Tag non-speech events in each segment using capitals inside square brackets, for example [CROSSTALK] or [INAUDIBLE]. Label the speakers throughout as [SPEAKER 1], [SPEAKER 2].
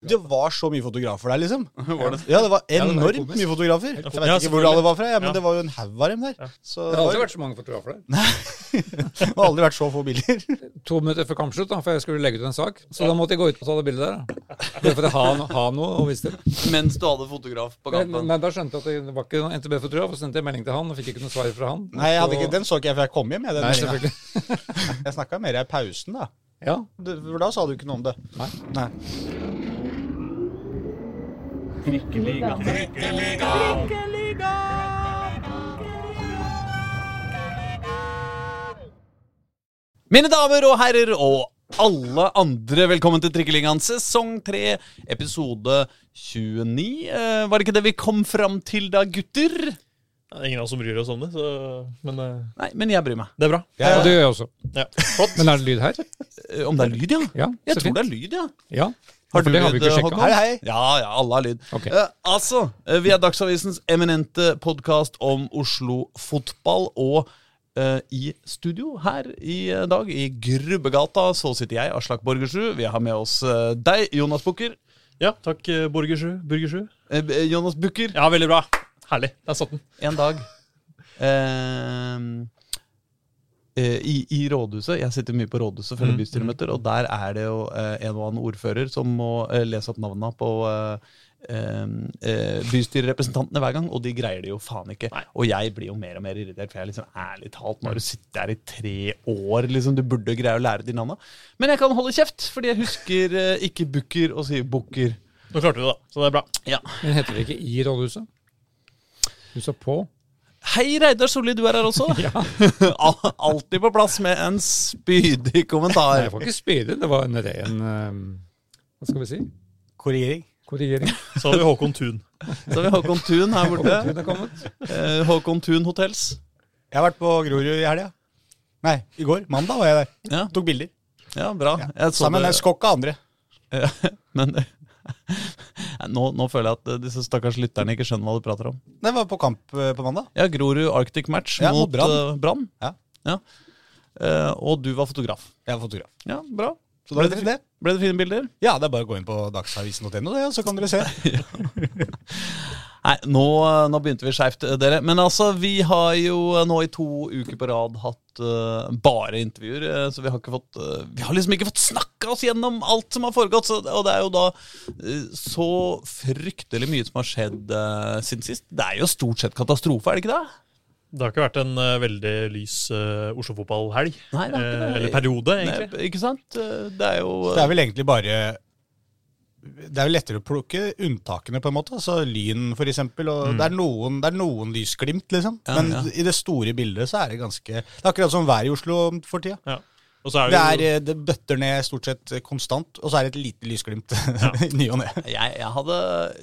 [SPEAKER 1] Det var så mye fotografer der, liksom.
[SPEAKER 2] Var det?
[SPEAKER 1] Ja, det var
[SPEAKER 3] det er
[SPEAKER 1] enormt
[SPEAKER 3] komisk.
[SPEAKER 1] mye fotografer. Jeg vet
[SPEAKER 4] Ja,
[SPEAKER 1] ikke hvor
[SPEAKER 4] selvfølgelig.
[SPEAKER 1] alle var fra, ja, men
[SPEAKER 4] Ja.
[SPEAKER 1] det var jo en haug av dem der. Så
[SPEAKER 3] Det
[SPEAKER 1] det
[SPEAKER 3] har
[SPEAKER 1] var,
[SPEAKER 3] aldri vært så mange fotografer der.
[SPEAKER 1] [LAUGHS] det har aldri vært så få bilder.
[SPEAKER 3] To minutter før kampslutt, da, for jeg skulle legge ut en sak. Så da måtte jeg gå ut og ta det bildet der. da. Bare for å ha, ha noe å vise til.
[SPEAKER 2] Mens du hadde fotograf på
[SPEAKER 3] Men,
[SPEAKER 2] kampen.
[SPEAKER 3] men da skjønte jeg at det var ikke noen NTB-fotograf, og sendte jeg melding til han, og fikk ikke noe svar fra han.
[SPEAKER 1] Nei, jeg hadde
[SPEAKER 3] Så-
[SPEAKER 1] ikke, Den så ikke jeg før jeg kom hjem. Jeg, den
[SPEAKER 3] Nei,
[SPEAKER 1] meldingen.
[SPEAKER 3] selvfølgelig.
[SPEAKER 1] [LAUGHS] jeg snakka mer i pausen, da.
[SPEAKER 3] Ja.
[SPEAKER 1] Du, for da sa du ikke noe om det.
[SPEAKER 3] Nei.
[SPEAKER 1] Nei.
[SPEAKER 2] Mine damer og herrer og alle andre, velkommen til Trikkeligaen sesong 3, episode 29. Eh, var det ikke det vi kom fram til da, gutter?
[SPEAKER 4] Det er ingen av oss som bryr oss om det, så, men eh,
[SPEAKER 2] Nei, men jeg bryr meg.
[SPEAKER 4] det er bra.
[SPEAKER 1] Ja,
[SPEAKER 3] Og det gjør jeg også.
[SPEAKER 4] Ja.
[SPEAKER 3] Men er det lyd her?
[SPEAKER 2] Eh, om det er lyd, ja?
[SPEAKER 3] Ja,
[SPEAKER 2] jeg
[SPEAKER 3] så
[SPEAKER 2] tror
[SPEAKER 3] fint.
[SPEAKER 2] det er lyd, ja.
[SPEAKER 3] Ja.
[SPEAKER 2] Har du
[SPEAKER 3] det har vi
[SPEAKER 2] lyd, eh,
[SPEAKER 3] ikke sjekket.
[SPEAKER 2] Håkon?
[SPEAKER 1] Hei, hei.
[SPEAKER 2] Ja, ja, alle har lyd.
[SPEAKER 3] Ok.
[SPEAKER 2] Eh, altså, eh, vi er Dagsavisens eminente podkast om Oslo fotball, og eh, i studio her i eh, dag, i Grubbegata, så sitter jeg, Aslak Borgersrud. Vi har med oss eh, deg, Jonas Bukker.
[SPEAKER 4] Ja, takk, eh, Borgersrud. Burgersrud.
[SPEAKER 2] Eh, eh, Jonas Bukker,
[SPEAKER 4] Ja, veldig bra. Herlig. Der satt den.
[SPEAKER 2] en dag Ehm, eh, i, I rådhuset, jeg sitter mye på rådhuset og følger
[SPEAKER 3] Mm,
[SPEAKER 2] bystyremøter, og der er det jo eh, en og annen ordfører som må eh, lese opp navnene på eh, ehm, eh, bystyrerepresentantene hver gang, og de greier det jo faen ikke. Og jeg blir jo mer og mer irritert, for jeg er liksom ærlig talt, nå har du
[SPEAKER 3] Mm.
[SPEAKER 2] sittet her i tre år, liksom, du burde greie å lære de navnene. Men jeg kan holde kjeft, fordi jeg husker eh, ikke Bukker og sier Bukker.
[SPEAKER 4] Nå klarte vi det, da. Så det er bra.
[SPEAKER 2] Ja.
[SPEAKER 3] Men heter det ikke i rådhuset? Huset på?
[SPEAKER 2] Hei, Reidar Solli, du er her også. [LAUGHS] Al- Alltid på plass med en spydig
[SPEAKER 3] Nei,
[SPEAKER 2] kommentar.
[SPEAKER 3] jeg får ikke spydig. Det var en ren ehm, Hva skal vi si?
[SPEAKER 1] Korrigering.
[SPEAKER 3] Korrigering.
[SPEAKER 4] Så har vi Håkon Thun.
[SPEAKER 2] Så har vi Håkon Thun her borte.
[SPEAKER 3] Den er kommet.
[SPEAKER 2] Eh, Håkon Thun Hotels.
[SPEAKER 1] Jeg har vært på Grorud i helga. Nei, i går. Mandag var jeg der.
[SPEAKER 2] Ja,
[SPEAKER 1] Tok bilder.
[SPEAKER 2] ja bra. Jeg så
[SPEAKER 1] Sammen med en
[SPEAKER 2] det,
[SPEAKER 1] skokk av andre.
[SPEAKER 2] [LAUGHS] men nå, nå føler jeg at eh, disse stakkars lytterne ikke skjønner hva du prater om.
[SPEAKER 1] Det var på kamp eh, på mandag.
[SPEAKER 2] Ja, Grorud Arctic Match
[SPEAKER 1] Ja,
[SPEAKER 2] mot
[SPEAKER 1] mot Brann.
[SPEAKER 2] eh, Brann.
[SPEAKER 1] Ja.
[SPEAKER 2] Ja. Eh, og du var fotograf.
[SPEAKER 1] Jeg er fotograf.
[SPEAKER 2] Ja, bra.
[SPEAKER 1] Så da
[SPEAKER 2] Ble
[SPEAKER 1] vet
[SPEAKER 2] det
[SPEAKER 1] dere det.
[SPEAKER 2] Ble det fine bilder?
[SPEAKER 1] Ja, det er bare å gå inn på dagsavisen.no, det, ja, så kan
[SPEAKER 2] [LAUGHS]
[SPEAKER 1] dere se. [LAUGHS]
[SPEAKER 2] Nei, nå, nå begynte vi skjevt, dere. Men altså, vi har jo eh, nå i to uker på rad hatt eh, bare intervjuer. eh, så vi har ikke fått eh, Vi har liksom ikke fått snakka oss gjennom alt som har foregått. Så, og det er jo da eh, så fryktelig mye som har skjedd eh, siden sist. Det er jo stort sett katastrofe, er det ikke det?
[SPEAKER 4] Det har ikke vært en eh, veldig lys uh, Oslo-fotballhelg.
[SPEAKER 2] Nei, det har ikke det.
[SPEAKER 4] Eh, eller periode,
[SPEAKER 2] Nei,
[SPEAKER 4] egentlig.
[SPEAKER 2] ikke sant? Eh, Det er jo
[SPEAKER 1] Det er vel egentlig bare Det er jo lettere å plukke unntakene, på en måte. Altså Lyn, for eksempel. Og det, er noen, det er noen lysglimt, liksom.
[SPEAKER 2] Mm. Ja,
[SPEAKER 1] Men
[SPEAKER 2] ja.
[SPEAKER 1] i det store bildet så er det ganske Det er akkurat som været i Oslo for tida.
[SPEAKER 4] Ja. Og så er
[SPEAKER 1] Det,
[SPEAKER 4] det,
[SPEAKER 1] er,
[SPEAKER 4] jo,
[SPEAKER 1] eh, det bøtter ned stort sett konstant, og så er det et lite lysglimt [LAUGHS] i ny og ne.
[SPEAKER 2] jeg, jeg hadde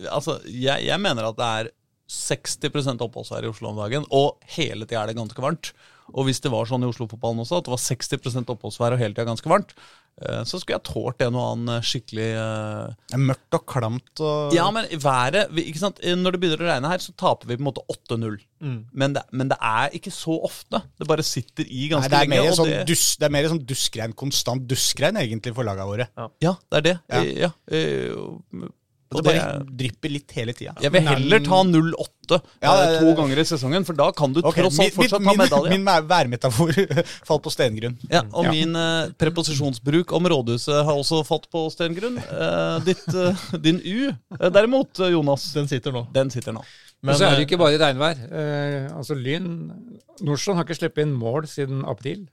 [SPEAKER 2] Altså, jeg, jeg mener at det er 60 oppholdsvær i Oslo om dagen, og hele tida er det ganske varmt. Og hvis det var sånn i Oslo-fotballen også, at det var 60 oppholdsvær og hele tida ganske varmt, eh, så skulle jeg tålt en og annen eh, skikkelig eh,
[SPEAKER 1] Det er mørkt og klamt og
[SPEAKER 2] ja, men været vi- ikke sant? Eh, Når det begynner å regne her, så taper vi på en måte 8-0.
[SPEAKER 1] Mm.
[SPEAKER 2] Men, det- men det er ikke så ofte. Det bare sitter i
[SPEAKER 1] Nei,
[SPEAKER 2] ganske
[SPEAKER 1] det er
[SPEAKER 2] lenge.
[SPEAKER 1] mer
[SPEAKER 2] og
[SPEAKER 1] sånn,
[SPEAKER 2] det-
[SPEAKER 1] dus, det er mer sånn duskregn, konstant duskregn, egentlig, for laga våre.
[SPEAKER 2] Ja, det er det.
[SPEAKER 1] Ja.
[SPEAKER 2] Eh, Ja. eh, Og
[SPEAKER 1] Det
[SPEAKER 2] det
[SPEAKER 1] bare drypper litt hele tida.
[SPEAKER 2] Jeg vil heller ta 0,8
[SPEAKER 1] Ja,
[SPEAKER 2] eh,
[SPEAKER 1] det-
[SPEAKER 2] to ganger i sesongen, for da kan du
[SPEAKER 1] Ok,
[SPEAKER 2] tross alt
[SPEAKER 1] min-
[SPEAKER 2] fortsatt
[SPEAKER 1] min-
[SPEAKER 2] ta medalje.
[SPEAKER 1] Min, min værmetafor [LAUGHS] falt på stengrunn.
[SPEAKER 2] ja, og min eh, preposisjonsbruk om rådhuset har også falt på stengrunn. Eh, ditt, eh, din U, eh, derimot, eh, Jonas,
[SPEAKER 4] den sitter nå.
[SPEAKER 2] den sitter nå.
[SPEAKER 3] Og så er det
[SPEAKER 4] eh,
[SPEAKER 3] ikke bare regnvær. Eh, altså Lyn Nordstrand har ikke sluppet inn mål siden april.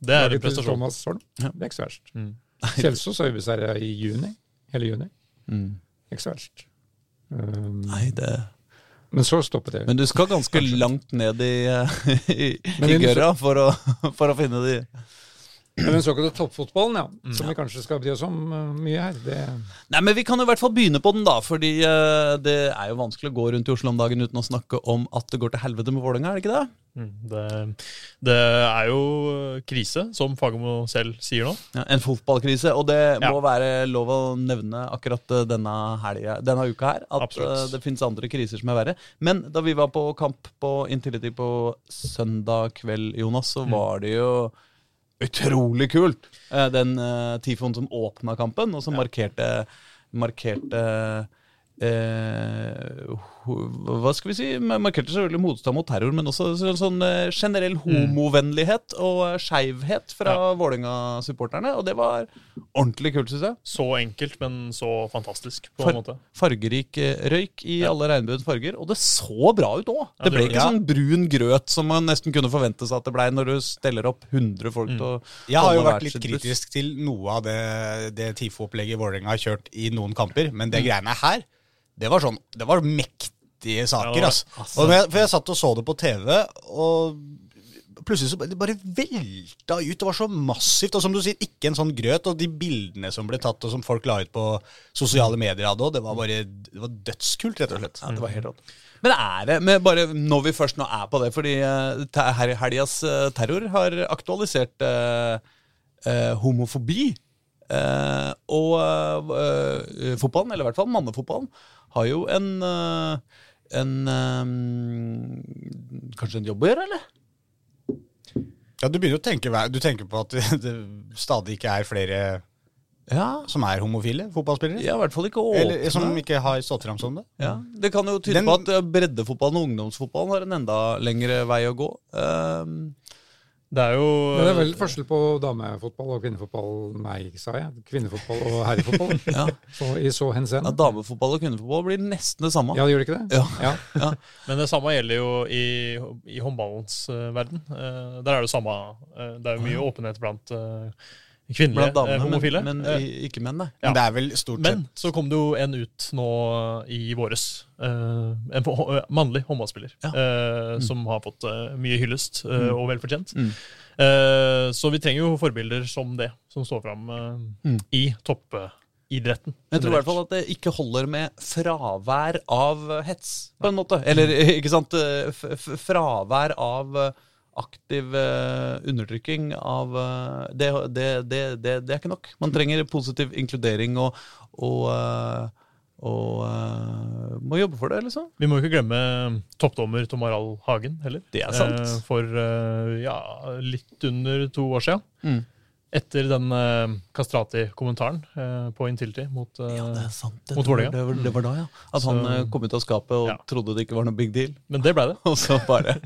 [SPEAKER 4] det er en
[SPEAKER 3] Laget til
[SPEAKER 4] prestasjon.
[SPEAKER 3] Thomas Holm. Det er ikke så verst. [LAUGHS] Kjelsås har øvelsesherre i juni. Hele juni. Mm. Ikke så verst. Um,
[SPEAKER 2] Nei, det...
[SPEAKER 3] men så stoppet det.
[SPEAKER 2] Men du skal ganske langt ned i, eh, i, i
[SPEAKER 3] Men-
[SPEAKER 2] gørra for å, for å finne de
[SPEAKER 3] Men den såkalte toppfotballen, Mm. ja, som vi kanskje skal bry oss om eh, mye her, det
[SPEAKER 2] Nei, men Vi kan jo i hvert fall begynne på den, da. fordi eh, det er jo vanskelig å gå rundt i Oslo om dagen uten å snakke om at det går til helvete med Vålerenga, er det ikke det?
[SPEAKER 4] Mm, Det, det er jo eh, krise, som Fagermo selv sier nå.
[SPEAKER 2] Ja, en fotballkrise, og det
[SPEAKER 4] Ja.
[SPEAKER 2] må være lov å nevne akkurat eh, denne, helga, denne uka her, at
[SPEAKER 4] Absolutt.
[SPEAKER 2] eh, det finnes andre kriser som er verre. Men da vi var på kamp på Intility på søndag kveld, Jonas,
[SPEAKER 4] Mm.
[SPEAKER 2] så var det jo utrolig kult. Eh, Den eh, tifoen som åpna kampen, og som markerte markerte eh, ho- Hva skal vi si? Markerte selvfølgelig motstand mot terror, men også sånn, sånn eh, generell homovennlighet og eh, skeivhet fra Vålerenga-supporterne. Og det var ordentlig kult, syns jeg.
[SPEAKER 4] Så enkelt, men så fantastisk, på
[SPEAKER 2] Far-
[SPEAKER 4] en måte.
[SPEAKER 2] Fargerik eh, røyk i alle regnbuens farger, og det så bra ut òg.
[SPEAKER 4] Ja,
[SPEAKER 2] Det
[SPEAKER 4] det
[SPEAKER 2] ble
[SPEAKER 4] gjorde
[SPEAKER 2] ikke
[SPEAKER 1] det.
[SPEAKER 2] sånn brun grøt som man nesten kunne forvente seg at det blei når du steller opp 100 folk til å
[SPEAKER 1] Jeg har
[SPEAKER 2] alle
[SPEAKER 1] jo
[SPEAKER 2] hver
[SPEAKER 1] vært litt
[SPEAKER 2] sitt buss.
[SPEAKER 1] kritisk til noe av det, det TIFO-opplegget Vålerenga har kjørt i noen kamper, men det greiene her, det var sånn Det var mektige
[SPEAKER 4] Ja,
[SPEAKER 1] saker, altså.
[SPEAKER 4] altså.
[SPEAKER 1] Og når jeg, for jeg satt og så det på TV, og plutselig så bare- det bare velta ut. Det var så massivt. Og som du sier, ikke en sånn grøt. Og de bildene som ble tatt, og som folk la ut på sosiale medier av det òg, det var bare det var dødskult, rett og slett.
[SPEAKER 2] Ja, det var helt rått. Men er det men bare når vi først nå er på det, fordi eh, te- her- helgas eh, terror har aktualisert eh, eh, homofobi. Eh, og eh, eh, fotballen, eller i hvert fall mannefotballen, har jo en eh, en eh, Kanskje en jobb å gjøre, eller?
[SPEAKER 1] Ja, Du begynner å tenke hver- Du tenker på at [LAUGHS] det stadig ikke er flere
[SPEAKER 2] Ja,
[SPEAKER 1] som er homofile fotballspillere?
[SPEAKER 2] ja i hvert fall ikke åpne.
[SPEAKER 1] Eller som ikke har stått fram som det?
[SPEAKER 2] Ja, det kan jo tyde
[SPEAKER 1] Den-
[SPEAKER 2] på at eh, breddefotballen og ungdomsfotballen har en enda lengre vei å gå. Eh,
[SPEAKER 4] Det er
[SPEAKER 3] Men det er
[SPEAKER 4] jo
[SPEAKER 3] vel forskjell på damefotball og kvinnefotball, nei, sa jeg. Kvinnefotball og herrefotball. [LAUGHS]
[SPEAKER 2] Ja.
[SPEAKER 3] så, I så henseende.
[SPEAKER 2] at damefotball og kvinnefotball blir nesten det samme.
[SPEAKER 3] Ja, det gjør det ikke det?
[SPEAKER 2] Ja.
[SPEAKER 3] Ja.
[SPEAKER 4] Men det samme gjelder jo i, i håndballens eh, verden. Eh, der er det jo samme eh, Det er jo mye åpenhet blant eh, kvinnelige
[SPEAKER 2] Blant damene,
[SPEAKER 4] eh, homofile.
[SPEAKER 2] men,
[SPEAKER 4] Eh,
[SPEAKER 2] men i- ikke menn, nei.
[SPEAKER 4] Ja.
[SPEAKER 1] Men det er vel stort sett
[SPEAKER 4] Men så kom det jo en ut nå i våres. eh, En på- eh, mannlig håndballspiller
[SPEAKER 2] Ja.
[SPEAKER 4] eh, som har fått eh, mye hyllest, eh, og vel fortjent.
[SPEAKER 2] Mm.
[SPEAKER 4] Eh, Så vi trenger jo forbilder som det, som står fram eh,
[SPEAKER 2] Mm.
[SPEAKER 4] i toppidretten.
[SPEAKER 2] Jeg tror i hvert fall at det ikke holder med fravær av hets, på en måte. Eller [LAUGHS] ikke sant, eh, f f fravær av eh, aktiv eh, undertrykking av eh, det, det, det, det, det er ikke nok. Man trenger positiv inkludering og, og, eh, og eh, må jobbe for det, liksom.
[SPEAKER 4] Vi må jo ikke glemme toppdommer Tom Harald Hagen heller.
[SPEAKER 2] Det er sant.
[SPEAKER 4] Eh, For eh, ja, litt under to år siden.
[SPEAKER 2] Mm.
[SPEAKER 4] Etter den eh, Kastrati-kommentaren eh, på Intility mot eh,
[SPEAKER 2] Ja, det er sant. Det,
[SPEAKER 4] mot
[SPEAKER 2] det,
[SPEAKER 4] Vålerenga.
[SPEAKER 2] var- det, var- det var da, ja. At han
[SPEAKER 4] Så-
[SPEAKER 2] eh, kom ut av skapet og
[SPEAKER 4] Ja.
[SPEAKER 2] trodde det ikke var noe big deal. [LAUGHS]
[SPEAKER 4] Men det ble det.
[SPEAKER 2] Og så bare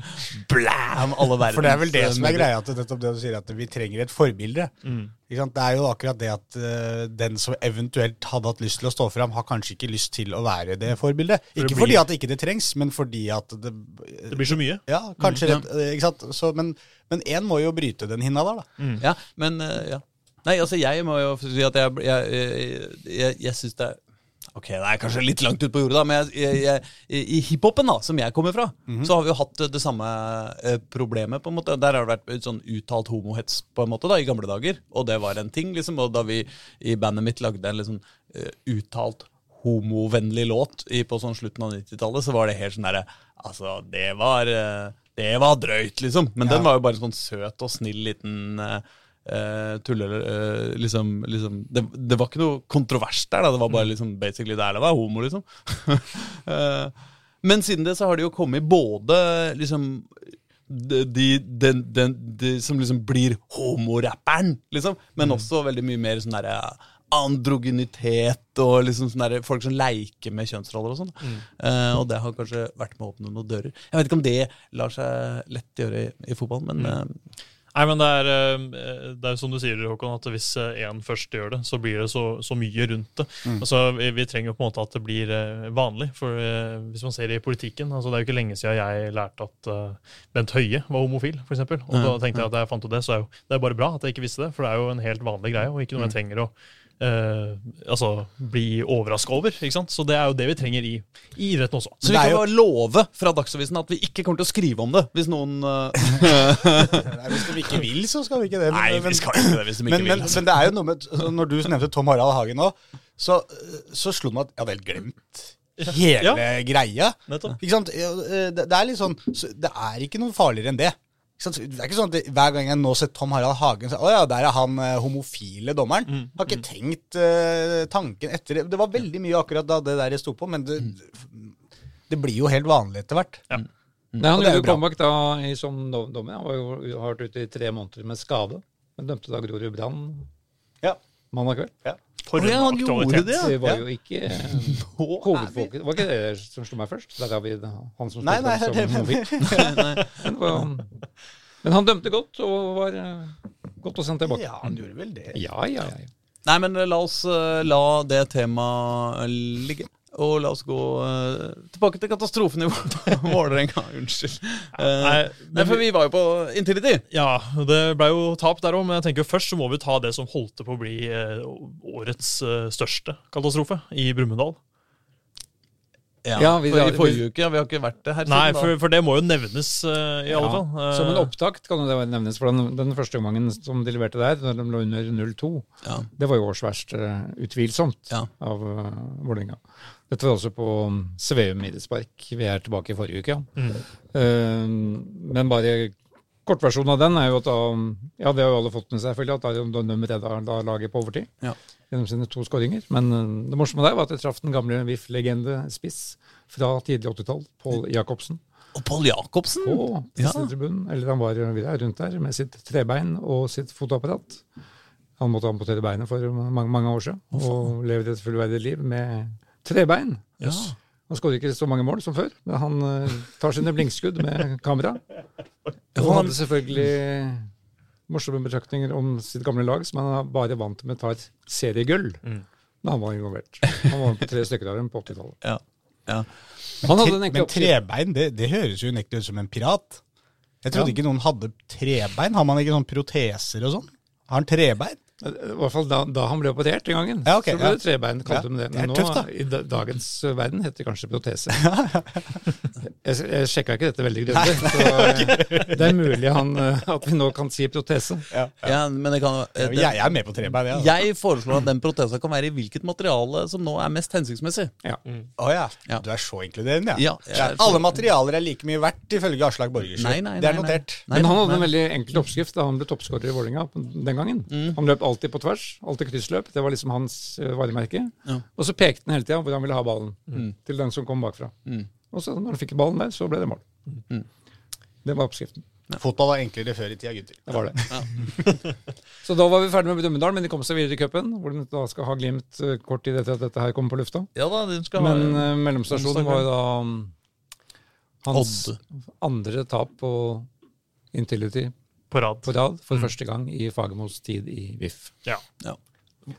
[SPEAKER 2] blæm! Alle verdens
[SPEAKER 1] For det er vel det
[SPEAKER 2] eh,
[SPEAKER 1] som er
[SPEAKER 2] medier.
[SPEAKER 1] greia, at, nettopp det du sier, at vi trenger et forbilde. Ikke sant? Det er jo akkurat det at eh, den som eventuelt hadde hatt lyst til å stå fram, har kanskje ikke lyst til å være det forbildet.
[SPEAKER 4] det
[SPEAKER 1] Ikke
[SPEAKER 4] blir-
[SPEAKER 1] fordi at det ikke det trengs, men fordi at det
[SPEAKER 4] Det blir så mye.
[SPEAKER 1] Ja, kanskje rett, eh, ikke sant? Så, men men én må jo bryte den hinna der, da.
[SPEAKER 2] Ja, men eh, ja. Nei, altså jeg må jo si at jeg, jeg, jeg, jeg, jeg syns det er Ok, det er kanskje litt langt ut på jordet, da, men jeg, jeg, jeg, i i hiphopen, da, som jeg kommer fra, så har vi jo hatt eh, det samme eh, problemet, på en måte. Der har det vært sånn uttalt homohets, på en måte, da, i gamle dager. Og det var en ting, liksom. Og da vi i bandet mitt lagde en liksom eh, uttalt homovennlig låt i, på sånn slutten av 90-tallet, så var det helt sånn derre Altså, det var eh, Det var drøyt, liksom. Men den var jo bare en sånn søt og snill liten eh, eh, tulle... eh, liksom, liksom det, det var ikke noe kontrovers der, da. Det var bare liksom basically det er lov å være homo, liksom. [LAUGHS] Eh, men siden det så har det jo kommet både liksom de, de, den- den- de som liksom blir homorapperen, liksom. Men også veldig mye mer sånn derre androgynitet og liksom sånn derre folk som leker med kjønnsroller og sånn. Eh, og det har kanskje vært med å åpne noen dører. Jeg vet ikke om det lar seg lett gjøre i, i fotballen, men eh,
[SPEAKER 4] Nei, men det er, eh, det er jo som du sier, Håkon, at hvis én først gjør det, så blir det så, så mye rundt det.
[SPEAKER 2] Mm.
[SPEAKER 4] Altså, vi, vi trenger jo på en måte at det blir eh, vanlig. For eh, hvis man ser i politikken altså Det er jo ikke lenge siden jeg lærte at eh, Bent Høie var homofil, f.eks. Og da tenkte jeg at da jeg fant ut det, så er jo, det er bare bra at jeg ikke visste det. For det er jo en helt vanlig greie, og ikke noe
[SPEAKER 2] Mm.
[SPEAKER 4] jeg trenger å eh, altså, bli overraska over. ikke sant? Så det er jo det vi trenger i, i idretten også.
[SPEAKER 2] Så vi
[SPEAKER 1] det er
[SPEAKER 2] kan
[SPEAKER 1] jo-
[SPEAKER 2] bare love fra Dagsavisen at vi ikke kommer til å skrive om det hvis noen eh,
[SPEAKER 1] Nei, Hvis de ikke vil, så skal vi ikke det. men-
[SPEAKER 2] [LAUGHS] Nei,
[SPEAKER 1] men-
[SPEAKER 2] vi skal ikke det hvis de ikke
[SPEAKER 1] men,
[SPEAKER 2] vil.
[SPEAKER 1] men, men det er jo noe med så Når du nevnte Tom Harald Hagen nå, så, så slo det meg at jeg hadde helt glemt hele greia.
[SPEAKER 4] Nettopp.
[SPEAKER 1] Ikke sant? Eh, Det, det er litt sånn så Det er ikke noe farligere enn det. Ikke sant? Det er ikke sånn at det, Hver gang jeg nå ser Tom Harald Hagen, så Å ja, der er han eh, homofile dommeren. Har ikke tenkt eh, tanken etter det. Det var veldig mye akkurat da det der jeg sto på, men det, Mm. det blir jo helt vanlig etter hvert.
[SPEAKER 3] Nei, han
[SPEAKER 1] Mm. Og det er
[SPEAKER 3] gjorde
[SPEAKER 1] jo
[SPEAKER 3] jo
[SPEAKER 1] bra.
[SPEAKER 3] comeback da i, som dom- dommer. Han var jo, har vært ute i tre måneder med skade. Men dømte da Grorud Brann
[SPEAKER 1] Ja.
[SPEAKER 3] mandag kveld.
[SPEAKER 4] For
[SPEAKER 2] Å, ja,
[SPEAKER 4] en
[SPEAKER 2] han gjorde
[SPEAKER 4] aktualitet.
[SPEAKER 2] det, ja.
[SPEAKER 3] Det var jo ikke
[SPEAKER 1] [LAUGHS]
[SPEAKER 3] eh,
[SPEAKER 2] Nå er vi-
[SPEAKER 3] hovedfokus. Det var ikke det som slo meg først. Det er David, han som
[SPEAKER 1] Nei,
[SPEAKER 3] spilte
[SPEAKER 1] nei,
[SPEAKER 3] som
[SPEAKER 1] det
[SPEAKER 3] homofil. [LAUGHS] Men, det
[SPEAKER 1] [LAUGHS]
[SPEAKER 3] var, men han dømte godt, og var eh, godt å sende tilbake.
[SPEAKER 1] Ja, han gjorde vel det.
[SPEAKER 3] Ja, ja, ja.
[SPEAKER 2] Nei, men la oss eh, la det temaet ligge. Og la oss gå eh, tilbake til katastrofen i [LAUGHS] Vålerenga. Unnskyld. Eh, nei,
[SPEAKER 4] Nei, men
[SPEAKER 2] for vi var jo på Intility.
[SPEAKER 4] Ja, og det ble jo tap der òg, men jeg tenker jo først så må vi ta det som holdt på å bli eh, årets eh, største katastrofe, i Brumunddal.
[SPEAKER 2] Ja,
[SPEAKER 3] Ja, vi-
[SPEAKER 2] for
[SPEAKER 3] ja,
[SPEAKER 2] I forrige uke. ja, Vi har ikke vært det her
[SPEAKER 4] Nei,
[SPEAKER 2] siden da.
[SPEAKER 4] for, for det må jo nevnes, eh, i alle
[SPEAKER 3] Ja,
[SPEAKER 4] fall. Eh,
[SPEAKER 3] Som en opptakt kan jo det nevnes, for den, den første omgangen som de leverte der, når de lå under 0-2,
[SPEAKER 2] Ja.
[SPEAKER 3] det var jo års verst, eh, utvilsomt,
[SPEAKER 2] Ja.
[SPEAKER 3] av uh, Vålerenga. Dette var også på um, Sveum idrettspark. Vi er tilbake i forrige uke, ja. Eh, men bare kortversjonen av den er jo at da um, Ja, det har jo alle fått med seg, selvfølgelig, at da, da de redda da laget på overtid
[SPEAKER 2] Ja.
[SPEAKER 3] gjennom sine to skåringer. Men eh, det morsomme der var at jeg traff den gamle VIF-legende spiss fra tidlig 80-tall,
[SPEAKER 2] Mm.
[SPEAKER 3] Pål Jacobsen
[SPEAKER 2] Og Pål Jacobsen!
[SPEAKER 3] på
[SPEAKER 2] Ja.
[SPEAKER 3] pressetribunen, eller han var videre rundt der med sitt trebein og sitt fotoapparat. Han måtte amputere beinet for mange, mange år siden, og levde et fullverdig liv med trebein.
[SPEAKER 2] Ja.
[SPEAKER 3] Han skårer ikke så mange mål som før, men han eh, tar sine blinkskudd med kamera. Og
[SPEAKER 2] han-
[SPEAKER 3] hadde selvfølgelig morsomme betraktninger om sitt gamle lag, som han bare vant med et par seriegull da han var involvert. Han var på tre stykker av dem på 80-tallet.
[SPEAKER 2] Ja. Ja.
[SPEAKER 3] Han hadde en
[SPEAKER 1] Tre,
[SPEAKER 3] ekte
[SPEAKER 1] men
[SPEAKER 3] oppside.
[SPEAKER 1] trebein, det, det høres jo unektelig ut som en pirat. Jeg trodde
[SPEAKER 3] Ja.
[SPEAKER 1] ikke noen hadde trebein. Har man ikke sånn proteser og sånn? Har han trebein?
[SPEAKER 3] Eh, I hvert fall da, da han ble operert den gangen.
[SPEAKER 1] Ja, ok,
[SPEAKER 3] så ble
[SPEAKER 1] ja.
[SPEAKER 3] det trebein, kalte
[SPEAKER 1] Ja,
[SPEAKER 3] de det.
[SPEAKER 1] det er
[SPEAKER 3] Men nå,
[SPEAKER 1] tøft, da.
[SPEAKER 3] i da- dagens uh, verden, heter det kanskje protese.
[SPEAKER 1] [LAUGHS]
[SPEAKER 3] jeg jeg sjekka ikke dette veldig grundig,
[SPEAKER 1] [LAUGHS]
[SPEAKER 3] så uh, det er mulig han, uh, at vi nå kan si protese.
[SPEAKER 2] ja, men det kan eh, det,
[SPEAKER 1] Jeg er med på trebein, jeg. Ja.
[SPEAKER 2] Jeg foreslår at den protesa kan være i hvilket materiale som nå er mest hensiktsmessig.
[SPEAKER 3] Ja.
[SPEAKER 1] Å ja.
[SPEAKER 2] Ja.
[SPEAKER 1] Du er så inkluderende,
[SPEAKER 2] Ja,
[SPEAKER 1] ja.
[SPEAKER 2] jeg er så-
[SPEAKER 1] Alle materialer er like mye verdt, ifølge Aslak Borgersen.
[SPEAKER 2] Nei, nei,
[SPEAKER 1] det er
[SPEAKER 2] nei, nei.
[SPEAKER 1] notert.
[SPEAKER 2] Nei,
[SPEAKER 3] Men han hadde
[SPEAKER 2] nei.
[SPEAKER 3] en veldig enkel oppskrift da han ble toppskårer i Vålerenga den gangen.
[SPEAKER 1] Mm.
[SPEAKER 3] Han løp alltid på tvers, alltid kryssløp. Det var liksom hans uh, varemerke.
[SPEAKER 2] Ja.
[SPEAKER 3] Og så pekte han hele tida hvor han ville ha ballen,
[SPEAKER 1] Mm.
[SPEAKER 3] til den som kom bakfra. Og så når han fikk ballen der, så ble det mål.
[SPEAKER 1] Mm.
[SPEAKER 3] Det var oppskriften.
[SPEAKER 1] Fotball var enklere før i tida, gutter.
[SPEAKER 3] Det var det. [LAUGHS] så da var vi ferdig med Brumunddal, men de kom seg videre i cupen. Hvor de da skal ha Glimt eh, kort tid etter at dette her kommer på lufta.
[SPEAKER 2] Ja da, den skal
[SPEAKER 3] Men
[SPEAKER 2] ha
[SPEAKER 3] eh, mellomstasjonen var jo da mm, hans
[SPEAKER 2] Odd.
[SPEAKER 3] andre tap på Intility
[SPEAKER 4] På rad.
[SPEAKER 3] på rad for første gang i Fagermos tid i VIF.
[SPEAKER 4] Ja.
[SPEAKER 2] Ja.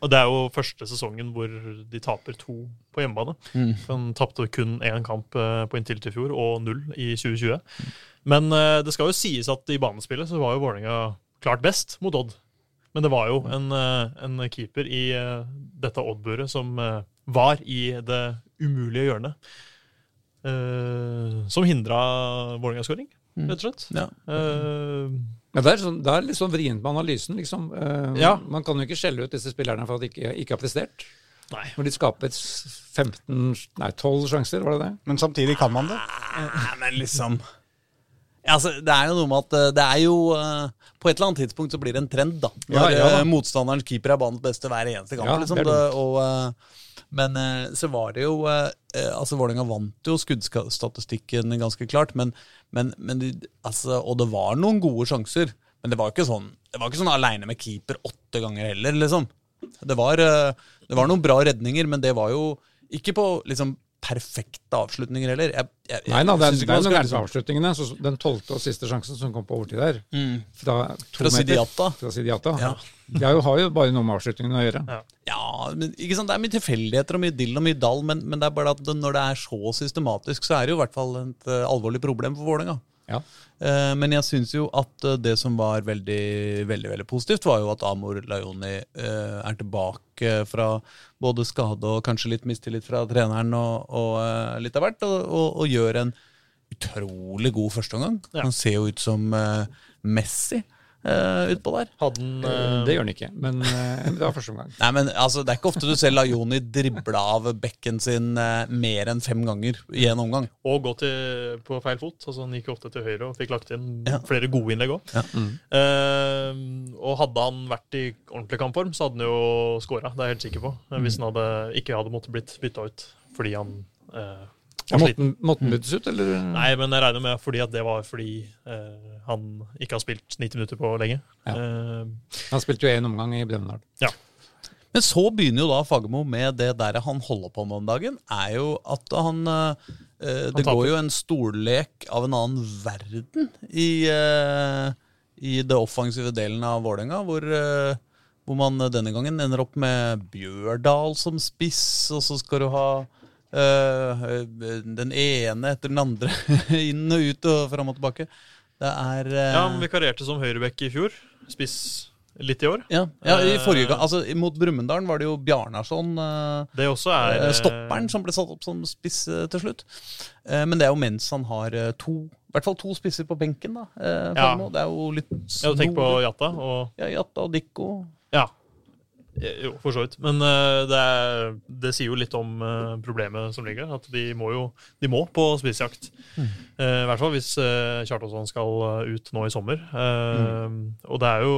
[SPEAKER 4] Og det er jo første sesongen hvor de taper to på hjemmebane.
[SPEAKER 2] Mm.
[SPEAKER 4] Han tapte kun én kamp eh, på inntil til fjor, og null i 2020. Men eh, det skal jo sies at i banespillet så var jo Vålerenga klart best mot Odd. Men det var jo en, eh, en keeper i eh, dette Odd-buret som eh, var i det umulige hjørnet. eh, som hindra Vålerenga-skåring, rett og slett.
[SPEAKER 2] Mm. Ja.
[SPEAKER 4] Eh,
[SPEAKER 3] Ja, det, er sånn, det er litt sånn vrient med analysen, liksom. Eh,
[SPEAKER 4] Ja.
[SPEAKER 3] Man kan jo ikke skjelle ut disse spillerne for at de ikke, ikke har prestert.
[SPEAKER 4] nei.
[SPEAKER 3] Når de skaper s- 15, nei 12 sjanser, var det det?
[SPEAKER 1] Men samtidig kan man det.
[SPEAKER 2] Nei, men liksom ja, altså, Det er jo noe med at eh, det er jo eh, På et eller annet tidspunkt så blir det en trend, da. Når
[SPEAKER 3] Ja, ja da.
[SPEAKER 2] eh, motstanderens keeper er banens beste hver eneste kamp.
[SPEAKER 3] Ja,
[SPEAKER 2] liksom,
[SPEAKER 3] det er
[SPEAKER 2] det, og, eh, men eh, så var det jo eh, eh, Altså, Vålerenga vant jo skuddstatistikken ganske klart, men, men, men de, altså, Og det var noen gode sjanser. Men det var ikke sånn Det var ikke sånn aleine med keeper åtte ganger heller, liksom. Det var, eh, det var noen bra redninger, men det var jo ikke på liksom perfekte avslutninger heller. Jeg, jeg, jeg
[SPEAKER 3] Nei da, det er,
[SPEAKER 2] synes
[SPEAKER 3] det
[SPEAKER 2] ikke
[SPEAKER 3] er
[SPEAKER 2] man
[SPEAKER 3] noen
[SPEAKER 2] skal sånn.
[SPEAKER 3] gærne avslutningene. Så så den tolvte og siste sjansen som kom på overtid der, fra to
[SPEAKER 2] Mm. Fra
[SPEAKER 3] meter
[SPEAKER 2] Sidiata.
[SPEAKER 3] Fra Sidiata.
[SPEAKER 2] Ja.
[SPEAKER 3] Det er jo, har jo bare noe med avslutningene å gjøre.
[SPEAKER 4] Ja.
[SPEAKER 2] Ja, men ikke sant? Det er mye tilfeldigheter og mye dill og mye dall, men, men det er bare at det- når det er så systematisk, så er det jo i hvert fall et eh, alvorlig problem for Vålerenga.
[SPEAKER 3] Ja.
[SPEAKER 2] Eh, Men jeg syns jo at eh, det som var veldig veldig, veldig positivt, var jo at Amor Laioni eh, er tilbake fra både skade og kanskje litt mistillit fra treneren og, og eh, litt av hvert, og, og, og gjør en utrolig god førsteomgang.
[SPEAKER 4] Ja.
[SPEAKER 2] Han ser jo ut som eh, Messi eh, utpå der.
[SPEAKER 4] Hadde den
[SPEAKER 3] Eh,
[SPEAKER 4] eh,
[SPEAKER 3] Det gjør den ikke, men eh, det var første
[SPEAKER 2] [LAUGHS]
[SPEAKER 3] omgang.
[SPEAKER 2] Nei, men altså, Det er ikke ofte du ser Laioni drible av bekken sin eh, mer enn fem ganger i en omgang.
[SPEAKER 4] og gå til, på feil fot. Altså Han gikk jo ofte til høyre og fikk lagt inn flere gode innlegg òg.
[SPEAKER 2] Ja. Mm.
[SPEAKER 4] og hadde han vært i ordentlig kampform, så hadde han jo skåra. Det er jeg helt sikker på. Eh,
[SPEAKER 2] Mm.
[SPEAKER 4] Hvis han hadde, ikke hadde måttet blitt bytta ut fordi han eh, var
[SPEAKER 3] Måtte
[SPEAKER 4] sliten.
[SPEAKER 3] den- måtte den
[SPEAKER 2] Mm.
[SPEAKER 3] byttes ut, eller?
[SPEAKER 4] Nei, men jeg regner med fordi at det var fordi eh, han ikke har spilt 90 minutter på lenge.
[SPEAKER 3] Ja.
[SPEAKER 4] Eh,
[SPEAKER 3] Han spilte jo én omgang i Brumunddal.
[SPEAKER 4] ja.
[SPEAKER 2] Men så begynner jo da Fagermo med det der han holder på med om dagen, er jo at han eh, eh, Det
[SPEAKER 4] taper.
[SPEAKER 2] går jo en stollek av en annen verden i, eh, i det offensive delen av Vålerenga, hvor eh, hvor man denne gangen ender opp med Bjørdal som spiss, og så skal du ha eh, den ene etter den andre [LAUGHS] inn og ut og fram og tilbake. Det er eh,
[SPEAKER 4] Ja, han vikarierte som høyrebekk i fjor. Spiss litt i år.
[SPEAKER 2] Ja, ja i
[SPEAKER 4] Eh,
[SPEAKER 2] forrige gang, altså Mot Brumunddal var det jo Bjarnason, eh,
[SPEAKER 4] Det også er
[SPEAKER 2] eh,
[SPEAKER 4] eh,
[SPEAKER 2] stopperen, som ble satt opp som spiss eh, til slutt. Eh, men det er jo mens han har eh, to i hvert fall to spisser på benken. da. eh,
[SPEAKER 4] Ja.
[SPEAKER 2] Fagmo. Det er jo litt
[SPEAKER 4] Ja, du tenker på
[SPEAKER 2] snor-
[SPEAKER 4] Jatta og
[SPEAKER 2] ja, Jatta og Dikko.
[SPEAKER 4] Ja. Eh, Jo, for så vidt. Men eh, det, er, det sier jo litt om eh, problemet som ligger der. At de må jo de må på spisejakt.
[SPEAKER 1] Mm.
[SPEAKER 4] Eh, I hvert fall hvis uh, Kjartansson skal eh, ut nå i sommer. Eh,
[SPEAKER 1] Mm.
[SPEAKER 4] Og det er jo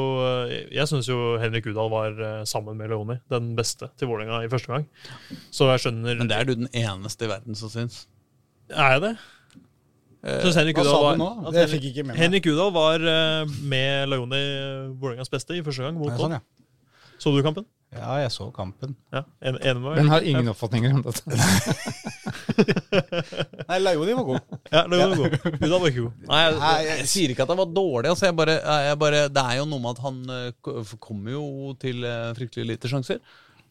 [SPEAKER 4] eh, Jeg syns jo Henrik Udal var eh, sammen med Leoni den beste til Vålerenga i første gang. Så jeg skjønner
[SPEAKER 2] Men det er du den eneste i verden som syns.
[SPEAKER 4] Er jeg det? Synes Henrik
[SPEAKER 1] Eh, Hva
[SPEAKER 4] Udal
[SPEAKER 1] sa
[SPEAKER 4] var-
[SPEAKER 1] du nå?
[SPEAKER 4] at
[SPEAKER 1] Det
[SPEAKER 4] Henrik-
[SPEAKER 1] fikk jeg ikke med meg.
[SPEAKER 4] Henrik Udal var eh, med Leoni eh, Vålerengas beste i første gang mot
[SPEAKER 1] Ja,
[SPEAKER 4] Odd.
[SPEAKER 1] sånn, ja.
[SPEAKER 4] Så du kampen?
[SPEAKER 1] ja, jeg så kampen.
[SPEAKER 4] Ja, en, enig med meg?
[SPEAKER 3] Den har ingen oppfatninger om
[SPEAKER 2] [LAUGHS]
[SPEAKER 3] dette.
[SPEAKER 1] Nei, Laioni var god.
[SPEAKER 4] Ja, det var god. Udal var ikke god. Nei, jeg-
[SPEAKER 2] Nei, jeg sier ikke at jeg var dårlig. Altså jeg bare, jeg bare, det er jo noe med at han eh, ko- kommer jo til eh, fryktelig lite sjanser.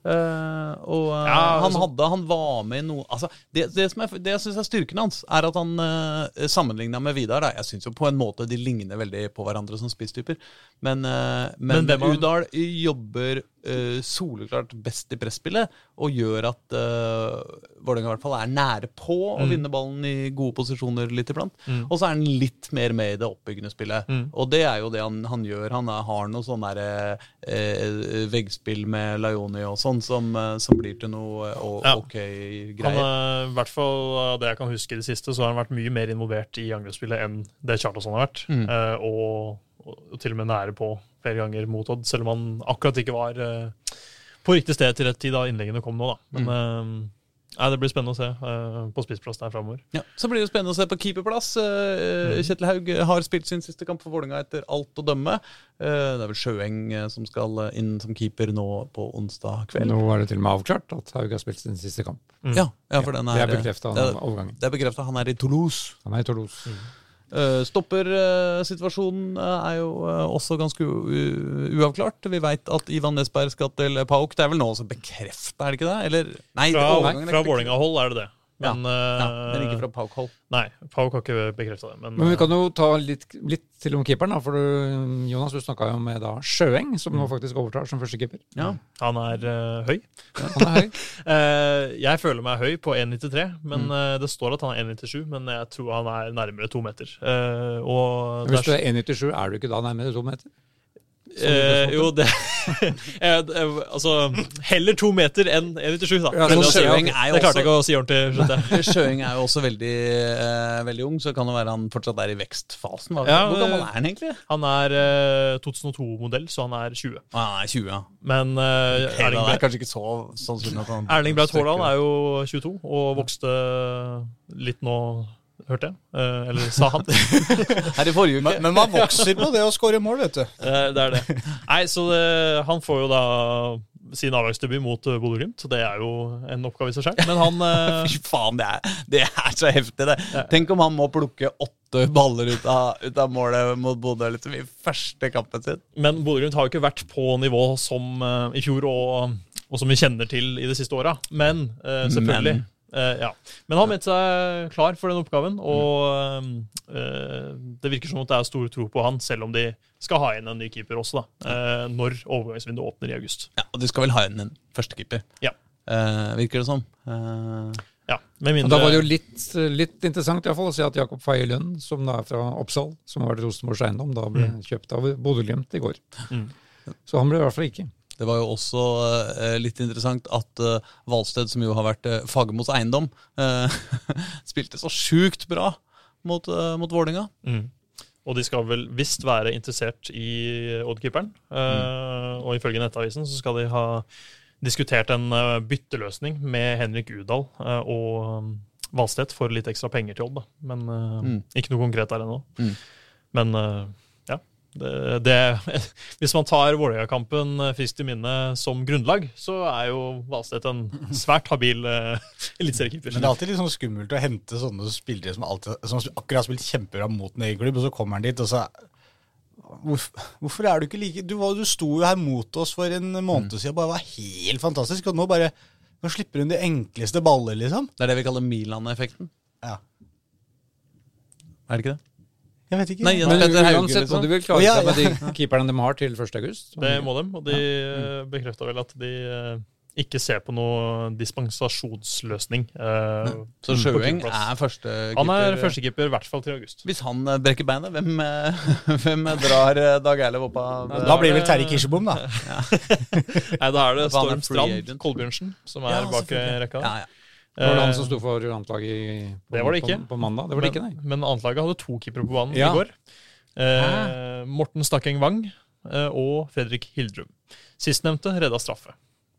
[SPEAKER 2] Eh, og eh,
[SPEAKER 4] Ja,
[SPEAKER 2] han,
[SPEAKER 4] altså-
[SPEAKER 2] hadde, han var med i noe altså, Det, det, som er, det jeg syns er styrken hans, er at han uh, sammenligna med Vidar da, Jeg syns jo på en måte de ligner veldig på hverandre som spisstyper. Men, eh, men,
[SPEAKER 4] Men hvem av-
[SPEAKER 2] Udal jobber eh, soleklart best i presspillet og gjør at uh, Vålerenga i hvert fall er nære på å
[SPEAKER 4] Mm.
[SPEAKER 2] vinne ballen i gode posisjoner litt iblant. Og så er han litt mer med i det oppbyggende spillet.
[SPEAKER 4] Mm.
[SPEAKER 2] Og det er jo det han, han gjør. Han er, har noe sånn derre eh, veggspill med Laioni og sånn som, eh, som blir til noe eh, o-
[SPEAKER 4] Ja.
[SPEAKER 2] ok
[SPEAKER 4] han,
[SPEAKER 2] greier.
[SPEAKER 4] eh, I hvert fall av det jeg kan huske i det siste, så har han vært mye mer involvert i angrepsspillet enn det Kjartansson har vært. Eh, og, og til og med nære på flere ganger mot Odd, selv om han akkurat ikke var eh, på riktig sted til rett tid da innleggene kom nå. da. Men eh, nei, det blir spennende å se eh, på spissplass der framover.
[SPEAKER 2] Ja, så blir det spennende å se på keeperplass. Eh, Kjetil Haug har spilt sin siste kamp for Vålerenga etter alt å dømme. Eh, det er vel Sjøeng eh, som skal eh, inn som keeper nå på onsdag kveld.
[SPEAKER 3] Nå er det til og med avklart at Haug har spilt sin siste kamp.
[SPEAKER 2] Ja, ja, for den er, eh,
[SPEAKER 3] Det er bekrefta
[SPEAKER 2] det er-
[SPEAKER 3] overgangen.
[SPEAKER 2] Det er bekrefta. Han er i Toulouse.
[SPEAKER 3] Han er i Toulouse.
[SPEAKER 2] Eh, Stoppersituasjonen er jo eh, også ganske u u- uavklart. Vi veit at Ivan Nesberg skal til Pauk. Det er vel nå også bekrefta, er det ikke det? Eller, nei, det er
[SPEAKER 4] Fra,
[SPEAKER 2] overgangen er
[SPEAKER 4] fra
[SPEAKER 2] ikke bekreftet.
[SPEAKER 4] Vålerenga-hold er det det.
[SPEAKER 2] Ja,
[SPEAKER 4] Men,
[SPEAKER 2] Ja,
[SPEAKER 4] eh,
[SPEAKER 2] men ikke fra Pauk-hold.
[SPEAKER 4] Nei, Pauk har ikke bekrefta det. Men,
[SPEAKER 3] Men vi kan jo ta litt, litt til om keeperen, da. For du, Jonas, du snakka jo med da Sjøeng, som
[SPEAKER 2] Mm.
[SPEAKER 3] nå faktisk overtar som første keeper.
[SPEAKER 2] Ja.
[SPEAKER 4] eh, han er eh, høy.
[SPEAKER 3] Han
[SPEAKER 2] [LAUGHS]
[SPEAKER 3] er høy.
[SPEAKER 4] Eh, jeg føler meg høy på 1,93, men
[SPEAKER 3] Mm.
[SPEAKER 4] eh, det står at han er 1,97, men jeg tror han er nærmere to meter. Eh, og
[SPEAKER 3] Hvis du
[SPEAKER 4] det er,
[SPEAKER 3] er 1,97, er du ikke da nærmere to meter?
[SPEAKER 4] eh, jo, det [LAUGHS] eh, det- eh, Altså, heller to meter enn 1,97, da.
[SPEAKER 3] Ja,
[SPEAKER 4] Men
[SPEAKER 3] sånn
[SPEAKER 4] det,
[SPEAKER 3] ser jeg.
[SPEAKER 4] det klarte jeg ikke å si ordentlig.
[SPEAKER 3] [LAUGHS]
[SPEAKER 4] skjønte jeg.
[SPEAKER 2] Sjøeng er jo også veldig, eh, veldig ung, så kan det være han fortsatt er i vekstfasen. Hva-
[SPEAKER 4] Ja,
[SPEAKER 2] Hvor gammel
[SPEAKER 4] eh,
[SPEAKER 2] er han egentlig?
[SPEAKER 4] Han er eh, 2002-modell, så han er 20.
[SPEAKER 2] Ah, han er 20, ja.
[SPEAKER 4] Men eh,
[SPEAKER 2] Okay,
[SPEAKER 4] Erling,
[SPEAKER 2] det er
[SPEAKER 4] Braut-
[SPEAKER 2] kanskje ikke så sannsynlig at han
[SPEAKER 4] Erling Braut Haaland er jo 22 og vokste litt nå, hørte jeg. Eh, eller sa han.
[SPEAKER 2] Her i forrige uke.
[SPEAKER 1] Men, men man vokser på det å skåre mål, vet du.
[SPEAKER 4] Eh, Det er det. Nei, så det, han får jo da sin avlagsdebut mot eh, Bodø-Glimt. så Det er jo en oppgave i seg selv. Men han
[SPEAKER 3] [LAUGHS]
[SPEAKER 4] eh,
[SPEAKER 2] Fy faen, det er, det er så heftig, det. Tenk om han må plukke åtte baller ut av, ut av målet mot Bodø liksom, i første kampen sin.
[SPEAKER 4] Men Bodø-Glimt har jo ikke vært på nivå som eh, i fjor og, og som vi kjenner til i de siste åra. Men eh, selvfølgelig.
[SPEAKER 2] Men.
[SPEAKER 4] Eh, ja. Men han mente seg klar for den oppgaven, og eh, det virker som at det er stor tro på han, selv om de skal ha inn en ny keeper også, da, eh, når overgangsvinduet åpner i august.
[SPEAKER 2] Ja, og Du skal vel ha inn en førstekeeper,
[SPEAKER 4] Ja.
[SPEAKER 2] eh, virker det som. Eh,
[SPEAKER 4] ja. Med
[SPEAKER 3] Men
[SPEAKER 4] mindre
[SPEAKER 3] da var det jo litt, litt interessant i hvert fall å se at Jakob Faye Lund, som da er fra Oppsal, som har vært Rosenborgs eiendom, da ble kjøpt av Bodø-Glimt i går. Så han ble i hvert fall ikke.
[SPEAKER 2] det var jo også eh, litt interessant at eh, Valsted, som jo har vært eh, Fagermos eiendom, eh, [LAUGHS] spilte så sjukt bra mot, eh, mot Vålinga.
[SPEAKER 4] Og de skal vel visst være interessert i Odd-keeperen. Eh, Og ifølge Nettavisen så skal de ha diskutert en eh, bytteløsning med Henrik Udal eh, og Valstedt for litt ekstra penger til Odd. da. Men eh, ikke noe konkret der ennå. Men eh, ja, det, det, [LAUGHS] hvis man tar Vålerenga-kampen eh, friskt i minne som grunnlag, så er jo Valstedt en svært habil eh, [LAUGHS] eliteseriekeeper.
[SPEAKER 1] Men det er alltid litt sånn skummelt å hente sånne spillere som, alltid, som akkurat har spilt kjempebra mot en egen klubb, og så kommer han dit, og så Hvorfor, hvorfor er du ikke like du, var, du sto jo her mot oss for en måned
[SPEAKER 2] Mm.
[SPEAKER 1] siden og bare var helt fantastisk, og nå bare Nå slipper hun de enkleste baller, liksom.
[SPEAKER 2] Det er det vi kaller Milan-effekten.
[SPEAKER 1] Ja.
[SPEAKER 2] Er det ikke det?
[SPEAKER 1] Jeg vet ikke.
[SPEAKER 2] Nei, ja.
[SPEAKER 3] Men
[SPEAKER 2] Petter Hauge,
[SPEAKER 3] uansett må
[SPEAKER 2] liksom.
[SPEAKER 3] de vel klare
[SPEAKER 1] Å, ja,
[SPEAKER 3] seg med de keeperne de har til 1. august.
[SPEAKER 4] Det må dem, og de ja. bekrefta vel at de eh, ikke ser på noe dispensasjonsløsning. eh,
[SPEAKER 2] Så
[SPEAKER 4] på
[SPEAKER 2] Sjøeng
[SPEAKER 4] keeperplass.
[SPEAKER 2] er førstekeeper.
[SPEAKER 4] Han er eh. førstekeeper i hvert fall til august.
[SPEAKER 2] Hvis han eh, brekker beinet, hvem, eh, [LAUGHS] hvem drar eh, Dag Eilev opp av
[SPEAKER 1] Da blir det vel Terje Kirsebom, da.
[SPEAKER 4] Nei, da er
[SPEAKER 2] For han
[SPEAKER 4] det
[SPEAKER 2] er
[SPEAKER 4] Storm
[SPEAKER 2] free
[SPEAKER 4] Strand
[SPEAKER 2] agent.
[SPEAKER 4] Kolbjørnsen som er
[SPEAKER 2] Ja,
[SPEAKER 4] bak i
[SPEAKER 2] selvfølgelig.
[SPEAKER 4] rekka.
[SPEAKER 2] Ja, ja.
[SPEAKER 3] Det var det
[SPEAKER 4] Eh,
[SPEAKER 3] han som sto for landslaget i- på,
[SPEAKER 4] Det var det ikke.
[SPEAKER 3] På, på mandag. Det var det ikke, nei.
[SPEAKER 4] men, men annetlaget hadde to keepere på banen
[SPEAKER 3] Ja.
[SPEAKER 4] i går. Eh, Morten Stakkeng Wang eh, og Fredrik Hildrum. Sistnevnte redda straffe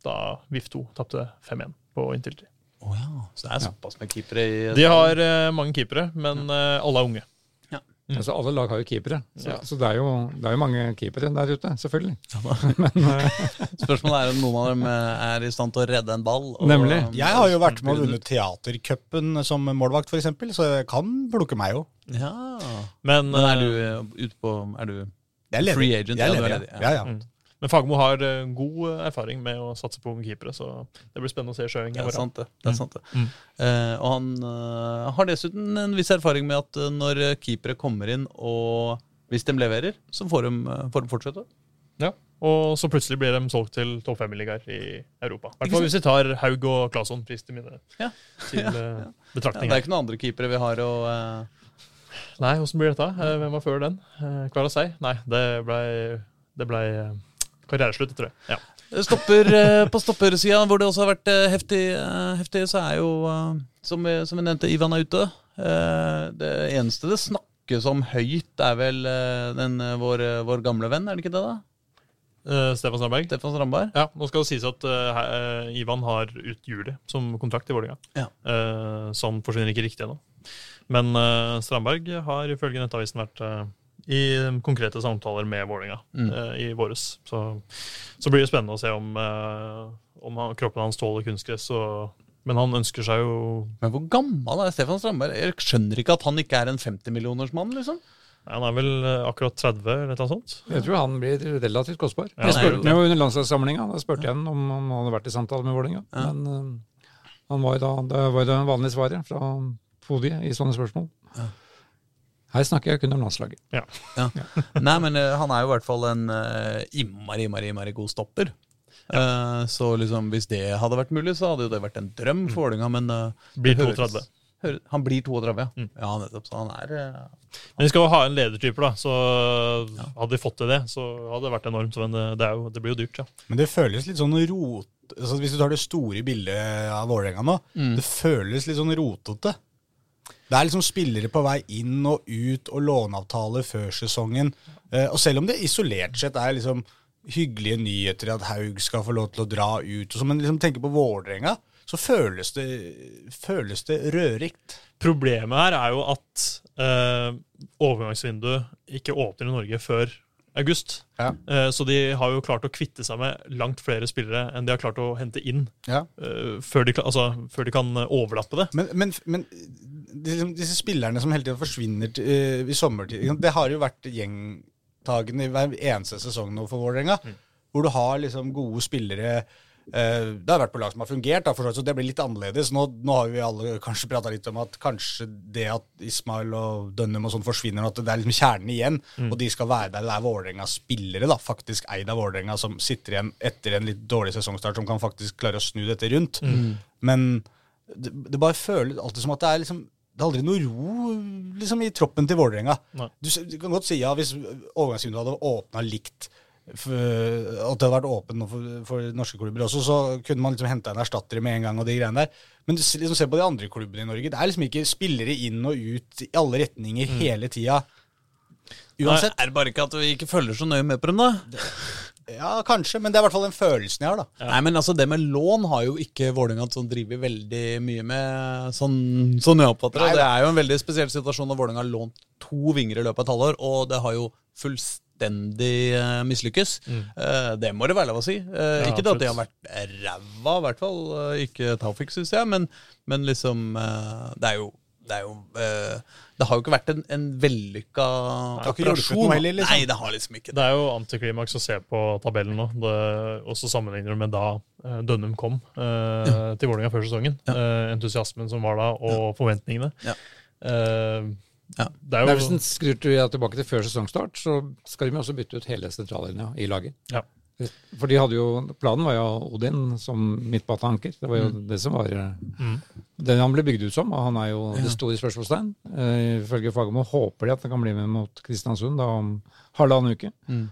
[SPEAKER 4] da VIF 2 tapte 5-1 på inntil tid.
[SPEAKER 2] Å ja. Så det er såpass med keepere i
[SPEAKER 4] De har eh, mange keepere, men eh, alle er unge.
[SPEAKER 3] Altså, alle lag har jo keepere, så,
[SPEAKER 4] Ja.
[SPEAKER 3] så det, er jo, det er jo mange keepere der ute, selvfølgelig.
[SPEAKER 2] Spørsmålet er om noen av dem eh, er i stand til å redde en ball.
[SPEAKER 3] Nemlig.
[SPEAKER 1] Jeg har jo vært med og vunnet Teatercupen som målvakt, f.eks., så jeg kan plukke meg jo.
[SPEAKER 2] Ja.
[SPEAKER 4] Men,
[SPEAKER 2] Men er du
[SPEAKER 4] eh,
[SPEAKER 2] eh, ute på Er du
[SPEAKER 1] Jeg er ledig.
[SPEAKER 2] Free agent,
[SPEAKER 1] Jeg
[SPEAKER 2] ja,
[SPEAKER 1] er
[SPEAKER 2] du er
[SPEAKER 1] ledig.
[SPEAKER 2] ledig,
[SPEAKER 1] Ja, ja.
[SPEAKER 4] men Fagmo har eh, god erfaring med å satse på unge keepere, så det blir spennende å se Sjøeng i
[SPEAKER 2] Det Mm. er
[SPEAKER 4] morgen.
[SPEAKER 2] sant, det. det, er sant, det. Eh, og han eh, har dessuten en viss erfaring med at eh, når eh, keepere kommer inn og hvis de leverer, så får de, eh, får de fortsette.
[SPEAKER 4] Ja. Og så plutselig blir de solgt til topp fem-ligaer i Europa. I hvert fall hvis vi tar Haug og Claesson frist i minne
[SPEAKER 2] [LAUGHS] Ja.
[SPEAKER 4] til eh,
[SPEAKER 2] Ja,
[SPEAKER 4] betraktning.
[SPEAKER 2] det er ikke noen andre keepere vi har å eh,
[SPEAKER 4] Nei, hvordan blir dette? Eh, Hvem var før den? Eh, Kvarasei? Nei, det blei det ble eh, karriereslutt, tror jeg. Ja.
[SPEAKER 2] Stopper, eh, på stoppersida, hvor det også har vært eh, heftig, eh, heftig så er jo, eh, som vi, som vi nevnte, Ivan er ute. Eh, Det eneste det snakkes om høyt, er vel eh, den, eh, vår, eh, vår gamle venn, er det ikke det, da?
[SPEAKER 4] Eh, Stefan Strandberg.
[SPEAKER 2] Stefan Strandberg.
[SPEAKER 4] Ja, nå skal det sies at eh, her- eh, Ivan har ut juli som kontrakt i Vålerenga.
[SPEAKER 2] Ja.
[SPEAKER 4] Eh, som forsvinner ikke riktig ennå. Men eh, Strandberg har ifølge Nettavisen vært eh, i konkrete samtaler med Vålerenga
[SPEAKER 2] Mm.
[SPEAKER 4] eh, i våres. Så, så blir det spennende å se om, eh, om han, kroppen hans tåler kunstgress. og- Men han ønsker seg jo
[SPEAKER 2] Men hvor gammel er Stefan Strandberg? Jeg skjønner ikke at han ikke er en 50-millionersmann, liksom.
[SPEAKER 4] Nei, Han er vel eh, akkurat 30 eller noe sånt.
[SPEAKER 3] Jeg tror han blir relativt kostbar. jeg
[SPEAKER 4] Ja,
[SPEAKER 2] han er jo
[SPEAKER 3] spurte ham jo under landslagssamlinga, da spurte jeg ham om han hadde vært i samtale med Vålerenga.
[SPEAKER 2] Ja.
[SPEAKER 3] Men eh, han var jo da, det var jo det vanlige svaret fra podiet i sånne spørsmål. Her snakker jeg kun om landslaget.
[SPEAKER 2] Ja. [LAUGHS] Nei, men eh, han er jo i hvert fall en eh, innmari, innmari, innmari god stopper. Eh, så liksom, hvis det hadde vært mulig, så hadde jo det vært en drøm for Vålerenga, men eh,
[SPEAKER 4] Blir
[SPEAKER 2] det høres-
[SPEAKER 4] 32.
[SPEAKER 2] høres- han blir 32, ja. Ja, nettopp. Så han er eh,
[SPEAKER 4] Men vi skal jo ha en ledertype, da. Så hadde de fått til det, så hadde det vært enormt. Men eh, det, det, er jo, det blir jo dyrt, ja.
[SPEAKER 1] Men det føles litt sånn rot... Altså, hvis du tar det store bildet av Vålerenga nå, det føles litt sånn rotete. Det er liksom spillere på vei inn og ut og låneavtaler før sesongen. Eh, og selv om det isolert sett er liksom hyggelige nyheter at Haug skal få lov til å dra ut, og så, men liksom tenker på Vålerenga, så føles det, føles det rødrikt.
[SPEAKER 4] Problemet her er jo at eh, overgangsvinduet ikke åpner i Norge før august.
[SPEAKER 1] Ja.
[SPEAKER 4] Eh, så de har jo klart å kvitte seg med langt flere spillere enn de har klart å hente inn eh, før, de, kla- altså, før de kan overlappe det.
[SPEAKER 1] Men, men, men disse, disse spillerne som hele tiden forsvinner til, eh, i sommertid ikke sant? Det har jo vært gjengtagende i hver eneste sesong nå for Vålerenga. Hvor du har liksom gode spillere eh, Det har vært på lag som har fungert, da, for så, vidt, så det blir litt annerledes. Nå, nå har vi alle kanskje prata litt om at kanskje det at Ismail og Dønnum og sånn forsvinner, at det er liksom kjernen igjen, og de skal være der det er Vålerengas spillere, da, faktisk eid av Vålerenga, som sitter igjen etter en litt dårlig sesongstart, som kan faktisk klare å snu dette rundt. Men det, det bare føles alltid som at det er liksom det er aldri noe ro liksom, i troppen til Vålerenga.
[SPEAKER 4] Nei.
[SPEAKER 1] Du, s- du kan godt si ja, hvis overgangsvinduet hadde åpna likt, for, at det hadde vært åpent nå for, for norske klubber også, så kunne man liksom henta en erstatter med en gang og de greiene der. Men du, s- liksom, se på de andre klubbene i Norge. Det er liksom ikke spillere inn og ut i alle retninger hele tida. Uansett.
[SPEAKER 2] Er det bare ikke at vi ikke følger så nøye med på dem, da?
[SPEAKER 1] Ja, kanskje, men det er i hvert fall den følelsen jeg har, da.
[SPEAKER 2] Nei, men altså, det med lån har jo ikke Vålerenga sånn drevet veldig mye med, sånn, sånn jeg oppfatter det.
[SPEAKER 1] Nei,
[SPEAKER 2] Det er jo en veldig spesiell situasjon når Vålerenga har lånt to vinger i løpet av et halvår, og det har jo fullstendig fullstendig eh, mislykkes.
[SPEAKER 1] Mm.
[SPEAKER 2] Eh, det må det være lov å si. Eh,
[SPEAKER 4] Ja,
[SPEAKER 2] ikke det at det har
[SPEAKER 4] absolutt.
[SPEAKER 2] vært ræva, i hvert fall. eh, Ikke Taufik, syns jeg, men, men liksom eh, Det er jo det, er jo, eh, det har jo ikke vært en, en vellykka
[SPEAKER 1] har ikke hjulpet
[SPEAKER 2] operasjon.
[SPEAKER 1] noe heller, liksom.
[SPEAKER 2] Nei, det har liksom ikke det.
[SPEAKER 4] Det er jo antiklimaks å se på tabellen nå. Det, også sammenligner du med da eh, Dønnum kom eh, til Vålerenga før sesongen. Eh, entusiasmen som var da, og forventningene.
[SPEAKER 2] Ja.
[SPEAKER 4] Eh,
[SPEAKER 2] Ja.
[SPEAKER 4] Det
[SPEAKER 3] Men
[SPEAKER 4] er
[SPEAKER 3] Hvis
[SPEAKER 4] jo
[SPEAKER 2] sånn
[SPEAKER 3] en skrur til- tilbake til før sesongstart, så skal de jo også bytte ut hele sentrallinja i laget.
[SPEAKER 4] Ja.
[SPEAKER 3] For de hadde jo, Planen var jo Odin som midtbaneanker. Det var jo det som var
[SPEAKER 4] Mm.
[SPEAKER 3] den han ble bygd ut som. Og han er jo det store spørsmålstegn. Eh, Ifølge Fagermo håper de at han kan bli med mot Kristiansund da om halvannen uke.
[SPEAKER 2] Mm.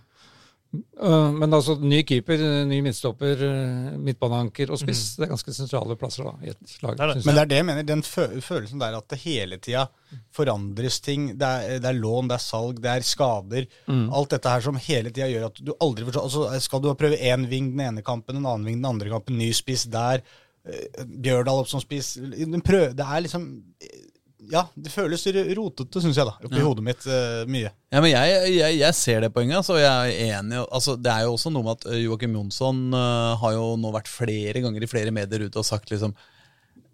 [SPEAKER 3] Eh, Men altså, ny keeper, ny midtstopper, eh, midtbaneanker og spiss. Det er ganske sentrale plasser da, i et lag.
[SPEAKER 4] Det er det.
[SPEAKER 3] synes jeg.
[SPEAKER 1] Men det er det jeg mener. Den fø følelsen der at det hele tida forandres ting. Det er, det er lån, det er salg, det er skader.
[SPEAKER 2] Mm.
[SPEAKER 1] Alt dette her som hele tida gjør at du aldri forstår altså, Skal du prøve én ving den ene kampen, en annen ving den andre kampen, ny spiss der, eh, Bjørdal opp som spiss Den prøv- Det er liksom Ja, det føles r- rotete, syns jeg, da. Oppi hodet mitt eh, mye.
[SPEAKER 2] Ja, men jeg, jeg, jeg ser det poenget, altså. Jeg er enig. Altså, det er jo også noe med at eh, Joakim Jonsson eh, har jo nå vært flere ganger i flere medier ute og sagt liksom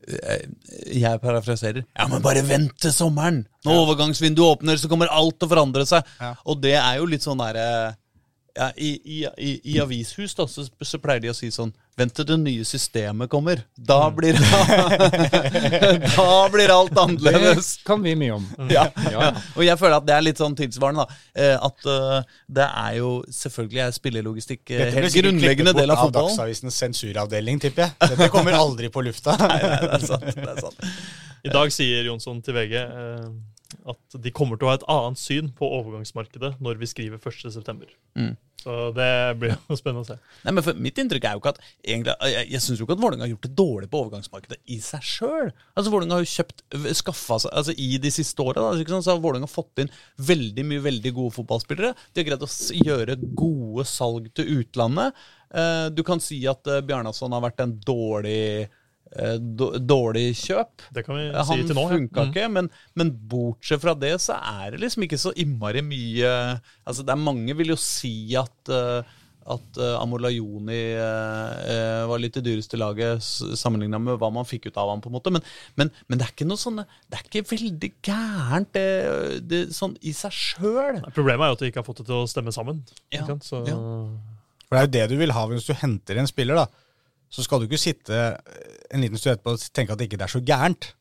[SPEAKER 2] eh, jeg parafraserer Ja, men bare vent til sommeren! Når overgangsvinduet åpner, så kommer alt til å forandre seg.
[SPEAKER 1] Ja.
[SPEAKER 2] Og det er jo litt sånn derre ja, i, i, i, I avishus da, så, så pleier de å si sånn Vent til det nye systemet kommer. Da blir, [LAUGHS] da blir alt annerledes.
[SPEAKER 3] Det kan vi mye om.
[SPEAKER 2] [LAUGHS] Ja.
[SPEAKER 3] Ja.
[SPEAKER 2] Og jeg føler at det er litt sånn tilsvarende, da. Eh, At eh, det er jo Selvfølgelig er spillelogistikk eh,
[SPEAKER 1] Dette blir
[SPEAKER 2] helt
[SPEAKER 1] sikkert
[SPEAKER 2] grunnleggende
[SPEAKER 1] klippet
[SPEAKER 2] del av
[SPEAKER 1] bort
[SPEAKER 2] fotballen.
[SPEAKER 1] Dagsavisens sensuravdeling, tipper jeg. Dette kommer aldri på lufta.
[SPEAKER 2] [LAUGHS] Nei, det er sant. Det er sant.
[SPEAKER 4] I dag sier Jonsson til VG eh, at de kommer til å ha et annet syn på overgangsmarkedet når vi skriver 1.9.
[SPEAKER 2] Mm.
[SPEAKER 4] Så det blir jo [LAUGHS] spennende å se.
[SPEAKER 2] Nei, men for Mitt inntrykk er jo ikke at egentlig, Jeg, jeg syns jo ikke at Vålerenga har gjort det dårlig på overgangsmarkedet i seg sjøl. Altså, Vålerenga har jo kjøpt skaffa seg altså, I de siste åra så har Vålerenga fått inn veldig mye veldig gode fotballspillere. De har greid å s- gjøre gode salg til utlandet. Eh, Du kan si at eh, Bjarnason har vært en dårlig, eh, då- dårlig kjøp.
[SPEAKER 4] Det kan vi si
[SPEAKER 2] Han
[SPEAKER 4] til nå. ja.
[SPEAKER 2] funka
[SPEAKER 4] Mm.
[SPEAKER 2] ikke, men, men bortsett fra det så er det liksom ikke så innmari mye Altså det er Mange vil jo si at eh, at eh, Amolayoni eh, eh, var litt det dyreste laget sammenligna med hva man fikk ut av ham. på en måte, Men, men, men det er ikke noe sånne, det er ikke veldig gærent det, det, sånn i seg sjøl.
[SPEAKER 4] Problemet er jo at de ikke har fått det til å stemme sammen.
[SPEAKER 2] Ja,
[SPEAKER 4] ikke sant? Så,
[SPEAKER 1] For det er jo det du vil ha hvis du henter en spiller, da. Så skal du ikke sitte eh, en liten stund etterpå og tenke at det ikke er så gærent.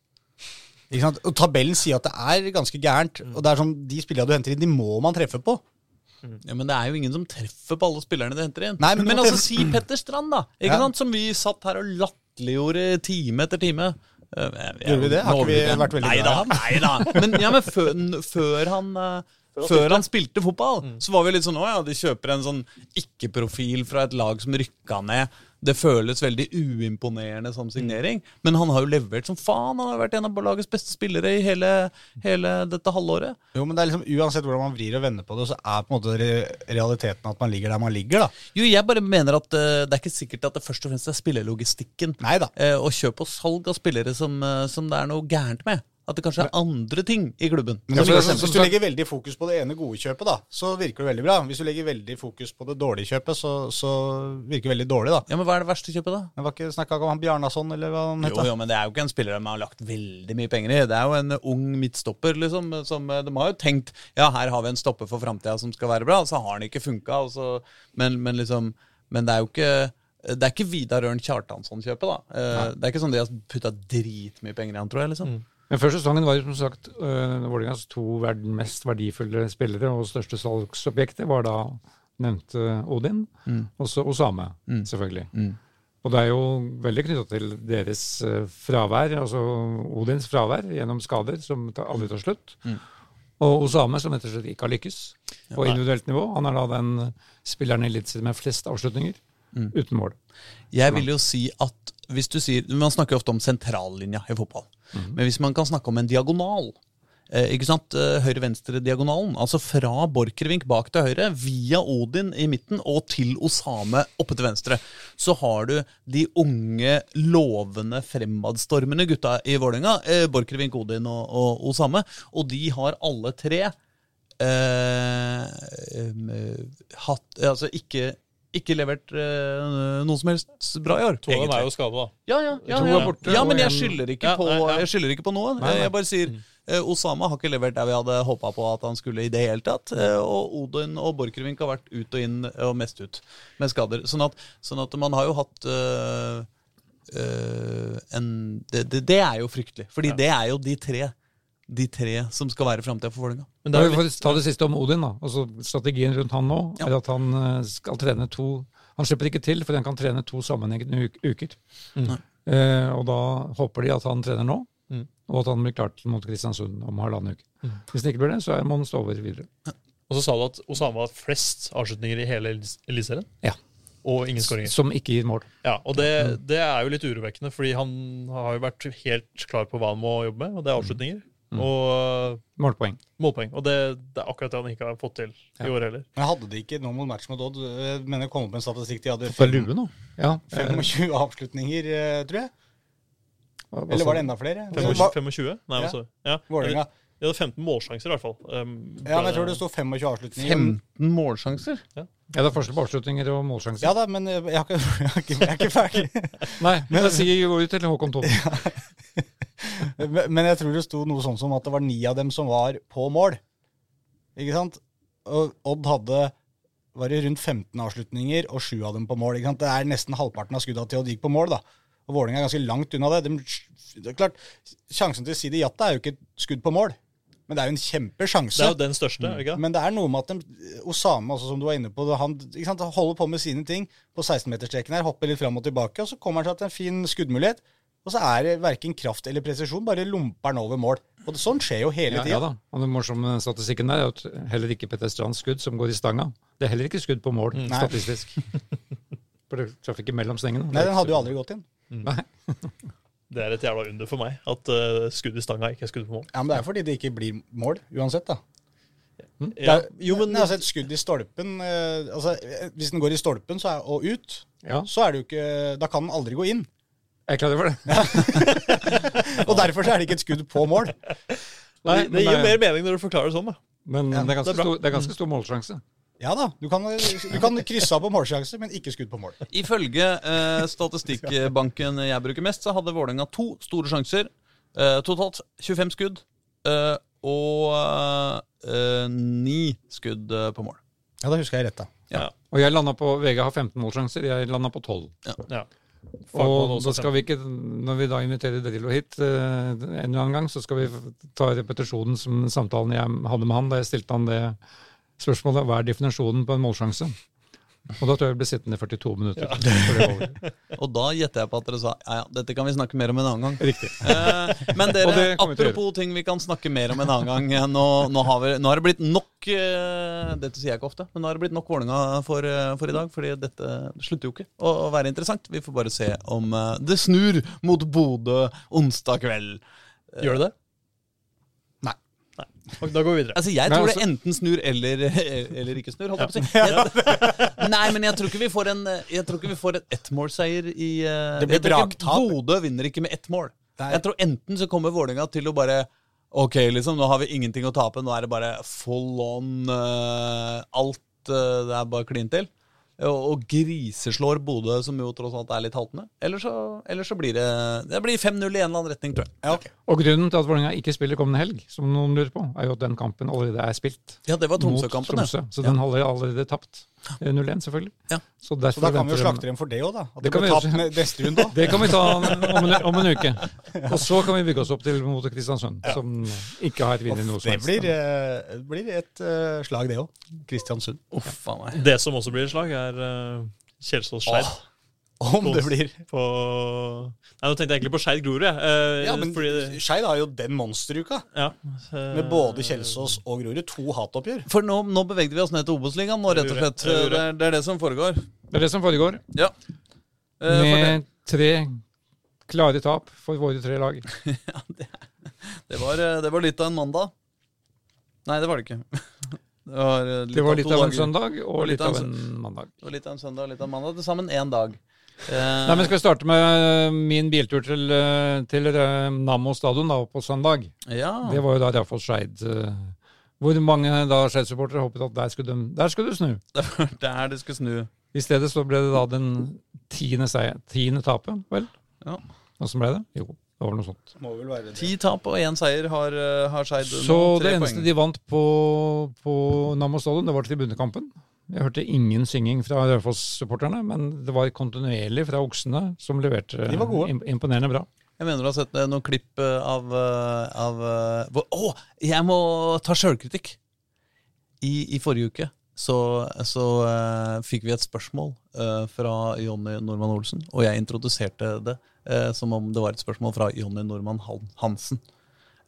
[SPEAKER 1] Ikke sant? Og tabellen sier at det er ganske gærent. Og det er sånn, de spillerne du henter inn, de må man treffe på.
[SPEAKER 2] Ja, Men det er jo ingen som treffer på alle spillerne de henter inn.
[SPEAKER 1] Nei, men
[SPEAKER 2] men
[SPEAKER 1] du må treffe-
[SPEAKER 2] altså, si Petter Strand, da. Ikke
[SPEAKER 1] Ja.
[SPEAKER 2] sant? Som vi satt her og latterliggjorde time etter time. Eh, jeg- jeg-
[SPEAKER 1] Gjorde vi det? Har
[SPEAKER 2] nå
[SPEAKER 1] ikke vi
[SPEAKER 2] overdriver jeg.
[SPEAKER 1] vært veldig
[SPEAKER 2] nei, da,
[SPEAKER 1] glad
[SPEAKER 2] nei da. Men, ja, men før, n- før han eh, før han spilte fotball,
[SPEAKER 1] Mm.
[SPEAKER 2] så var vi litt sånn Å ja, de kjøper en sånn ikke-profil fra et lag som rykka ned. Det føles veldig uimponerende
[SPEAKER 1] Mm.
[SPEAKER 2] som signering. Men han har jo levert som faen. Han har vært en av lagets beste spillere i hele, hele dette halvåret.
[SPEAKER 1] Jo, men det er liksom, Uansett hvordan man vrir og vender på det, så er på en måte re realiteten at man ligger der man ligger. da.
[SPEAKER 2] Jo, jeg bare mener at eh, det er ikke sikkert at det først og fremst er spillelogistikken
[SPEAKER 1] Nei da.
[SPEAKER 2] eh, og kjøp og salg av spillere som, eh, som det er noe gærent med. At det kanskje er andre ting i klubben.
[SPEAKER 1] Men
[SPEAKER 3] Ja,
[SPEAKER 1] hvis,
[SPEAKER 3] for det er
[SPEAKER 1] du-
[SPEAKER 3] sånn-
[SPEAKER 1] hvis du legger veldig fokus på det ene gode kjøpet, da, så virker det veldig bra. Hvis du legger veldig fokus på det dårlige kjøpet, så, så virker det veldig dårlig, da.
[SPEAKER 2] Ja, men Hva er det verste kjøpet, da?
[SPEAKER 1] Det var ikke snakka om han Bjarnason, eller hva han het?
[SPEAKER 2] Jo,
[SPEAKER 1] da?
[SPEAKER 2] jo, men Det er jo ikke en spiller de har lagt veldig mye penger i. Det er jo en ung midtstopper. liksom, som eh, De har jo tenkt ja, her har vi en stopper for framtida som skal være bra. og Så har han ikke funka. og så- Men, men liksom, men det er jo ikke det er ikke Vidar Ørn Kjartansson-kjøpet. da. Eh, Det er ikke sånn de har putta dritmye penger i han, tror jeg.
[SPEAKER 1] Mm.
[SPEAKER 2] liksom.
[SPEAKER 3] Men før sesongen var det som sagt uh, Vålerengas to verd mest verdifulle spillere og største salgsobjekter var da nevnte Odin, også Osame, selvfølgelig. Og det er jo veldig knytta til deres eh, fravær, altså Odins fravær gjennom skader, som ta- aldri tar slutt. Og Osame, som rett og slett ikke har lykkes på individuelt nivå. Han er da den spilleren i Eliteserien med flest avslutninger uten mål.
[SPEAKER 2] Jeg vil jo si at hvis du sier, Man snakker jo ofte om sentrallinja i fotball. Mhm. Men hvis man kan snakke om en diagonal eh, ikke sant? Eh, Høyre-venstre-diagonalen. Altså fra Borchgrevink bak til høyre, via Odin i midten og til Osame oppe til venstre. Så har du de unge, lovende, fremadstormende gutta i Vålerenga. Eh, Borchgrevink, Odin og, og Osame. Og de har alle tre eh, em, eh, hatt Altså ikke, ikke levert eh, noe som helst bra i år.
[SPEAKER 4] To av dem er
[SPEAKER 2] egentlig.
[SPEAKER 4] jo skada, da.
[SPEAKER 2] Ja, ja, ja,
[SPEAKER 3] To
[SPEAKER 2] ja.
[SPEAKER 3] er borte,
[SPEAKER 2] ja,
[SPEAKER 3] og
[SPEAKER 2] men jeg
[SPEAKER 3] en-
[SPEAKER 2] skylder ikke,
[SPEAKER 4] Ja,
[SPEAKER 2] på,
[SPEAKER 4] nei, ja.
[SPEAKER 2] jeg skylder ikke på noen.
[SPEAKER 3] Nei, nei.
[SPEAKER 2] Jeg bare sier eh, Osama har ikke levert der vi hadde håpa på at han skulle i det hele tatt. eh, Og Odin og Borchgrevink har vært ut og inn eh, og mest ut med skader. Sånn at, sånn at man har jo hatt eh, eh, en det, det, det er jo fryktelig. Fordi det er jo de tre De tre som skal være framtida for Vålerenga.
[SPEAKER 4] Men det
[SPEAKER 3] Da
[SPEAKER 4] er
[SPEAKER 3] vi
[SPEAKER 4] jo
[SPEAKER 3] får
[SPEAKER 4] litt,
[SPEAKER 3] ta det siste om Odin, da. Altså, strategien rundt han nå
[SPEAKER 2] Ja.
[SPEAKER 3] er at han eh, skal trene to Han slipper ikke til, for han kan trene to sammenhengende uk- uker.
[SPEAKER 4] Nei.
[SPEAKER 3] Eh, og da håper de at han trener nå,
[SPEAKER 4] Mm.
[SPEAKER 3] og at han blir klar til mot Kristiansund om halvannen uke. Hvis det ikke blir det, så er- må han stå over videre.
[SPEAKER 4] og så sa du at Osama har flest avslutninger i hele Elis- Eliteserien.
[SPEAKER 3] Ja.
[SPEAKER 4] Og ingen skåringer.
[SPEAKER 3] Som ikke gir mål.
[SPEAKER 4] Ja, og det, det er jo litt urovekkende, fordi han har jo vært helt klar på hva han må jobbe med, og det er avslutninger.
[SPEAKER 2] Mm.
[SPEAKER 4] Og
[SPEAKER 3] Målpoeng.
[SPEAKER 4] målpoeng. Og det, det er akkurat det han ikke har fått til i år heller.
[SPEAKER 1] Men hadde de ikke nå mot match mot Odd eh, Jeg mener jeg kom opp med en statistikk de hadde
[SPEAKER 3] På
[SPEAKER 1] fem-
[SPEAKER 3] lue nå? Ja. eh,
[SPEAKER 1] 25 avslutninger, eh, tror jeg.
[SPEAKER 3] hva- hva
[SPEAKER 1] Eller var
[SPEAKER 3] sa
[SPEAKER 1] det enda flere?
[SPEAKER 4] 25? 25? Nei,
[SPEAKER 1] Ja.
[SPEAKER 4] altså, ja.
[SPEAKER 1] Vålerenga.
[SPEAKER 4] De hadde 15 målsjanser, i hvert fall. Um,
[SPEAKER 1] Ja, men jeg tror det sto 25 avslutninger.
[SPEAKER 2] 15 målsjanser?
[SPEAKER 3] du? Ja, det er forskjell på avslutninger og målsjanser.
[SPEAKER 1] Ja da, men eh, jeg, har ikke, [LAUGHS] jeg, har ikke, jeg er ikke ferdig.
[SPEAKER 3] Nei, men det sier jo til Håkon Thon.
[SPEAKER 1] Men- Men jeg tror det sto noe sånn som at det var ni av dem som var på mål. Ikke sant? Og Odd hadde var det rundt 15 avslutninger og sju av dem på mål. Ikke sant? Det er nesten halvparten av skuddene til Odd gikk på mål. da. Og Vålerenga er ganske langt unna det. De, det er klart, Sjansen til Sidi Jatta er jo ikke et skudd på mål, men det er jo en
[SPEAKER 4] Det
[SPEAKER 1] kjempesjanse.
[SPEAKER 4] er jo den største, er det ikke?
[SPEAKER 1] Men det er noe med at de, Osama, også, som du var inne på, han ikke sant, han holder på med sine ting på 16-meterstreken her, hopper litt fram og tilbake, og så kommer han seg til en fin skuddmulighet. Og så er det verken kraft eller presisjon, bare lumper han over mål. Og det, sånn skjer jo hele
[SPEAKER 3] Ja,
[SPEAKER 1] tida.
[SPEAKER 3] ja da. Og den morsomme statistikken der er at heller ikke Petter Strands skudd som går i stanga. Det er heller ikke skudd på mål,
[SPEAKER 1] Mm, Nei.
[SPEAKER 3] statistisk. For det traff ikke mellom stengene.
[SPEAKER 1] Nei, den hadde jo aldri gått inn.
[SPEAKER 3] Nei.
[SPEAKER 4] Det er et jævla under for meg at eh, skudd i stanga ikke er skudd på mål.
[SPEAKER 1] Ja, Men det er fordi det ikke blir mål, uansett, da.
[SPEAKER 4] Ja,
[SPEAKER 1] Mm. Det er-
[SPEAKER 4] jo, men
[SPEAKER 1] Nei, altså Et skudd i stolpen eh, altså, eh, Hvis den går i stolpen så er, og ut,
[SPEAKER 3] Ja,
[SPEAKER 1] så er det jo ikke Da kan den aldri gå inn.
[SPEAKER 3] jeg er klar over det.
[SPEAKER 1] Og derfor så er det ikke et skudd på mål.
[SPEAKER 3] Nei,
[SPEAKER 4] det,
[SPEAKER 3] men,
[SPEAKER 4] det gir
[SPEAKER 3] det-
[SPEAKER 4] mer mening når du forklarer det sånn, da.
[SPEAKER 3] men det, er ganske
[SPEAKER 4] det er bra.
[SPEAKER 3] stor, det er ganske stor målsjanse.
[SPEAKER 1] Ja da. Du kan, du kan krysse av på målsjanse, men ikke skudd på mål.
[SPEAKER 2] Ifølge eh, statistikkbanken jeg bruker mest, så hadde Vålerenga to store sjanser. Eh, totalt 25 skudd eh, og eh, ni skudd eh, på mål.
[SPEAKER 1] Ja, Da husker jeg rett, da.
[SPEAKER 3] Og jeg landa på VG har 15 målsjanser, jeg landa på 12.
[SPEAKER 4] Ja. Fagmann
[SPEAKER 3] Og
[SPEAKER 4] også
[SPEAKER 3] da skal vi ikke, når vi da inviterer Drillo hit eh, en eller annen gang, så skal vi ta repetisjonen som samtalen jeg hadde med han da jeg stilte han det spørsmålet hva er definisjonen på en målsjanse? Og da tror jeg vi ble sittende i 42 minutter. [LAUGHS] før det var over.
[SPEAKER 2] Og da gjetter jeg på at dere sa ja, ja, dette kan vi snakke mer om en annen gang.
[SPEAKER 3] Riktig.
[SPEAKER 2] Eh, men
[SPEAKER 3] [LAUGHS] Og
[SPEAKER 2] dere,
[SPEAKER 3] det kommer vi til å
[SPEAKER 2] apropos ting vi kan snakke mer om en annen gang. eh, Nå, nå, har, vi, nå har det blitt nok eh, Dette sier jeg ikke ofte, men nå har det blitt nok Vålerenga for, eh, for i dag. Fordi dette slutter jo ikke å, å være interessant. Vi får bare se om eh, det snur mot Bodø onsdag kveld.
[SPEAKER 4] Eh, Gjør det det?
[SPEAKER 1] Nei.
[SPEAKER 4] Ok, Da går vi videre.
[SPEAKER 2] Altså, Jeg
[SPEAKER 3] Nei,
[SPEAKER 2] tror
[SPEAKER 3] altså-
[SPEAKER 2] det enten snur eller, [LAUGHS] eller ikke snur. holdt jeg på å si. Jeg, [LAUGHS] nei, men jeg tror ikke vi får en Jeg tror ikke vi får en ettmålseier i eh,
[SPEAKER 1] Det blir
[SPEAKER 2] jeg tror ikke
[SPEAKER 1] braktap.
[SPEAKER 2] Bodø vinner ikke med ett mål.
[SPEAKER 1] Nei.
[SPEAKER 2] Jeg tror enten så kommer Vålerenga til å bare Ok, liksom, nå har vi ingenting å tape. Nå er det bare full on eh, alt. eh, det er bare klin til. Og, og griseslår Bodø, som jo tross alt er litt haltende. Eller så, eller så blir det Det blir 5-0 i en eller annen retning, tror jeg.
[SPEAKER 1] Ja, ok.
[SPEAKER 3] Og grunnen til at Vålerenga ikke spiller kommende helg, som noen lurer på, er jo at den kampen allerede er spilt
[SPEAKER 2] Ja, det var
[SPEAKER 3] mot
[SPEAKER 2] Tromsø-kampen. det.
[SPEAKER 3] Tromsø. Så den har allerede tapt. Eh, 0-1, selvfølgelig.
[SPEAKER 2] Ja.
[SPEAKER 3] Så,
[SPEAKER 1] Så
[SPEAKER 3] derfor
[SPEAKER 1] da kan vi jo
[SPEAKER 3] venter
[SPEAKER 1] slakte dem for det òg, da. At det
[SPEAKER 3] kan
[SPEAKER 1] blir
[SPEAKER 3] vi
[SPEAKER 1] tapt
[SPEAKER 3] [LAUGHS] gjøre.
[SPEAKER 1] ne- neste runde òg.
[SPEAKER 3] Det kan vi ta om en, om en uke. Og så kan vi bygge oss opp til mot Kristiansund, som ikke har et vinner noe som
[SPEAKER 1] Det
[SPEAKER 3] helst.
[SPEAKER 1] blir, eh, det blir et eh, slag, det òg. Kristiansund. [LAUGHS]
[SPEAKER 2] Uff a meg.
[SPEAKER 4] Det som også blir et slag, er uh, Kjelsås Skeid.
[SPEAKER 1] Om det blir
[SPEAKER 4] På Nei, nå tenkte jeg egentlig på Skeid Grorud, jeg. Eh,
[SPEAKER 1] Ja, men
[SPEAKER 4] fordi det-
[SPEAKER 1] Skeid har jo den monsteruka,
[SPEAKER 4] ja,
[SPEAKER 1] med både Kjelsås og Grorud. To hatoppgjør.
[SPEAKER 2] For nå, nå bevegde vi oss ned til Obos-ligaen, nå, rett og slett.
[SPEAKER 4] Jeg gjorde det.
[SPEAKER 2] Det er, det er det som foregår.
[SPEAKER 3] Det er det som foregår,
[SPEAKER 2] Ja. Eh, fortell.
[SPEAKER 3] med tre klare tap for våre tre lag.
[SPEAKER 2] det, var, eh, det var litt av en mandag. Nei, det var det ikke. [LAUGHS] Det var, eh, litt
[SPEAKER 3] Det var
[SPEAKER 2] to
[SPEAKER 3] litt av en
[SPEAKER 2] dager.
[SPEAKER 3] søndag og litt av en mandag.
[SPEAKER 2] Det var litt av en søndag og litt av en mandag. Til sammen én dag. Eh,
[SPEAKER 3] Nei, men Skal vi starte med eh, min biltur til, eh, til eh, Nammo stadion da, på søndag?
[SPEAKER 2] ja.
[SPEAKER 3] Det var jo da Rafoss Skeid eh, Hvor mange da Skeid-supportere håpet at der skulle, de, der skulle du snu.
[SPEAKER 2] Der det skulle snu.
[SPEAKER 3] I stedet så ble det da den tiende, seier, tiende tapet, vel?
[SPEAKER 2] Ja.
[SPEAKER 3] Åssen ble det? Jo, det var vel noe sånt.
[SPEAKER 1] Må vel være det.
[SPEAKER 2] Ti tap og én seier har, eh, har Skeid nå.
[SPEAKER 3] Så
[SPEAKER 2] Tre
[SPEAKER 3] det eneste
[SPEAKER 2] poeng.
[SPEAKER 3] de vant på, på Nammo stadion, det var tribunekampen. Jeg hørte ingen synging fra Raufoss-supporterne, men det var kontinuerlig fra oksene, som leverte
[SPEAKER 1] De var gode.
[SPEAKER 3] imp- imponerende bra.
[SPEAKER 2] Jeg mener du har sett eh, noen klipp eh, av, eh, av eh, hvor- Å, jeg må ta sjølkritikk! I, I forrige uke så, så eh, fikk vi et spørsmål eh, fra Jonny Normann Olsen, og jeg introduserte det eh, som om det var et spørsmål fra Jonny Normann Han- Hansen.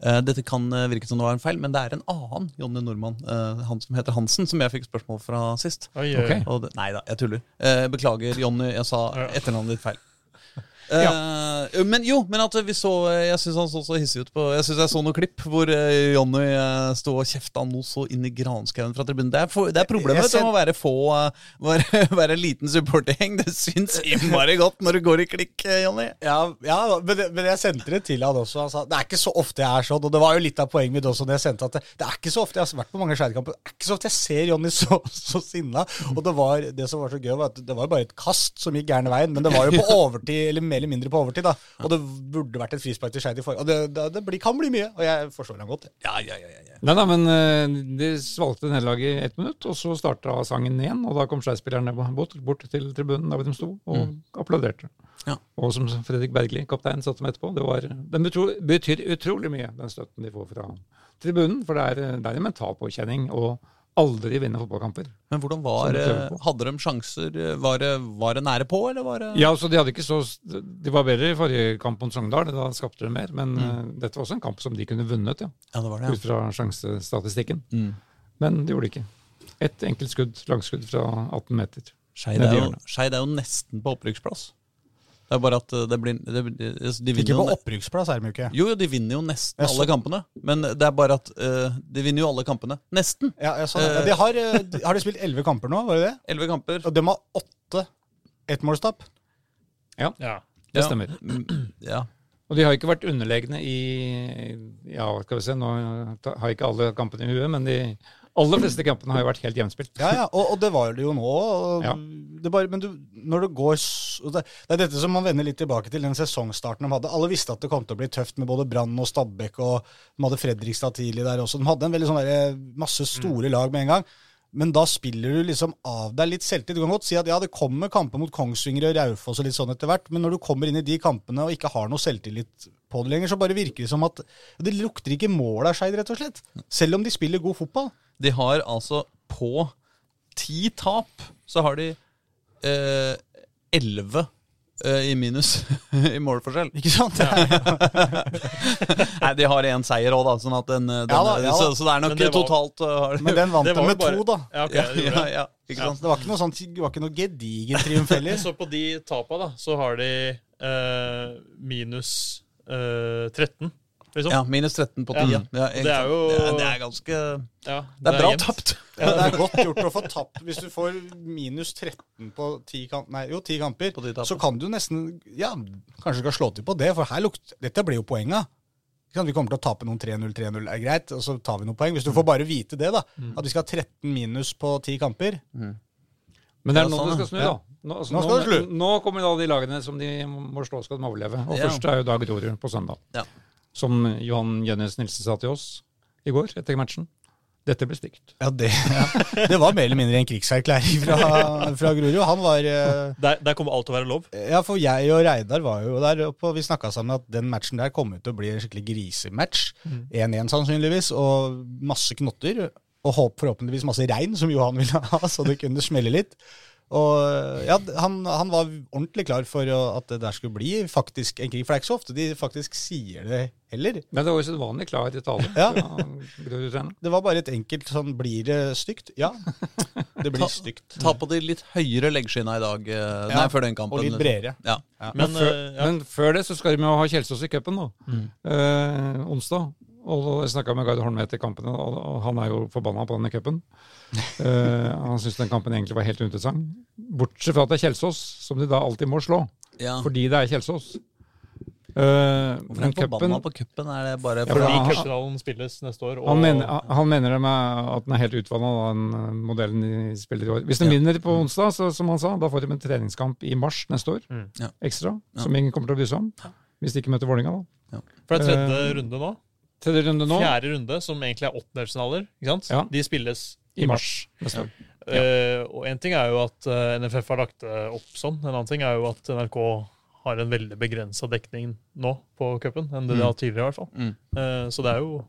[SPEAKER 2] Eh, dette kan eh, virke som det var en feil, men det er en annen Jonny Normann, eh, han som heter Hansen, som jeg fikk spørsmål fra sist.
[SPEAKER 4] Oi, oi, oi.
[SPEAKER 3] Ok.
[SPEAKER 2] Og det, nei da, jeg tuller. Eh, beklager, Jonny, jeg sa
[SPEAKER 4] Ja.
[SPEAKER 2] etternavnet ditt feil. Eh, Men jo, men at vi så eh, Jeg syns han så så hissig ut på Jeg synes jeg så noen klipp hvor eh, Jonny eh, sto og kjefta noe så inn i granskauen fra tribunen. Det er, for, det er problemet
[SPEAKER 1] Jeg
[SPEAKER 2] vet du,
[SPEAKER 1] ser-
[SPEAKER 2] med å være få eh, Være, [LAUGHS] være liten supportergjeng. Det syns innmari godt når du går i klikk, eh, Jonny.
[SPEAKER 1] Ja, ja men, det- men jeg sendte det til han også. Han sa det er ikke så ofte jeg er sånn. Og det var jo litt av poenget mitt også når jeg sendte at det, det er ikke så ofte jeg har vært på mange Skeid-kamper. Det er ikke så ofte jeg ser Jonny så, så sinna. Og det var det som var så gøy, var at det var jo bare et kast som gikk gærne veien. Men det var jo på overtid, eller mer eller mindre på overtid, da. Og det burde vært et frispark til Skeid i forhånd. Og det, det, det blir, kan bli mye. Og jeg forstår ham godt.
[SPEAKER 2] Ja, ja, ja, ja, ja.
[SPEAKER 3] Nei da, men eh, de svalgte nederlaget i ett minutt, og så starta sangen igjen. Og da kom Skeid-spillerne bort, bort til tribunen der hvor de sto, og applauderte.
[SPEAKER 2] Ja.
[SPEAKER 3] Og som Fredrik Bergli, kaptein, satte meg etterpå, det var, den betro, betyr utrolig mye, den støtten de får fra tribunen. For det er, eh, det er en mental påkjenning å aldri vinne fotballkamper.
[SPEAKER 2] Men hvordan
[SPEAKER 3] Som
[SPEAKER 2] var
[SPEAKER 3] du prøver
[SPEAKER 2] eh,
[SPEAKER 3] på.
[SPEAKER 2] Hadde de sjanser? eh, Var det, var det nære på, eller var det
[SPEAKER 3] Ja, så De hadde ikke så, de var bedre i forrige kamp mot Sogndal, da skapte de mer. Men eh, dette var også en kamp som de kunne vunnet, ja,
[SPEAKER 2] Ja, det var det.
[SPEAKER 3] ut fra sjansestatistikken.
[SPEAKER 2] Ja. Mm.
[SPEAKER 3] Men det gjorde de ikke. Ett enkelt skudd, langskudd fra 18 meter.
[SPEAKER 2] Skeid
[SPEAKER 3] Nede
[SPEAKER 2] er,
[SPEAKER 3] i
[SPEAKER 2] jo-
[SPEAKER 3] hjørnet.
[SPEAKER 2] Skeid er jo nesten på opprykksplass. Det er bare at eh, det blir det, blir- altså, de
[SPEAKER 1] Ikke
[SPEAKER 2] vinner
[SPEAKER 1] på
[SPEAKER 2] jo, ne-
[SPEAKER 1] opprykksplass, er de jo ikke.
[SPEAKER 2] jo, jo, de vinner jo nesten
[SPEAKER 1] Jeg så-
[SPEAKER 2] alle kampene. Men det er bare at eh, de vinner jo alle kampene. Nesten!
[SPEAKER 1] Ja, jeg sa det. Ja, de har, eh, de- har de spilt elleve kamper nå, var det det?
[SPEAKER 2] Elleve kamper.
[SPEAKER 1] Og de har åtte ettmålstap.
[SPEAKER 4] Ja.
[SPEAKER 3] Det stemmer.
[SPEAKER 2] Ja. Mm, Ja.
[SPEAKER 3] Og de har ikke vært underlegne i Ja, hva skal vi se, nå ta- har jeg ikke alle kampene i huet, men de aller fleste kampene har jo vært helt jevnspilt.
[SPEAKER 1] Ja, ja, og, og det var det jo nå. Og
[SPEAKER 3] Ja.
[SPEAKER 1] det bare, men du, når det går s- og det, det er dette som man vender litt tilbake til den sesongstarten de hadde. Alle visste at det kom til å bli tøft med både Brann og Stabæk, og de hadde Fredrikstad tidlig der også. De hadde en veldig sånn derre masse store
[SPEAKER 4] Mm.
[SPEAKER 1] lag med en gang. Men da spiller du liksom av deg litt selvtillit. Du kan godt si at ja, det kommer kamper mot Kongsvinger og Raufoss og litt sånn etter hvert, men når du kommer inn i de kampene og ikke har noe selvtillit på det lenger, så bare virker det som at det lukter ikke mål av Skeid, rett og slett. Selv om de spiller god fotball.
[SPEAKER 2] De har altså på ti tap, så har de eh, elleve eh, i minus [LAUGHS] i målforskjell.
[SPEAKER 1] Ikke sant? Det er-
[SPEAKER 2] [LAUGHS] Nei, de har én seier òg, da. Sånn at den, den
[SPEAKER 1] Ja da, ja da.
[SPEAKER 2] Så, så det er nok
[SPEAKER 4] Men det var-
[SPEAKER 2] totalt eh, har de-
[SPEAKER 1] Men den vant
[SPEAKER 4] [LAUGHS] Det
[SPEAKER 1] de
[SPEAKER 4] var jo
[SPEAKER 1] med
[SPEAKER 4] bare-
[SPEAKER 1] to, da.
[SPEAKER 4] Ja, ok,
[SPEAKER 2] [LAUGHS] ja,
[SPEAKER 4] det gjorde
[SPEAKER 2] ja,
[SPEAKER 4] det.
[SPEAKER 2] ja, ikke
[SPEAKER 4] Ja.
[SPEAKER 2] sant?
[SPEAKER 1] Det var ikke noe sånn, det var ikke noe gedigen triumf heller.
[SPEAKER 4] [LAUGHS] Så på de tapa, da, så har de eh, minus eh, 13, liksom. Ja.
[SPEAKER 2] Ja, minus 13 på
[SPEAKER 4] Ja.
[SPEAKER 2] 10. Ja. ikke
[SPEAKER 4] Det er
[SPEAKER 2] sant?
[SPEAKER 4] jo-
[SPEAKER 2] det er, det er ganske Det
[SPEAKER 4] det
[SPEAKER 2] er bra
[SPEAKER 4] jevnt.
[SPEAKER 2] tapt.
[SPEAKER 1] Ja, det er godt gjort å få tapt. Hvis du får minus 13 på 10, kamp, nei, jo, 10 kamper,
[SPEAKER 2] På de tapene.
[SPEAKER 1] så kan du nesten Ja, kanskje du kan slå til på det, for her lukt, dette blir jo poenga. Ikke sant, Vi kommer til å tape noen 3-0, 3-0 er greit, og så tar vi noen poeng. Hvis du får bare vite det, da. At vi skal ha 13 minus på 10 kamper.
[SPEAKER 3] Men det er
[SPEAKER 2] Ja,
[SPEAKER 3] nå
[SPEAKER 2] sånn,
[SPEAKER 3] det skal snu,
[SPEAKER 1] ja.
[SPEAKER 3] da. Nå, altså,
[SPEAKER 1] Nå skal det snu.
[SPEAKER 3] nå, nå kommer da de lagene som de må slå skal de overleve. Og
[SPEAKER 2] Ja.
[SPEAKER 3] først er jo da Grorud på søndag.
[SPEAKER 2] Ja.
[SPEAKER 3] Som Johan Jønnes Nilsen sa til oss i går etter matchen. Dette blir stygt.
[SPEAKER 1] [LAUGHS] Ja, det, ja. det var mer eller mindre en krigserklæring fra, fra Grorud. Han var eh,
[SPEAKER 4] Der, der kommer alt til å være lov.
[SPEAKER 1] Ja, for jeg og Reidar var jo der oppe, og vi snakka sammen at den matchen der kom ut til å bli en skikkelig grisematch. 1-1 sannsynligvis, og masse knotter. Og håp, forhåpentligvis masse regn, som Johan ville ha, så det kunne smelle litt. Og ja, han, han var ordentlig klar for å, at det der skulle bli faktisk en krig, for det er ikke så ofte de faktisk sier det heller.
[SPEAKER 3] Men det var jo sedvanlig klar tale
[SPEAKER 1] Ja.
[SPEAKER 3] fra Grorud-treneren.
[SPEAKER 1] Det var bare et enkelt sånn Blir det stygt? Ja. Det blir stygt.
[SPEAKER 2] Ta på de litt høyere leggskinna i dag. eh, Nei,
[SPEAKER 1] Ja,
[SPEAKER 2] før den kampen.
[SPEAKER 1] Og litt
[SPEAKER 2] liksom.
[SPEAKER 1] bredere.
[SPEAKER 2] Ja.
[SPEAKER 4] Men,
[SPEAKER 3] Men før,
[SPEAKER 4] eh, ja.
[SPEAKER 3] men før det så skal de jo ha Kjelsås i cupen, da.
[SPEAKER 2] Mm.
[SPEAKER 3] Eh, onsdag. Og da- jeg snakka med Gard Holme etter kampen, og og han er jo forbanna på denne
[SPEAKER 2] [LAUGHS]
[SPEAKER 3] cupen. Eh, han syns den kampen egentlig var helt uinteressant. Bortsett fra at det er Kjelsås, som de da alltid må slå.
[SPEAKER 2] Ja.
[SPEAKER 3] Fordi det er Kjelsås. Eh, men
[SPEAKER 2] Hvorfor er han forbanna
[SPEAKER 3] cupen
[SPEAKER 2] på cupen? Er det bare
[SPEAKER 3] for
[SPEAKER 2] fordi
[SPEAKER 4] Fordi
[SPEAKER 3] han-
[SPEAKER 4] cupfinalen spilles neste år. Og,
[SPEAKER 3] han mener, han mener det med at den er helt utvanna, den eh, modellen de spiller i år. Hvis de
[SPEAKER 2] Ja.
[SPEAKER 3] vinner på onsdag, så, som han sa, da får de en treningskamp i mars neste år
[SPEAKER 4] Mm.
[SPEAKER 2] Ja.
[SPEAKER 3] ekstra, som ingen kommer til å bry seg om. Hvis de ikke møter Vålerenga, da.
[SPEAKER 4] for det er tredje
[SPEAKER 3] Eh,
[SPEAKER 4] runde nå.
[SPEAKER 3] Tredje runde nå,
[SPEAKER 4] Fjerde runde, som egentlig er åttendelsfinaler, ikke sant?
[SPEAKER 3] Ja.
[SPEAKER 4] de spilles
[SPEAKER 3] i mars neste år.
[SPEAKER 4] Eh, og en ting er jo at eh, NFF har lagt det opp sånn, en annen ting er jo at NRK har en veldig begrensa dekning nå på cupen, enn det de har tidligere i hvert fall.
[SPEAKER 2] Mm.
[SPEAKER 4] Eh, så det er jo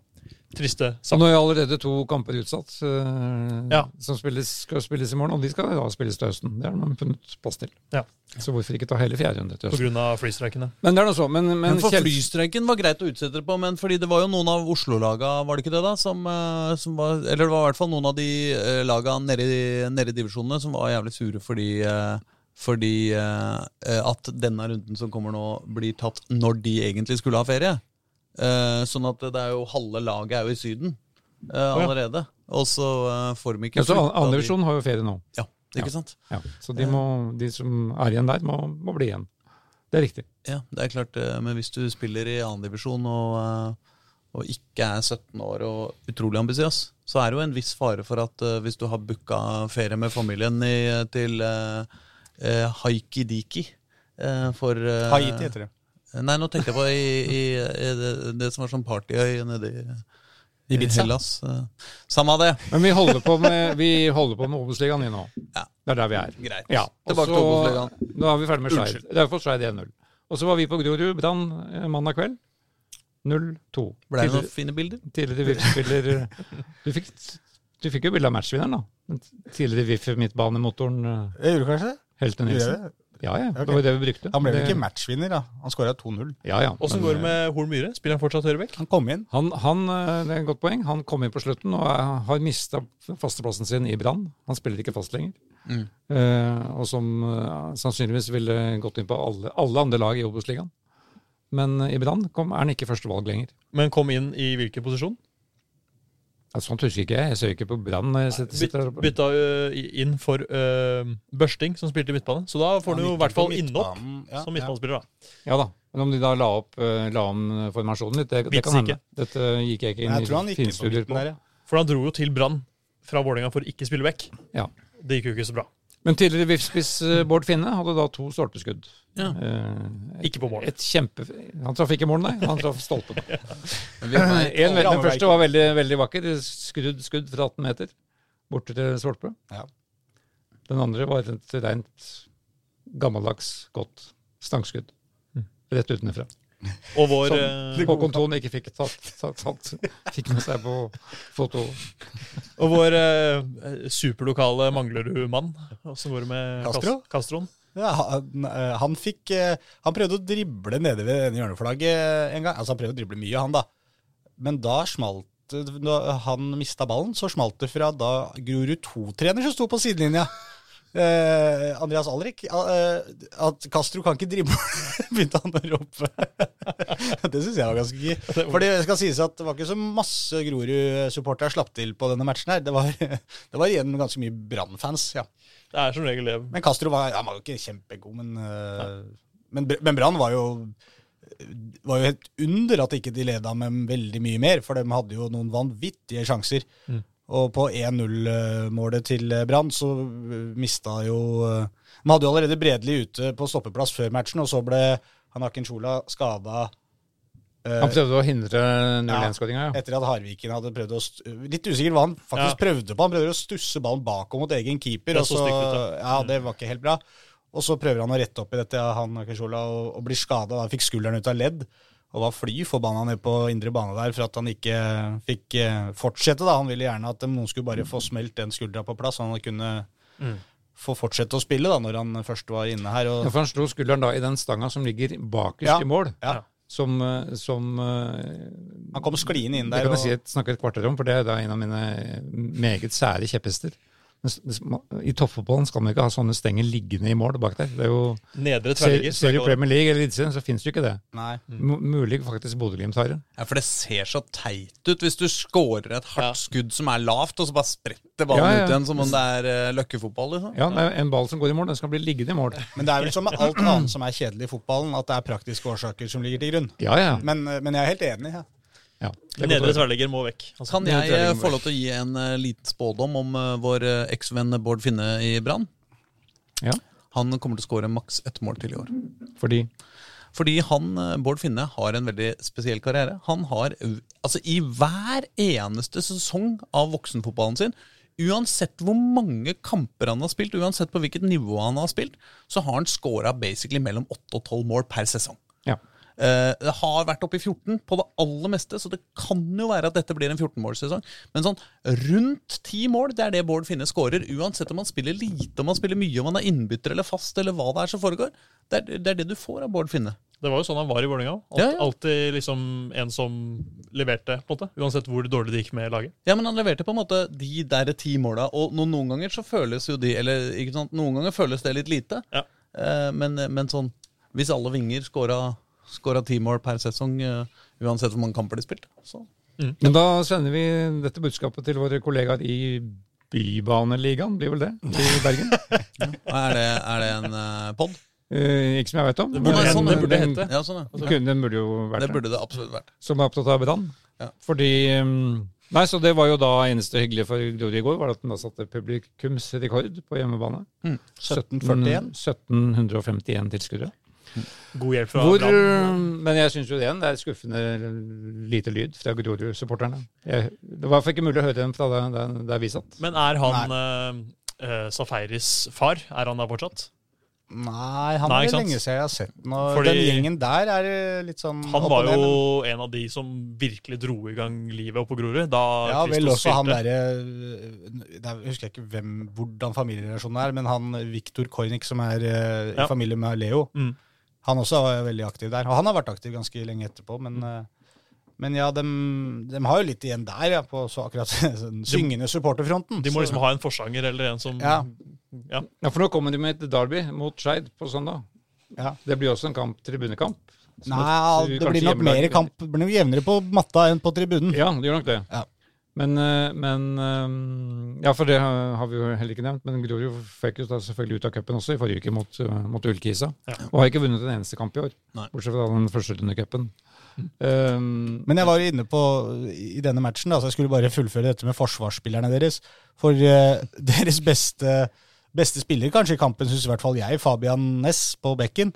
[SPEAKER 4] triste
[SPEAKER 3] Så
[SPEAKER 4] saker.
[SPEAKER 3] nå er allerede to kamper utsatt, eh,
[SPEAKER 4] Ja.
[SPEAKER 3] som spilles, skal spilles i morgen. Og de skal da spilles til høsten. Det har de funnet plass til.
[SPEAKER 4] Ja.
[SPEAKER 3] Så hvorfor ikke ta hele fjerde runde til
[SPEAKER 4] På
[SPEAKER 3] høsten?
[SPEAKER 4] grunn av flystreikene.
[SPEAKER 3] Men det er noe så. Men, men,
[SPEAKER 2] Men for
[SPEAKER 3] Kjell-
[SPEAKER 2] flystreiken var greit å utsette det på, men fordi det var jo noen av Oslo-laga, var det ikke det, da? Som, eh, som var, eller det var i hvert fall noen av de eh, laga nede i, nede i divisjonene som var jævlig sure fordi, eh, fordi eh, eh, at denne runden som kommer nå, blir tatt når de egentlig skulle ha ferie. Eh, sånn at det er jo halve laget er jo i Syden eh,
[SPEAKER 4] ja.
[SPEAKER 2] allerede. Og så eh, får de ikke
[SPEAKER 3] ja, så
[SPEAKER 2] flytta de-
[SPEAKER 3] Andre divisjon har jo ferie nå.
[SPEAKER 2] Ja, ikke sant?
[SPEAKER 3] Ja. Så de, må, de som er igjen der, må, må bli igjen. Det er riktig.
[SPEAKER 2] Ja, det er klart, eh, men hvis du spiller i annen divisjon og, eh, og ikke er 17 år og utrolig ambisiøs, så er det jo en viss fare for at eh, hvis du har booka ferie med familien i, til eh, eh, Haikidiki eh, for eh,
[SPEAKER 1] Haiti heter det.
[SPEAKER 2] Nei, nå tenkte jeg på i, i, i det, det som var sånn partyøy nede i, i Hellas. eh. Samme av det.
[SPEAKER 3] Men vi holder på med, vi holder på med Obos-ligaen vi nå.
[SPEAKER 2] Ja.
[SPEAKER 3] Det er der vi er.
[SPEAKER 2] Greit.
[SPEAKER 3] Ja. og
[SPEAKER 2] Tilbake til
[SPEAKER 3] så-
[SPEAKER 2] Obos-ligaen.
[SPEAKER 3] Nå er vi ferdig med Skeid.
[SPEAKER 2] Unnskyld.
[SPEAKER 3] Det er for Skeid 1-0. Og så var vi på Grorud Brann eh, mandag kveld. 0-2.
[SPEAKER 2] Ble det
[SPEAKER 3] Tidligere-
[SPEAKER 2] noen fine bilder?
[SPEAKER 3] Tidligere VIF-spiller eh, du, fikk- du fikk jo bilde av matchvinneren, da. Den tidligere VIF-midtbanemotoren eh,
[SPEAKER 1] Jeg gjorde kanskje det.
[SPEAKER 3] Helte
[SPEAKER 1] Gjorde
[SPEAKER 3] Nilsen.
[SPEAKER 1] jeg det?
[SPEAKER 3] Ja, ja.
[SPEAKER 1] Ok.
[SPEAKER 3] Det var jo det vi brukte.
[SPEAKER 1] Han ble vel
[SPEAKER 3] Det-
[SPEAKER 1] ikke matchvinner, da. Han skåra 2-0.
[SPEAKER 3] Ja, ja. Men, eh,
[SPEAKER 4] Åssen går det med Horn Myhre? Spiller han fortsatt høyrebekk?
[SPEAKER 1] Han kom inn.
[SPEAKER 3] Han, han, eh, det er et godt poeng. Han kom inn på slutten og er- har mista fasteplassen sin i Brann. Han spiller ikke fast lenger.
[SPEAKER 2] Mm.
[SPEAKER 3] Eh, og som eh, sannsynligvis ville gått inn på alle, alle andre lag i Obos-ligaen. Men eh, i Brann kom- er han ikke førstevalg lenger.
[SPEAKER 4] Men kom inn i hvilken posisjon?
[SPEAKER 3] Ja, Altså, Sånt husker ikke jeg. Jeg ser jo ikke på Brann når jeg sitter,
[SPEAKER 4] Byt,
[SPEAKER 3] sitter her oppe.
[SPEAKER 4] bytta ø, i- inn for ø, Børsting, som spilte i midtbane. Så da får han jo i hvert fall innhopp som midtbanespiller, da.
[SPEAKER 3] Ja da. Men om de da la, opp, eh, la om eh, formasjonen litt, det, det
[SPEAKER 4] Vits
[SPEAKER 3] kan hende.
[SPEAKER 4] ikke.
[SPEAKER 3] Dette eh, gikk jeg ikke inn
[SPEAKER 1] Jeg tror han
[SPEAKER 3] i
[SPEAKER 1] gikk inn på
[SPEAKER 3] finstudier
[SPEAKER 1] midten
[SPEAKER 3] på.
[SPEAKER 1] der, ja.
[SPEAKER 4] For han dro jo til Brann fra Vålerenga for å ikke spille back.
[SPEAKER 3] Ja.
[SPEAKER 4] Det gikk jo ikke så bra.
[SPEAKER 3] Men tidligere VIF-spiss eh, Bård Finne hadde da to stolpeskudd.
[SPEAKER 2] Ja.
[SPEAKER 3] Eh,
[SPEAKER 4] Ikke på mål.
[SPEAKER 3] Et kjempe... Han traff ikke målen, nei. Han traff
[SPEAKER 1] [LAUGHS]
[SPEAKER 3] stolpen.
[SPEAKER 2] Men vi har-
[SPEAKER 3] En, den
[SPEAKER 1] rammeverket.
[SPEAKER 3] første var veldig, veldig vakker. Skrudd skudd fra 18 meter. Borte til Svolpe.
[SPEAKER 1] Ja.
[SPEAKER 3] Den andre var et rent gammeldags, godt stangskudd. Rett utenfra.
[SPEAKER 4] Og vår eh,
[SPEAKER 3] Sånn.
[SPEAKER 1] eh,
[SPEAKER 4] ø,
[SPEAKER 3] Håkon Thon ikke fikk tatt, tatt, tatt. Fikk med seg på foto.
[SPEAKER 4] Og vår eh, superlokale Manglerud-mann. Åssen går det med
[SPEAKER 1] Castro?
[SPEAKER 4] Kas- Castroen?
[SPEAKER 1] Ja, han, eh, han fikk eh, Han prøvde å drible nede ved ene hjørneflagget en gang. Altså, han prøvde å drible mye, han, da. Men da smalt det- da han mista ballen, så smalt det fra da Grorud 2-trener som sto på sidelinja. Eh, Andreas Alrik. eh, at Castro kan ikke drible, [LAUGHS] begynte han å rope. [LAUGHS] det syns jeg var ganske gøy. For det skal sies at det var ikke så masse Grorud-supportere slapp til på denne matchen her. Det var, [LAUGHS] det var igjen ganske mye Brann-fans, ja.
[SPEAKER 4] Det er som regel det.
[SPEAKER 1] Men Castro var, han var jo ikke kjempegod, men, øh, men, Br- men Brann var jo var jo helt under at ikke de leda med veldig mye mer, for de hadde jo noen vanvittige sjanser. Og på 1-0-målet til øh, Brann så øh, mista jo øh, De hadde jo allerede Bredli ute på stoppeplass før matchen, og så ble han Akinshola skada
[SPEAKER 3] Han
[SPEAKER 1] Eh,
[SPEAKER 3] prøvde å hindre 0-1-skåringa, ja.
[SPEAKER 1] etter at Harviken hadde prøvd å st Litt usikker hva han faktisk prøvde på. Han prøvde å stusse ballen bakom mot egen keeper.
[SPEAKER 4] Det
[SPEAKER 1] Og
[SPEAKER 4] så
[SPEAKER 1] så,
[SPEAKER 4] stygt ut, Mm.
[SPEAKER 1] ja, det var ikke helt bra. Og så prøver han å rette opp i dette, han Keshola, og, og blir skada. Han fikk skulderen ut av ledd og var fly forbanna ned på indre bane der for at han ikke fikk eh, fortsette. da. Han ville gjerne at eh, noen skulle bare få smelt den skuldra på plass, så han kunne
[SPEAKER 4] Mm.
[SPEAKER 1] få fortsette å spille da, når han først var inne her.
[SPEAKER 3] Ja,
[SPEAKER 1] Og,
[SPEAKER 3] For han slo skulderen da i den stanga som ligger bakerst
[SPEAKER 1] Ja.
[SPEAKER 3] i mål.
[SPEAKER 1] ja,
[SPEAKER 3] Som, eh, som eh,
[SPEAKER 1] han kom skliende inn
[SPEAKER 3] Det
[SPEAKER 1] der.
[SPEAKER 3] kan
[SPEAKER 1] Og,
[SPEAKER 3] jeg si et, snakke et kvarter om, for det er da en av mine meget sære kjepphester. Men s- det s- ma- I toppfotballen skal man ikke ha sånne stenger liggende i mål bak der. Det er jo,
[SPEAKER 5] Nedre
[SPEAKER 3] ser,
[SPEAKER 5] tverrligger.
[SPEAKER 3] ser du i Premier League eller Eliteserien, så finnes det jo ikke det.
[SPEAKER 1] Nei.
[SPEAKER 3] M mulig faktisk Bodø-Glimt har det.
[SPEAKER 2] Ja, For det ser så teit ut hvis du scorer et hardt
[SPEAKER 5] Ja.
[SPEAKER 2] skudd som er lavt, og så bare spretter ballen
[SPEAKER 3] Ja, ja.
[SPEAKER 2] ut igjen som om det er eh, løkkefotball. liksom.
[SPEAKER 3] Ja, det er en ball som går i mål, den skal bli liggende i mål.
[SPEAKER 1] Men det er vel som med alt annet som er kjedelig i fotballen, at det er praktiske årsaker som ligger til grunn.
[SPEAKER 3] Ja, ja.
[SPEAKER 1] Men, eh, men jeg er helt enig. Ja.
[SPEAKER 3] ja. Det er godt å
[SPEAKER 5] Nedre
[SPEAKER 3] høre.
[SPEAKER 5] tverrligger må vekk. Altså,
[SPEAKER 2] Kan jeg eh, få lov til å gi en eh, liten spådom om eh, vår eh, eksvenn Bård Finne i Brann?
[SPEAKER 3] Ja,
[SPEAKER 2] Han kommer til å skåre maks ett mål til i år.
[SPEAKER 3] fordi
[SPEAKER 2] Fordi han, eh, Bård Finne har en veldig spesiell karriere. Han har, eh, altså I hver eneste sesong av voksenfotballen sin, uansett hvor mange kamper han har spilt, uansett på hvilket nivå han har spilt, så har han scora basically mellom 8 og 12 mål per sesong.
[SPEAKER 3] Ja.
[SPEAKER 2] Eh, Det har vært oppe i 14 på det aller meste, så det kan jo være at dette blir en 14-målssesong. Men sånn rundt 10 mål, det er det Bård Finne skårer. Uansett om han spiller lite, om han spiller mye, om han er innbytter eller fast, eller hva det er som foregår. Det er det, er det du får av Bård Finne.
[SPEAKER 4] Det var jo sånn han var i Vålerenga òg. Alt,
[SPEAKER 2] Ja, ja.
[SPEAKER 4] Alltid liksom en som leverte, på en måte. Uansett hvor dårlig det gikk med laget.
[SPEAKER 2] Ja, men han leverte på en måte de der ti måla, og no- noen ganger så føles jo de Eller ikke sant, noen ganger føles det litt lite,
[SPEAKER 4] Ja.
[SPEAKER 2] Eh, men, men sånn Hvis alle vinger scora scora ti mål per sesong, eh, uansett hvor mange kamper de spilte, så
[SPEAKER 3] Men da sender vi dette budskapet til våre kollegaer i Bybaneligaen, blir vel det, i Bergen?
[SPEAKER 2] er det, er det en eh, pod?
[SPEAKER 3] Eh, ikke som jeg veit om. [LAUGHS]
[SPEAKER 4] burde
[SPEAKER 3] men
[SPEAKER 2] hete- det
[SPEAKER 4] burde
[SPEAKER 3] den-
[SPEAKER 4] hete.
[SPEAKER 2] Ja, sånn, ja.
[SPEAKER 3] kunne- Den burde jo vært
[SPEAKER 2] Det burde det absolutt vært.
[SPEAKER 3] som er opptatt av brann.
[SPEAKER 2] Ja.
[SPEAKER 3] Fordi um, Nei, så det var jo da eneste hyggelige for Glorie i går, var at den da satte publikumsrekord på hjemmebane.
[SPEAKER 1] 1741.
[SPEAKER 3] 1751 tilskuere.
[SPEAKER 4] God hjelp fra
[SPEAKER 3] Hvor,
[SPEAKER 1] eh,
[SPEAKER 4] Brann.
[SPEAKER 3] um, men jeg syns jo igjen det er skuffende lite lyd fra Grorud-supporterne. Jeg- Det var for ikke mulig å høre dem fra der, der, der vi satt.
[SPEAKER 4] Men er han eh, eh, Safaris far? Er han der fortsatt?
[SPEAKER 1] Nei, han
[SPEAKER 4] Nei,
[SPEAKER 1] er
[SPEAKER 4] ikke
[SPEAKER 1] det
[SPEAKER 4] sant?
[SPEAKER 1] lenge siden jeg har sett den. Og
[SPEAKER 4] Fordi-
[SPEAKER 1] den gjengen der er eh, litt sånn
[SPEAKER 4] Han
[SPEAKER 1] opp og
[SPEAKER 4] var
[SPEAKER 1] ned, men-
[SPEAKER 4] jo en av de som virkelig dro i gang livet oppe på Grorud. Da
[SPEAKER 1] Ja, vel
[SPEAKER 4] Christos
[SPEAKER 1] også han
[SPEAKER 4] styrte.
[SPEAKER 1] derre eh, der husker jeg ikke hvem, hvordan familierelasjonen er, men han Viktor Kornik, som er eh, i
[SPEAKER 4] Ja.
[SPEAKER 1] familie med Leo,
[SPEAKER 4] Mm.
[SPEAKER 1] han også var veldig aktiv der. Og han har vært aktiv ganske lenge etterpå, men,
[SPEAKER 4] Mm.
[SPEAKER 1] eh, men ja, de, har jo litt igjen der, ja, på så akkurat [LAUGHS] den syngende supporterfronten.
[SPEAKER 4] De må
[SPEAKER 1] Så-
[SPEAKER 4] liksom ha en forsanger eller en som
[SPEAKER 1] Ja.
[SPEAKER 4] Ja.
[SPEAKER 3] Ja, For nå kommer de med et derby mot Skeid på søndag.
[SPEAKER 1] Ja.
[SPEAKER 3] Det blir også en kamp, tribunekamp. Så
[SPEAKER 1] Nei,
[SPEAKER 3] du
[SPEAKER 1] det
[SPEAKER 3] eh, kanskje
[SPEAKER 1] blir nok
[SPEAKER 3] hjemmelag-
[SPEAKER 1] mer kamp. Det blir nok jevnere på matta enn på tribunen.
[SPEAKER 3] Ja, det gjør nok det.
[SPEAKER 1] Ja.
[SPEAKER 3] Men, eh, men eh, Ja, for det har har vi jo heller ikke nevnt, men Grorud fikk jo da selvfølgelig ut av cupen også i forrige uke mot, eh, mot Ullkisa. Og har ikke vunnet en eneste kamp i år,
[SPEAKER 2] Nei.
[SPEAKER 3] bortsett fra den første rundecupen. Um,
[SPEAKER 1] Men jeg var jo inne på i denne matchen, da, så jeg skulle bare fullføre dette med forsvarsspillerne deres. For eh, [LAUGHS] deres beste, beste spiller, kanskje i kampen, syns i hvert fall jeg, Fabian Næss på bekken.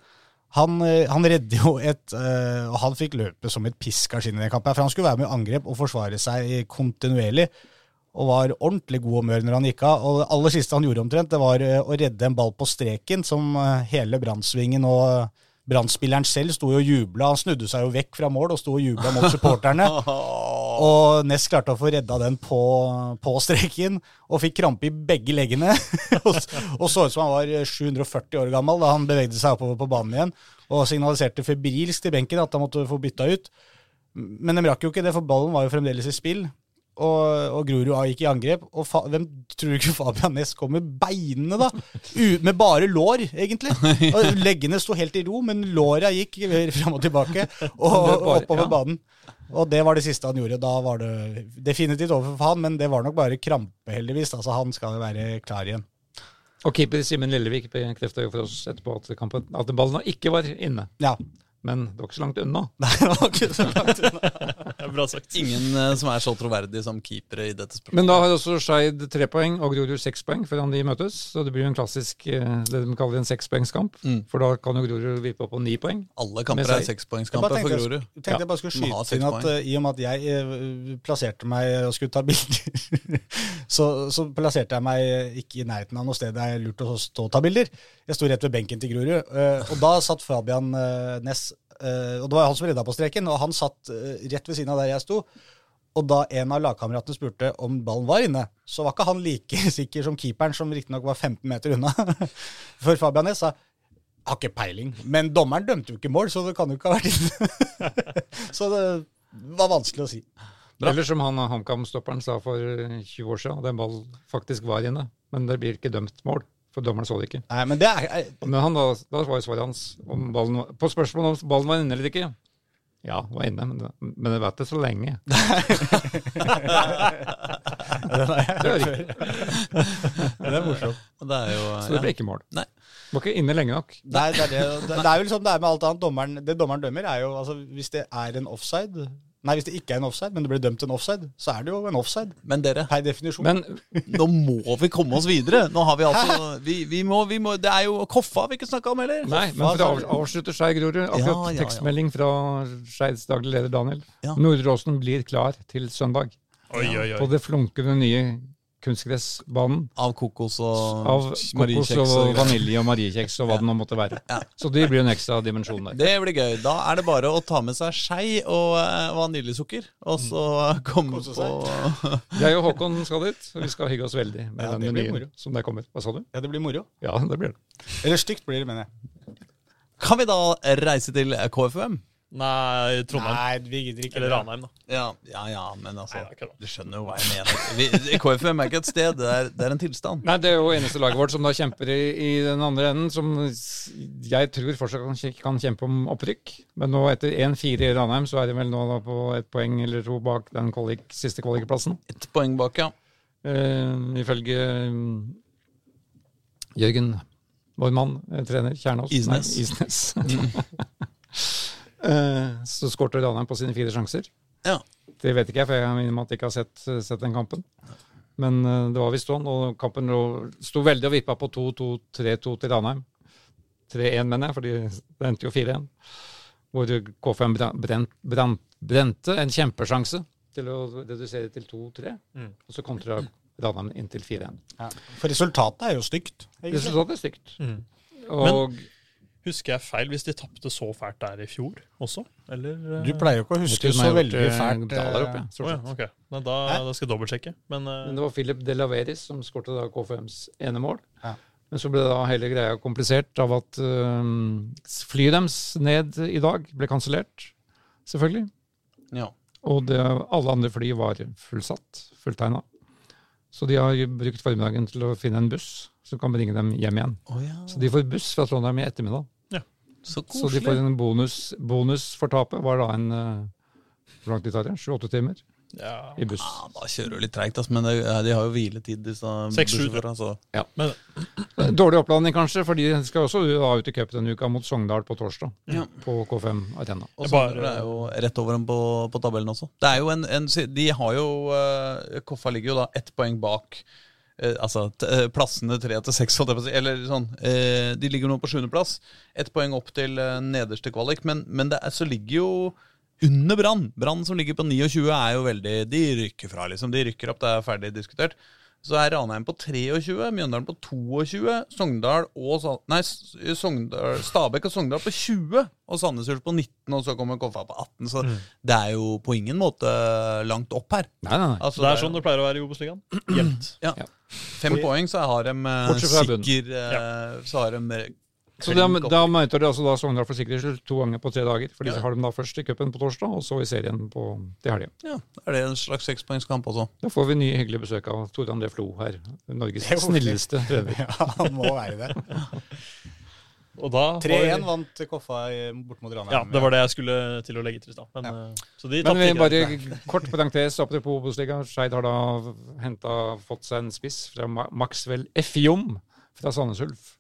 [SPEAKER 1] Han, eh, han redder jo et eh, Og han fikk løpe som et pisk av skinnet i den kampen. her, For han skulle være med i angrep og forsvare seg kontinuerlig. Og var ordentlig god humør når han gikk av. Og det aller siste han gjorde omtrent, det var eh, å redde en ball på streken, som eh, hele Brannsvingen og eh, Brannspilleren selv sto jo og jubla. Han snudde seg jo vekk fra mål og sto og jubla mot supporterne. Og Ness klarte å få redda den på, på streken, og fikk krampe i begge leggene. [LAUGHS] og s- og så ut som han var eh, 740 år gammel da han bevegde seg oppover på banen igjen, og signaliserte febrilsk til benken at han måtte få bytta ut. Men de rakk jo ikke det, for ballen var jo fremdeles i spill. Og, og Grorud A gikk i angrep. Og fa hvem tror du ikke Fabian Næss kom med beinene, da? U med bare lår,
[SPEAKER 3] [LAUGHS]
[SPEAKER 1] egentlig. Og Leggene sto helt i ro, men låra gikk fram og tilbake. Og
[SPEAKER 3] løp bare,
[SPEAKER 1] oppover
[SPEAKER 3] ja.
[SPEAKER 1] banen. Og det var det siste han gjorde. Da var det definitivt over for han, men det var nok bare krampe, heldigvis. Altså, han skal jo være klar igjen.
[SPEAKER 3] og keeper Simen Lillevik bekrefta jo for oss etterpå at, kampen, at ballen ikke var inne.
[SPEAKER 1] Ja. [LAUGHS]
[SPEAKER 3] Men det var ikke så langt unna.
[SPEAKER 1] Nei, det var ikke så langt unna.
[SPEAKER 4] Det [LAUGHS] er Bra sagt.
[SPEAKER 2] Ingen eh, som er så troverdig som keepere i dette spørsmålet.
[SPEAKER 3] Men da har også Skeid tre poeng og Grorud seks poeng foran de møtes. Så det blir jo en klassisk eh, det de kaller en sekspoengskamp.
[SPEAKER 2] Mm.
[SPEAKER 3] For da kan jo Grorud vippe opp på ni poeng.
[SPEAKER 2] Alle
[SPEAKER 3] Men
[SPEAKER 2] kamper
[SPEAKER 3] så-
[SPEAKER 2] er
[SPEAKER 1] Jeg
[SPEAKER 2] sekspoengskamper
[SPEAKER 1] bare
[SPEAKER 2] for
[SPEAKER 1] tenkte,
[SPEAKER 2] Grorud.
[SPEAKER 1] jeg, tenkte jeg bare skulle
[SPEAKER 2] Ja, må ha
[SPEAKER 1] skyte
[SPEAKER 2] seks
[SPEAKER 1] inn at
[SPEAKER 2] poeng.
[SPEAKER 1] eh, i og med at jeg eh, plasserte meg og skulle ta bilder, [LAUGHS] så, så plasserte jeg meg eh, ikke i nærheten av noe sted det er lurt å stå og ta bilder. Jeg sto rett ved benken til Grorud, eh, og da satt Fabian eh, Næss eh, Og det var han som redda på streken, og han satt eh, rett ved siden av der jeg sto. Og da en av lagkameratene spurte om ballen var inne, så var ikke han like [LAUGHS] sikker som keeperen, som riktignok var 15 meter unna. [LAUGHS] For Fabian Næss sa har ikke peiling. Men dommeren dømte jo ikke mål, så det kan jo ikke ha vært inne. så det var vanskelig å si.
[SPEAKER 4] Bra.
[SPEAKER 3] Eller som han HamKam-stopperen sa for eh, 20 år siden, at en ball faktisk var inne. Men det blir ikke dømt mål, for dommeren så det ikke.
[SPEAKER 1] Nei, men det er, er-
[SPEAKER 3] Men han da, da var jo svaret hans om ballen, var- på spørsmålet om ballen var inne eller ikke. Ja, var inne, men, det- men jeg vet det så lenge.
[SPEAKER 2] [LAUGHS]
[SPEAKER 3] det er riktig.
[SPEAKER 2] Det er morsomt. Det er jo,
[SPEAKER 3] Så det
[SPEAKER 2] ja.
[SPEAKER 3] ble ikke mål.
[SPEAKER 2] Nei.
[SPEAKER 3] Var ikke inne lenge nok.
[SPEAKER 1] det er, det, er det, det, det er jo liksom det er med alt annet. Dommeren, det dommeren dømmer, er jo altså, Hvis det er en offside Nei, hvis det ikke er en offside, men det blir dømt en offside, så er det jo en offside.
[SPEAKER 2] Men dere,
[SPEAKER 1] Per definisjon.
[SPEAKER 3] Men
[SPEAKER 2] nå må vi komme oss videre. Nå har vi altså vi, vi må, vi må, Det er jo Koffa vi ikke snakka om heller.
[SPEAKER 3] Nei, men for å av- avslutte Skei Grorud, akkurat
[SPEAKER 2] Ja, ja, ja.
[SPEAKER 3] tekstmelding fra Skeids daglig leder Daniel.
[SPEAKER 2] Ja.
[SPEAKER 3] Nordre Åsen blir klar til søndag
[SPEAKER 4] Oi, oi,
[SPEAKER 3] på
[SPEAKER 4] oi.
[SPEAKER 3] det flunkende nye kunstgressbanen
[SPEAKER 2] Av kokos og
[SPEAKER 3] av kokos
[SPEAKER 2] mariekjeks
[SPEAKER 3] og
[SPEAKER 2] greier.
[SPEAKER 3] vanilje og mariekjeks og hva det nå måtte være. Så det blir en ekstra dimensjon der.
[SPEAKER 2] Det blir gøy. Da er det bare å ta med seg skei og eh, vaniljesukker, og så komme
[SPEAKER 1] Kose
[SPEAKER 2] på
[SPEAKER 3] Jeg og Håkon skal dit, og vi skal hygge oss veldig med
[SPEAKER 1] Ja, det
[SPEAKER 3] den
[SPEAKER 1] blir
[SPEAKER 3] menyen
[SPEAKER 1] moro.
[SPEAKER 3] som der kommer. Hva sa du?
[SPEAKER 1] Ja, det blir moro.
[SPEAKER 3] Ja, det blir det.
[SPEAKER 1] Eller stygt blir det, mener jeg.
[SPEAKER 2] [LAUGHS] Kan vi da reise til KFUM?
[SPEAKER 4] Nei, Trondheim.
[SPEAKER 1] Nei, vi gidder ikke.
[SPEAKER 4] Eller Ranheim, da.
[SPEAKER 2] Ja, ja, ja men altså
[SPEAKER 4] Nei, det er ikke det.
[SPEAKER 2] Du skjønner jo hva jeg mener. Vi, KFUM er ikke et sted, det er, det er en tilstand.
[SPEAKER 3] Nei, det er jo eneste laget vårt som da kjemper i, i den andre enden, som s- jeg tror fortsatt kan, kje- kan kjempe om opprykk. Men nå etter 1-4 i Ranheim, så er de vel nå da på ett poeng eller to bak den kvalik, siste kvalikplassen.
[SPEAKER 2] Ett poeng bak, ja.
[SPEAKER 3] Eh, ifølge eh, Jørgen, vår mann, eh, trener Kjernås.
[SPEAKER 2] Isnes.
[SPEAKER 3] Nei, Isnes. [LAUGHS] eh, så skårte Ranheim på sine fire sjanser.
[SPEAKER 2] ja.
[SPEAKER 3] Det vet ikke jeg, for jeg minner meg at jeg ikke har sett, sett den kampen. Men eh, det var visst sånn, og kampen lå- sto veldig og vippa på 2-2-3-2 til Ranheim. 3-1, mener jeg, for det endte jo 4-1. Hvor KFM bra- brent, brant, brente en kjempesjanse til å redusere til 2-3.
[SPEAKER 4] Mm.
[SPEAKER 3] Og så kontra Ranheim inn til 4-1.
[SPEAKER 1] Ja. For resultatet er jo stygt. ikke sant?
[SPEAKER 3] Resultatet er stygt.
[SPEAKER 4] Mm.
[SPEAKER 3] Og
[SPEAKER 4] Husker jeg feil hvis de tapte så fælt der i fjor også? Eller eh,
[SPEAKER 1] Du pleier jo ikke å
[SPEAKER 3] jeg
[SPEAKER 1] huske
[SPEAKER 3] tror den
[SPEAKER 1] så
[SPEAKER 3] har gjort,
[SPEAKER 1] veldig
[SPEAKER 3] eh,
[SPEAKER 1] fælt.
[SPEAKER 3] daler opp,
[SPEAKER 1] eh,
[SPEAKER 3] jeg,
[SPEAKER 4] Å
[SPEAKER 3] stort
[SPEAKER 4] ja,
[SPEAKER 3] sett.
[SPEAKER 4] ok. Nei, da,
[SPEAKER 1] Hæ?
[SPEAKER 4] da skal jeg dobbeltsjekke. Men eh,
[SPEAKER 3] Men det var Philip De Laveris som skårte da KFMs ene mål.
[SPEAKER 1] Ja.
[SPEAKER 3] Men så ble da hele greia komplisert av at øhm, flyet deres ned i dag ble kansellert, selvfølgelig.
[SPEAKER 2] ja.
[SPEAKER 3] Og det, alle andre fly var fullsatt, fulltegna. Så de har jo brukt formiddagen til å finne en buss som kan bringe dem hjem igjen.
[SPEAKER 2] Å ja.
[SPEAKER 3] Så de får buss fra Trondheim i ettermiddag.
[SPEAKER 2] Så
[SPEAKER 3] Så de får
[SPEAKER 2] koselig.
[SPEAKER 3] en bonus, bonus for tapet, var da en øh, Hvor lang tid tar det? Sju-åtte timer
[SPEAKER 4] ja.
[SPEAKER 3] i buss.
[SPEAKER 2] Ja, da kjører du litt treigt, ass, men det, eh, de har jo hviletid, disse
[SPEAKER 4] Seks, sju,
[SPEAKER 2] bussjåførene. så-
[SPEAKER 4] Men
[SPEAKER 3] Eh, Dårlig opplanding kanskje, for de skal også da ut i cup denne uka mot Sogndal på torsdag.
[SPEAKER 2] Ja.
[SPEAKER 3] På K5 Arena.
[SPEAKER 2] Og
[SPEAKER 4] Jeg
[SPEAKER 2] så
[SPEAKER 4] bare-
[SPEAKER 2] er det jo rett over dem på, på tabellen også. Det er jo en, en si- De har jo eh, Koffa ligger jo da ett poeng bak eh, altså t eh, plassene tre til seks, holdt jeg på å si. Eller sånn. eh, de ligger nå på sjuendeplass. Ett poeng opp til eh, nederste kvalik. Men, men det er, så ligger jo under Brann. Brann som ligger på 29, er jo veldig De rykker fra, liksom. De rykker opp, det er ferdig diskutert. Så er Ranheim på 23, Mjøndalen på 22, Sogndal og Sa- Nei, S- eh, Sogndal, Stabæk og Sogndal på 20, og Sandnes Ulf på 19, og så kommer Koffa på 18.
[SPEAKER 4] Mm.
[SPEAKER 2] Så det er jo på ingen måte langt opp her.
[SPEAKER 3] Nei, nei, nei.
[SPEAKER 2] Altså,
[SPEAKER 4] det er sånn det pleier å være i Obos-ligaen. Jevnt.
[SPEAKER 2] ja.
[SPEAKER 3] Ja.
[SPEAKER 2] Fem poeng, så har de eh,
[SPEAKER 3] Bortsett fra bunnen.
[SPEAKER 2] sikker eh, Så har de eh,
[SPEAKER 3] Så da,
[SPEAKER 2] klink opp.
[SPEAKER 3] da møter de altså da Sogndal for sikkerhets skyld to ganger på tre dager. For de har dem da først i cupen på torsdag, og så i serien på, til helga.
[SPEAKER 2] Ja, da er det en slags sekspoengskamp også.
[SPEAKER 3] Da får vi ny hyggelig besøk av Tore André Flo her. Norges
[SPEAKER 1] Det er koselig.
[SPEAKER 3] snilleste
[SPEAKER 1] [LAUGHS]
[SPEAKER 3] trener.
[SPEAKER 1] [LAUGHS] Ja, han må være det.
[SPEAKER 4] Og da
[SPEAKER 1] 3-1 vant Koffa i- bort mot Ranheim.
[SPEAKER 4] Ja, det var det jeg skulle til å legge til i stad. Men, eh, Så de
[SPEAKER 3] Men
[SPEAKER 4] tapte
[SPEAKER 3] vi
[SPEAKER 4] ikke.
[SPEAKER 3] bare kort parentes apropos Obos-liga. Skeid har da hentet, fått seg en spiss fra Ma- Maxwell Efjom fra Sandnes Ulf.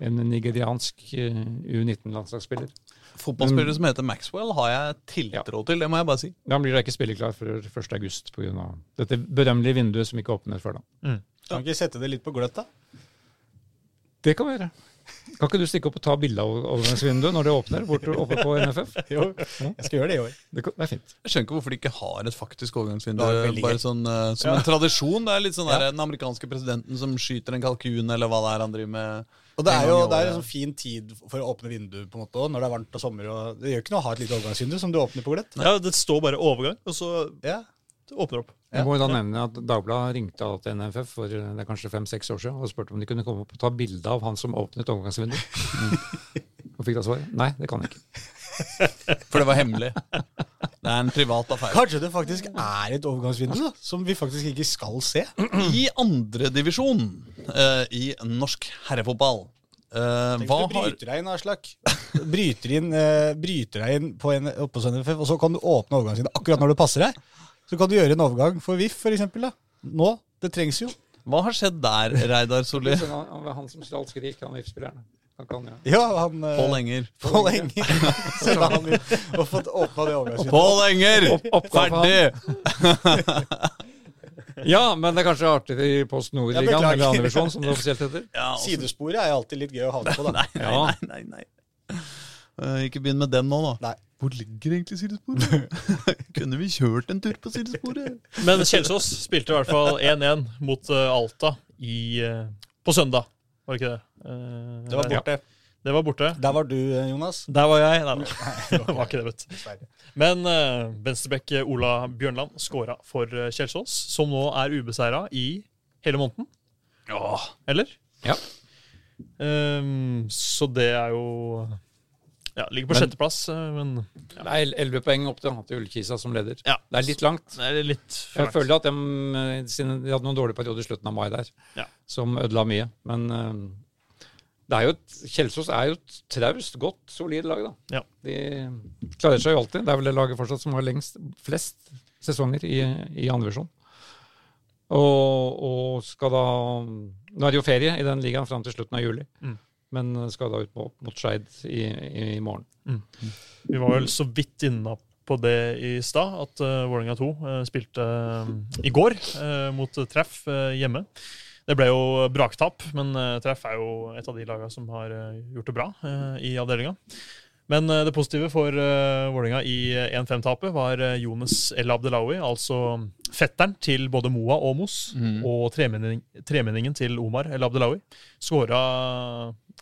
[SPEAKER 3] En nigeriansk eh, U19-landslagsspiller.
[SPEAKER 2] Fotballspillere som heter Maxwell, har jeg tiltro til, det må jeg bare si.
[SPEAKER 3] Da blir det ikke spilleklar før 1.8 pga. dette berømmelige vinduet som ikke åpner før da.
[SPEAKER 1] Kan ikke sette det litt på gløtt, da?
[SPEAKER 3] Det kan vi gjøre. Kan ikke du stikke opp og ta bilde av overgangsvinduet når det åpner, bort oppe på [LAUGHS] NFF?
[SPEAKER 1] Jo, jeg skal gjøre det i år.
[SPEAKER 3] Det, kan, det er fint.
[SPEAKER 2] Jeg skjønner ikke hvorfor de ikke har et faktisk overgangsvindu.
[SPEAKER 1] Det var veldig
[SPEAKER 2] Bare
[SPEAKER 1] gøy.
[SPEAKER 2] sånn, eh, som en tradisjon. Det er litt sånn der, den amerikanske presidenten som skyter en kalkun, eller hva det er han driver med.
[SPEAKER 1] Og det
[SPEAKER 2] en
[SPEAKER 1] er
[SPEAKER 2] gang
[SPEAKER 1] jo
[SPEAKER 2] i
[SPEAKER 1] det er jo
[SPEAKER 2] året.
[SPEAKER 1] sånn fin tid for å åpne vinduet på en måte også, når det er varmt og sommer. Og det gjør ikke noe å ha et lite overgangsvindu som du åpner på gløtt.
[SPEAKER 4] Ja, det står bare overgang, og så
[SPEAKER 1] Ja.
[SPEAKER 4] åpner det opp.
[SPEAKER 3] Jeg må jo da nevne at Dagbladet ringte da til NFF for eh, det er kanskje fem-seks år siden og spurte om de kunne [LAUGHS] komme opp og ta bilde av han som åpnet overgangsvinduet. Og fikk da svar nei, det kan de ikke.
[SPEAKER 2] For det var [LAUGHS] hemmelig. Det er en privat affære.
[SPEAKER 1] Kanskje det faktisk er et overgangsvindu da, som vi faktisk ikke skal se?
[SPEAKER 2] I andredivisjon uh, i norsk herrefotball eh,
[SPEAKER 1] Tenk
[SPEAKER 2] hva
[SPEAKER 1] hvis du
[SPEAKER 2] har
[SPEAKER 1] bryter deg inn, Aslak. Bryter, inn, eh, bryter deg inn på en, oppe hos NFF, og så kan du åpne overgangsvinduet akkurat når det passer deg. Så kan du gjøre en overgang for VIF, for eksempel. Da. Nå. Det trengs jo.
[SPEAKER 2] Hva har skjedd der, Reidar Solli?
[SPEAKER 3] Det var han som stjal skrik, han VIF-spilleren. Han kan, ja.
[SPEAKER 1] Ja, han eh,
[SPEAKER 2] Pål Enger.
[SPEAKER 1] Pål Enger. [LAUGHS] Så la han ut og fått åpna det overgangsvinduet.
[SPEAKER 2] Pål Enger!
[SPEAKER 3] oppgave han.
[SPEAKER 2] Ferdig!
[SPEAKER 3] ja, men det er kanskje artigere i Post
[SPEAKER 1] Jeg
[SPEAKER 3] Nord-ligaen,
[SPEAKER 1] beklager.
[SPEAKER 3] eller andre divisjon, som det offisielt heter.
[SPEAKER 2] Ja, og så-
[SPEAKER 1] Sidesporet er jo alltid litt gøy å havne på, da.
[SPEAKER 2] Nei, nei,
[SPEAKER 3] Ja.
[SPEAKER 2] nei. nei, nei. Eh, ikke begynn med den nå, da.
[SPEAKER 1] Nei.
[SPEAKER 2] Hvor ligger egentlig sidesporet? Kunne vi kjørt en tur på sidesporet?
[SPEAKER 4] Men Kjelsås spilte i hvert fall 1-1 mot eh, Alta i, eh, på søndag. Var det ikke det? Eh,
[SPEAKER 1] Det var borte.
[SPEAKER 4] Ja, det var borte.
[SPEAKER 1] Der var du, eh, Jonas.
[SPEAKER 4] Der var jeg. Nei, [LAUGHS] det var ikke det, vet du.
[SPEAKER 1] Dessverre.
[SPEAKER 4] Men uh, venstrebekk Ola Bjørnland skåra for eh, Kjelsås, som nå er ubeseira i hele måneden. Eller?
[SPEAKER 3] Ja.
[SPEAKER 4] Ehm, så det er jo Ja, ligger på
[SPEAKER 2] Men-
[SPEAKER 4] sjetteplass, eh, men
[SPEAKER 3] Det er el- 11 poeng opp til, til Ullkisa som leder.
[SPEAKER 4] Ja.
[SPEAKER 3] Det er litt langt.
[SPEAKER 4] det er litt for
[SPEAKER 3] Jeg
[SPEAKER 4] langt.
[SPEAKER 3] føler at de, eh, siden de hadde noen dårlige perioder i slutten av mai der,
[SPEAKER 4] Ja.
[SPEAKER 3] som ødela mye. Men eh, det er jo et, Kjelsås er jo et traust, godt, solid lag, da.
[SPEAKER 4] Ja.
[SPEAKER 3] De klarer seg jo alltid. Det er vel det laget fortsatt som har lengst, flest sesonger i, i andrevisjon. Og, og skal da Nå er det jo ferie i den ligaen fram til slutten av juli.
[SPEAKER 4] Mm.
[SPEAKER 3] Men skal da ut mot, mot Skeid i, i, i morgen.
[SPEAKER 4] Vi var vel så vidt inne på det i stad, at uh, Vålerenga 2 eh, spilte eh, i går eh, mot eh, Treff eh, hjemme. Det ble jo braktap, men eh, Treff er jo et av de lagene som har eh, gjort det bra eh, i avdelinga. Men eh, det positive for uh, Vålerenga i eh, 1-5-tapet var eh, Jonas El Abdelawi, altså fetteren til både Moa og Mos, og tremenning, tremenningen til Omar El Abdelawi, skåra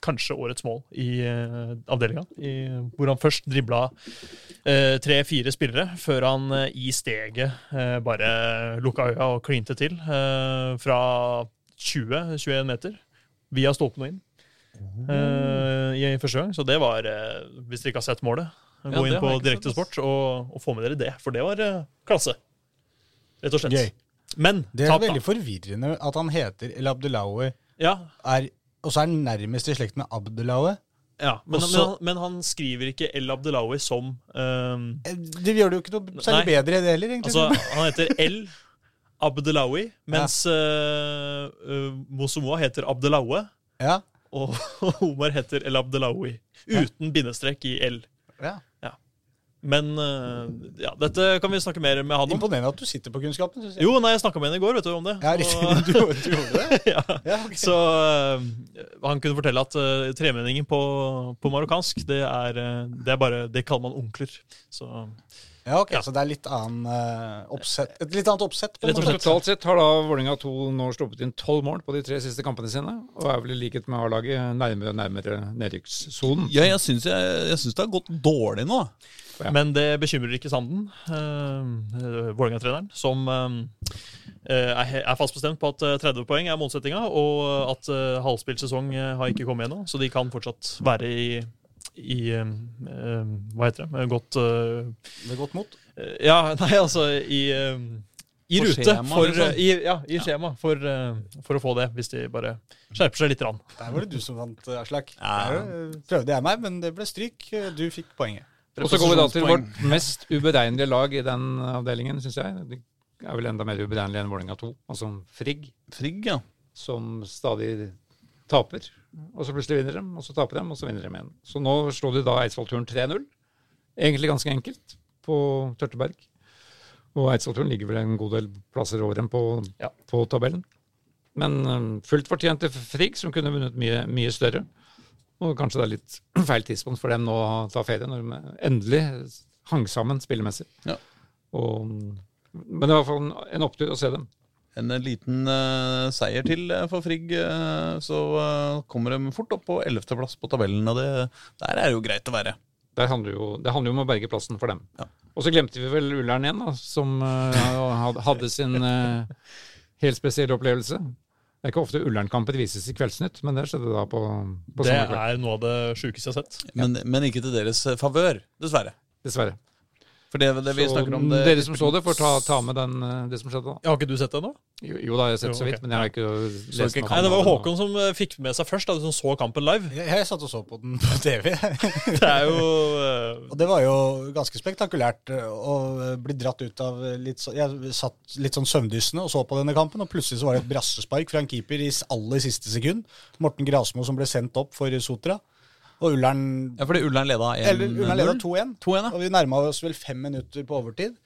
[SPEAKER 4] kanskje årets mål i uh, avdelinga. i- Hvor han først dribla eh, tre-fire spillere, før han eh, i steget eh, bare lukka øya og klinte til eh, fra 20-21 meter via stolpen og inn. eh, i, I første gang. Så det var eh, Hvis dere ikke har sett målet, gå
[SPEAKER 2] det
[SPEAKER 4] inn
[SPEAKER 2] har jeg ikke sett,
[SPEAKER 4] på
[SPEAKER 2] altså. ass.
[SPEAKER 4] Direktesport og, og få med dere det. For det var eh, klasse. Rett og slett.
[SPEAKER 1] Gøy.
[SPEAKER 4] Men
[SPEAKER 1] Det er
[SPEAKER 4] tap,
[SPEAKER 1] veldig
[SPEAKER 4] da.
[SPEAKER 1] forvirrende at han heter El Abdelawi,
[SPEAKER 4] Ja,
[SPEAKER 1] er, og så er han nærmest i slekt med Abdelawi.
[SPEAKER 4] ja. Men,
[SPEAKER 1] Også-
[SPEAKER 4] men, han, men han skriver ikke El Abdelawi som eh,
[SPEAKER 1] Eh, Det gjør det jo ikke noe særlig
[SPEAKER 4] Nei.
[SPEAKER 1] bedre, det heller, egentlig.
[SPEAKER 4] Altså, han heter El Abdelawi, mens ja. Mosomoa heter Abdelawe,
[SPEAKER 1] ja.
[SPEAKER 4] og [LAUGHS] Omar heter El Abdelawi. Uten bindestrek i L.
[SPEAKER 1] Ja.
[SPEAKER 4] Men eh, ja, dette kan vi snakke mer med han om.
[SPEAKER 1] Imponerende at du sitter på kunnskapen, syns jeg.
[SPEAKER 4] Jo, nei, jeg snakka med henne i går, vet du om det.
[SPEAKER 1] Ja, riktig. [LAUGHS]
[SPEAKER 4] Og-
[SPEAKER 1] Du, du gjorde det?
[SPEAKER 4] [LAUGHS] ja.
[SPEAKER 1] Ja, ok.
[SPEAKER 4] Så eh, han kunne fortelle at eh, tremenningen på, på marokkansk, det er, eh, det er bare Det kaller man onkler. Så
[SPEAKER 1] Ja, ok,
[SPEAKER 4] Ja.
[SPEAKER 1] Så det er litt annen, eh, oppsett, et litt annet oppsett? på en
[SPEAKER 4] Rett og
[SPEAKER 1] måte.
[SPEAKER 4] slett.
[SPEAKER 3] Totalt sett har da Vålerenga 2 nå sluppet inn tolv mål på de tre siste kampene sine, og er vel i likhet med A-laget nærmere og nærmere nedrykkssonen.
[SPEAKER 2] Ja, jeg syns, jeg, jeg syns det har gått dårlig nå.
[SPEAKER 3] Ja.
[SPEAKER 4] Men det bekymrer ikke Sanden, uh, Vålerenga-treneren, som eh, er, he- er fast bestemt på at eh, 30 poeng er målsettinga, og at uh, halvspilt sesong eh, har ikke kommet ennå, så de kan fortsatt være i, i eh, eh, Hva heter det? Godt eh,
[SPEAKER 1] Med godt mot.
[SPEAKER 4] Eh, Ja, [LAUGHS] nei, altså i, eh, i
[SPEAKER 2] På
[SPEAKER 4] rute
[SPEAKER 2] skjema,
[SPEAKER 4] for,
[SPEAKER 2] liksom.
[SPEAKER 4] i, ja, i skjema for, eh, for å få det, hvis de bare skjerper seg litt. Rann.
[SPEAKER 1] Der var det du som vant, eh, Aslak.
[SPEAKER 2] Ja.
[SPEAKER 1] Der, eh, Prøvde jeg meg, men det ble stryk. Eh, Du fikk poenget.
[SPEAKER 3] Og så går vi da til vårt mest uberegnelige lag i den avdelingen, syns jeg. De er vel enda mer uberegnelige enn Vålerenga 2, altså Frigg,
[SPEAKER 2] Frigg, ja.
[SPEAKER 3] som stadig taper. Og så plutselig vinner de, og så taper de, og så vinner de igjen. Så nå slår de da Eidsvollturen 3-0. Egentlig ganske enkelt på Tørteberg. Og Eidsvollturen ligger vel en god del plasser over dem på,
[SPEAKER 4] Ja.
[SPEAKER 3] på tabellen. Men øhm, fullt fortjent til Frigg, som kunne vunnet mye, mye større. Og kanskje det er litt [CLEARS THROAT] feil tidspunkt for dem nå å ta ferie, når de endelig hang sammen spillemessig.
[SPEAKER 2] Ja.
[SPEAKER 3] Og, um, men det var i hvert fall en- en opptur å se dem.
[SPEAKER 2] En liten eh, seier til eh, for Frigg, eh, så eh, kommer de fort opp på 11. plass på tabellen. Og det, der er det jo greit å være.
[SPEAKER 3] Der handler jo, det handler jo om å berge plassen for dem.
[SPEAKER 2] Ja.
[SPEAKER 3] Og så glemte vi vel Ullern igjen, da, som eh, had- hadde sin eh, helt spesielle opplevelse. Det er ikke ofte Ullernkamper vises i Kveldsnytt, men det skjedde da på, på
[SPEAKER 4] Det
[SPEAKER 3] samme kveld.
[SPEAKER 4] er noe av det sjukeste jeg har sett.
[SPEAKER 2] Men, men ikke til deres eh, favør, dessverre.
[SPEAKER 3] Dessverre.
[SPEAKER 2] For det, det vi
[SPEAKER 3] Så
[SPEAKER 2] snakker om det,
[SPEAKER 3] dere som så det, får ta, ta med den, eh, det som skjedde da.
[SPEAKER 4] Har ikke du sett det ennå?
[SPEAKER 3] Jo, jo da, jeg har sett
[SPEAKER 4] Jo,
[SPEAKER 3] så
[SPEAKER 4] ok.
[SPEAKER 3] vidt, men jeg har ikke lest
[SPEAKER 2] ikke
[SPEAKER 3] noe
[SPEAKER 4] Nei, det
[SPEAKER 3] om
[SPEAKER 4] var jo Håkon som eh, fikk med seg først, da, som så kampen live.
[SPEAKER 2] [LAUGHS]
[SPEAKER 1] Jeg, jeg satt og så på den på [LAUGHS] TV.
[SPEAKER 4] Det er jo eh,
[SPEAKER 1] Og det var jo ganske spektakulært eh, å eh, bli dratt ut av eh, litt så, Jeg satt litt sånn søvndyssende og så på denne kampen, og plutselig så var det et brassespark fra en keeper i s- aller siste sekund. Morten Grasmo som ble sendt opp for Sotra. Og Ullern
[SPEAKER 2] Ja, fordi Ullern leda 1-0.
[SPEAKER 1] Eller Ullern leda 2-1.
[SPEAKER 2] 2-1, ja.
[SPEAKER 1] Og vi nærma oss vel fem minutter på overtid.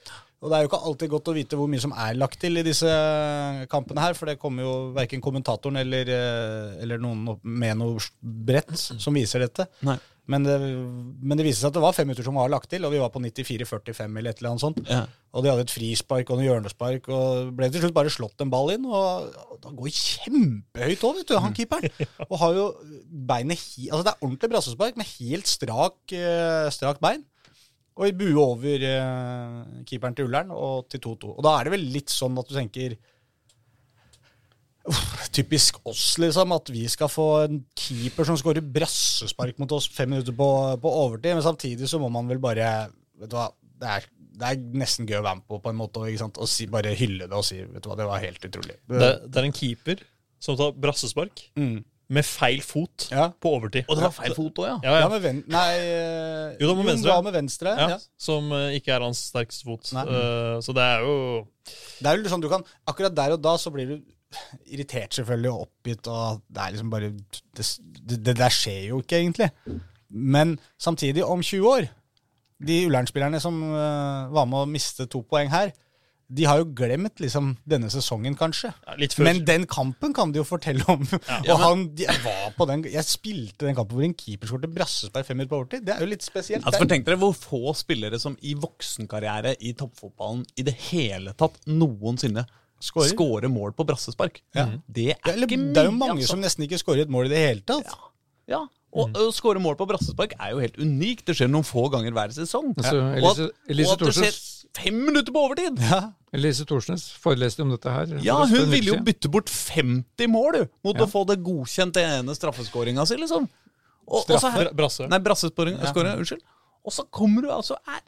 [SPEAKER 1] Og det er jo ikke alltid godt å vite hvor mye som er lagt til i disse kampene her, for det kommer jo verken kommentatoren eller, eh, eller noen opp- med noe brett som viser dette.
[SPEAKER 2] Nei.
[SPEAKER 1] Men det, men det viste seg at det var fem minutter som var lagt til, og vi var på 94-45 eller et eller annet sånt.
[SPEAKER 2] Ja.
[SPEAKER 1] Og de hadde et frispark og noen hjørnespark, og ble til slutt bare slått en ball inn. Og, og da går kjempehøyt òg, vet du, han
[SPEAKER 2] [LAUGHS]
[SPEAKER 1] keeperen. Og har jo beinet he Altså det er ordentlig brassespark med helt strak, eh, strakt bein. Og i bue over eh, keeperen til Ullern og til 2-2. Og da er det vel litt sånn at du tenker «Uff, Typisk oss, liksom. At vi skal få en keeper som skårer brassespark mot oss fem minutter på, på overtid. Men samtidig så må man vel bare Vet du hva, det er, det er nesten gøy å være med på, på en måte. Ikke sant? Og si, bare hylle det og si Vet du hva, det var helt utrolig.
[SPEAKER 4] det, det er en keeper som tar brassespark
[SPEAKER 1] Mm.
[SPEAKER 4] med feil fot
[SPEAKER 1] Ja.
[SPEAKER 4] på overtid.
[SPEAKER 2] Og det var feil fot òg, ja.
[SPEAKER 4] Ja,
[SPEAKER 1] Ja,
[SPEAKER 4] ja.
[SPEAKER 1] med ven nei eh,
[SPEAKER 4] Jo, da med venstre.
[SPEAKER 1] da med venstre.
[SPEAKER 4] Ja,
[SPEAKER 1] Ja.
[SPEAKER 4] Som eh, ikke er hans sterkeste fot.
[SPEAKER 1] Nei.
[SPEAKER 4] Eh, så det er jo
[SPEAKER 1] Det er jo litt sånn du kan Akkurat der og da så blir du irritert selvfølgelig og oppgitt, og det er liksom bare Det, det der skjer jo ikke, egentlig. Men samtidig, om 20 år De Ullern-spillerne som eh, var med å miste to poeng her, de har jo glemt liksom denne sesongen, kanskje.
[SPEAKER 4] ja, litt før.
[SPEAKER 1] Men den kampen kan de jo fortelle om. [LAUGHS]
[SPEAKER 2] Ja,
[SPEAKER 1] og han de, jeg var på den Jeg spilte den kampen hvor en keeper skåret brassespark fem minutter på overtid. Det er jo litt spesielt.
[SPEAKER 2] Altså, for tenk dere hvor få spillere som i voksenkarriere i toppfotballen i det hele tatt noensinne
[SPEAKER 1] Skårer.
[SPEAKER 2] skårer mål på brassespark. Mm. Det er
[SPEAKER 1] det, er,
[SPEAKER 2] ikke mye,
[SPEAKER 1] det er jo mange
[SPEAKER 2] altså.
[SPEAKER 1] som Mm. nesten ikke skårer et mål i det hele tatt.
[SPEAKER 2] Ja, og å skåre mål på brassespark er jo helt unikt. Det skjer noen få ganger hver sesong.
[SPEAKER 3] Altså,
[SPEAKER 2] Ja. og,
[SPEAKER 3] Elise-
[SPEAKER 2] at,
[SPEAKER 3] Elise
[SPEAKER 2] og at det skjer
[SPEAKER 3] Thorsnes-
[SPEAKER 2] fem minutter på overtid! Ja,
[SPEAKER 3] Elise Thorsnes foreleste om dette her. for en
[SPEAKER 2] hun
[SPEAKER 3] uke
[SPEAKER 2] ville jo
[SPEAKER 3] siden.
[SPEAKER 2] bytte bort 50 mål du, mot
[SPEAKER 3] Ja.
[SPEAKER 2] å få det godkjent den ene straffeskåringa si, liksom. Og, og så her,
[SPEAKER 4] Bra- Brasse.
[SPEAKER 2] nei, brasseskåringa, skåringa, unnskyld. Og så kommer du altså er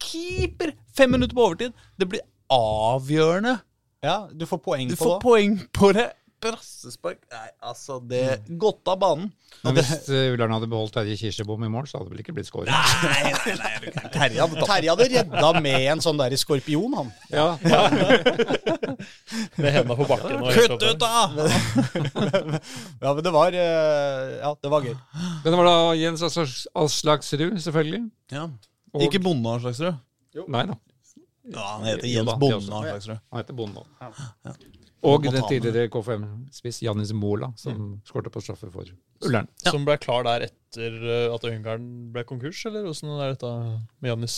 [SPEAKER 2] keeper fem minutter på overtid! Det blir avgjørende.
[SPEAKER 1] Ja, du får poeng
[SPEAKER 2] Du
[SPEAKER 1] på
[SPEAKER 2] får
[SPEAKER 1] det.
[SPEAKER 2] poeng på det. Brassespark Nei, altså, det Godt av banen.
[SPEAKER 3] Men hvis eh, Ullern hadde beholdt Terje Kirsebom i mål, så hadde det vel ikke blitt scoret.
[SPEAKER 2] Nei, nei, nei. du kan- Terje hadde tatt
[SPEAKER 1] Terje hadde redda med en sånn der skorpion, han.
[SPEAKER 3] Ja.
[SPEAKER 4] Med hendene på bakken.
[SPEAKER 2] [LAUGHS]
[SPEAKER 4] og helt
[SPEAKER 2] Kutt
[SPEAKER 4] oppe.
[SPEAKER 2] ut, da!
[SPEAKER 1] [LAUGHS] Ja, men det var eh, Ja, det var gøy.
[SPEAKER 3] Men det var da Jens Aslaks- Aslaksrud, selvfølgelig.
[SPEAKER 2] Ja.
[SPEAKER 3] Og-
[SPEAKER 2] Ikke Bonde Aslaksrud.
[SPEAKER 3] Nei da.
[SPEAKER 2] Ja, han
[SPEAKER 3] Jo
[SPEAKER 2] heter
[SPEAKER 3] da,
[SPEAKER 2] Jens
[SPEAKER 3] det
[SPEAKER 2] Bonde
[SPEAKER 3] også.
[SPEAKER 2] Aslaksrud.
[SPEAKER 3] Han heter Bonde nå. Og
[SPEAKER 2] Må ta
[SPEAKER 3] den
[SPEAKER 2] med. Mm.
[SPEAKER 3] tidligere KFM-spiss Janis Mola, som skårte på straffe for Ullern.
[SPEAKER 4] Som ble klar der etter eh, at Ungarn ble konkurs, eller åssen er dette med Jannis?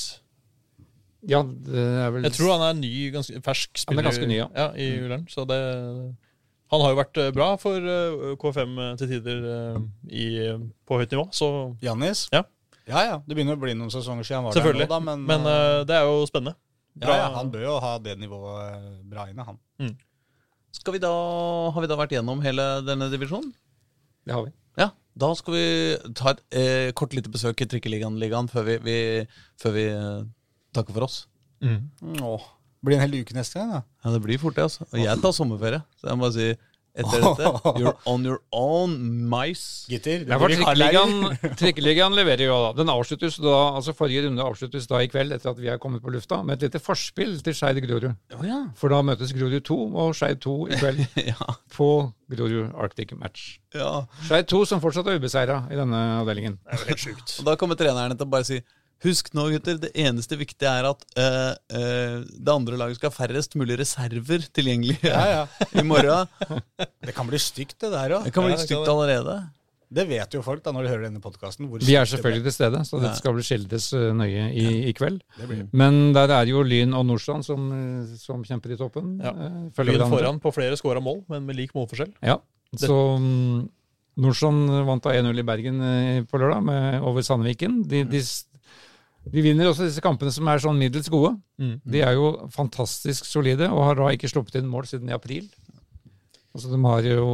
[SPEAKER 3] Ja, det er vel
[SPEAKER 4] Jeg tror han er ny, ganske fersk
[SPEAKER 3] Han er
[SPEAKER 4] spiller
[SPEAKER 3] ganske ny, ja. Mm.
[SPEAKER 4] i Ullern. Så det Han har jo vært eh, bra for eh, K5 til tider eh, i, på høyt nivå, så
[SPEAKER 1] Jannis?
[SPEAKER 4] Ja.
[SPEAKER 1] ja ja. Det begynner å bli noen sesonger siden han var der
[SPEAKER 4] Selvfølgelig.
[SPEAKER 1] nå, da, men,
[SPEAKER 4] Men eh, det er jo spennende.
[SPEAKER 1] ja, ja, han bør jo ha det nivået eh, bra inne, han.
[SPEAKER 2] Skal vi da, har vi da vært gjennom hele denne divisjonen?
[SPEAKER 3] Det har vi.
[SPEAKER 2] Ja. Da skal vi ta et eh, kort lite besøk i Trikkeligaen-ligaen før vi, vi, før vi eh, takker for oss.
[SPEAKER 1] Åh. Blir en hel uke neste gang, da.
[SPEAKER 2] Ja, Det blir fort det, altså. Og jeg tar sommerferie. Så jeg må si etter dette You're on your own, mice.
[SPEAKER 1] Gitter.
[SPEAKER 3] Ja, for Trikkeligaen,
[SPEAKER 2] [LAUGHS]
[SPEAKER 3] trikkeligaen leverer jo da. Den avsluttes da, altså Forrige runde avsluttes da i kveld, etter at vi er kommet på lufta, med et lite forspill til Skeid Grorud.
[SPEAKER 2] Å ja.
[SPEAKER 3] For da møtes Grorud 2 og Skeid 2 i kveld
[SPEAKER 2] [LAUGHS] ja.
[SPEAKER 3] på Grorud Arctic Match.
[SPEAKER 2] Ja.
[SPEAKER 3] Skeid 2 som fortsatt er ubeseira i denne avdelingen.
[SPEAKER 4] Det er jo helt sjukt.
[SPEAKER 2] Og da kommer trenerne til å bare si Husk nå, gutter, det eneste viktige er at eh, eh, det andre laget skal ha færrest mulig reserver tilgjengelig
[SPEAKER 1] Ja, ja.
[SPEAKER 2] [LAUGHS] i morgen.
[SPEAKER 1] Det kan bli stygt, det der òg.
[SPEAKER 2] Det kan bli stygt allerede.
[SPEAKER 1] Det vet jo folk da når de hører denne podkasten.
[SPEAKER 3] Vi er selvfølgelig til stede, så dette skal vel skildres eh, nøye i, i kveld.
[SPEAKER 1] Det blir.
[SPEAKER 3] Men der er jo Lyn og Nordstrand som, eh, som kjemper i toppen.
[SPEAKER 4] Ja.
[SPEAKER 3] eh,
[SPEAKER 4] Lyn
[SPEAKER 3] hverandre.
[SPEAKER 4] foran på flere skåra mål, men med lik målforskjell.
[SPEAKER 3] Ja, så mm, Nordstrand vant da 1-0 i Bergen eh, på lørdag med, over Sandviken. De, de, s- de vinner også disse kampene som er sånn middels gode. De er jo fantastisk solide og har da ikke sluppet inn mål siden i april. Altså, de har jo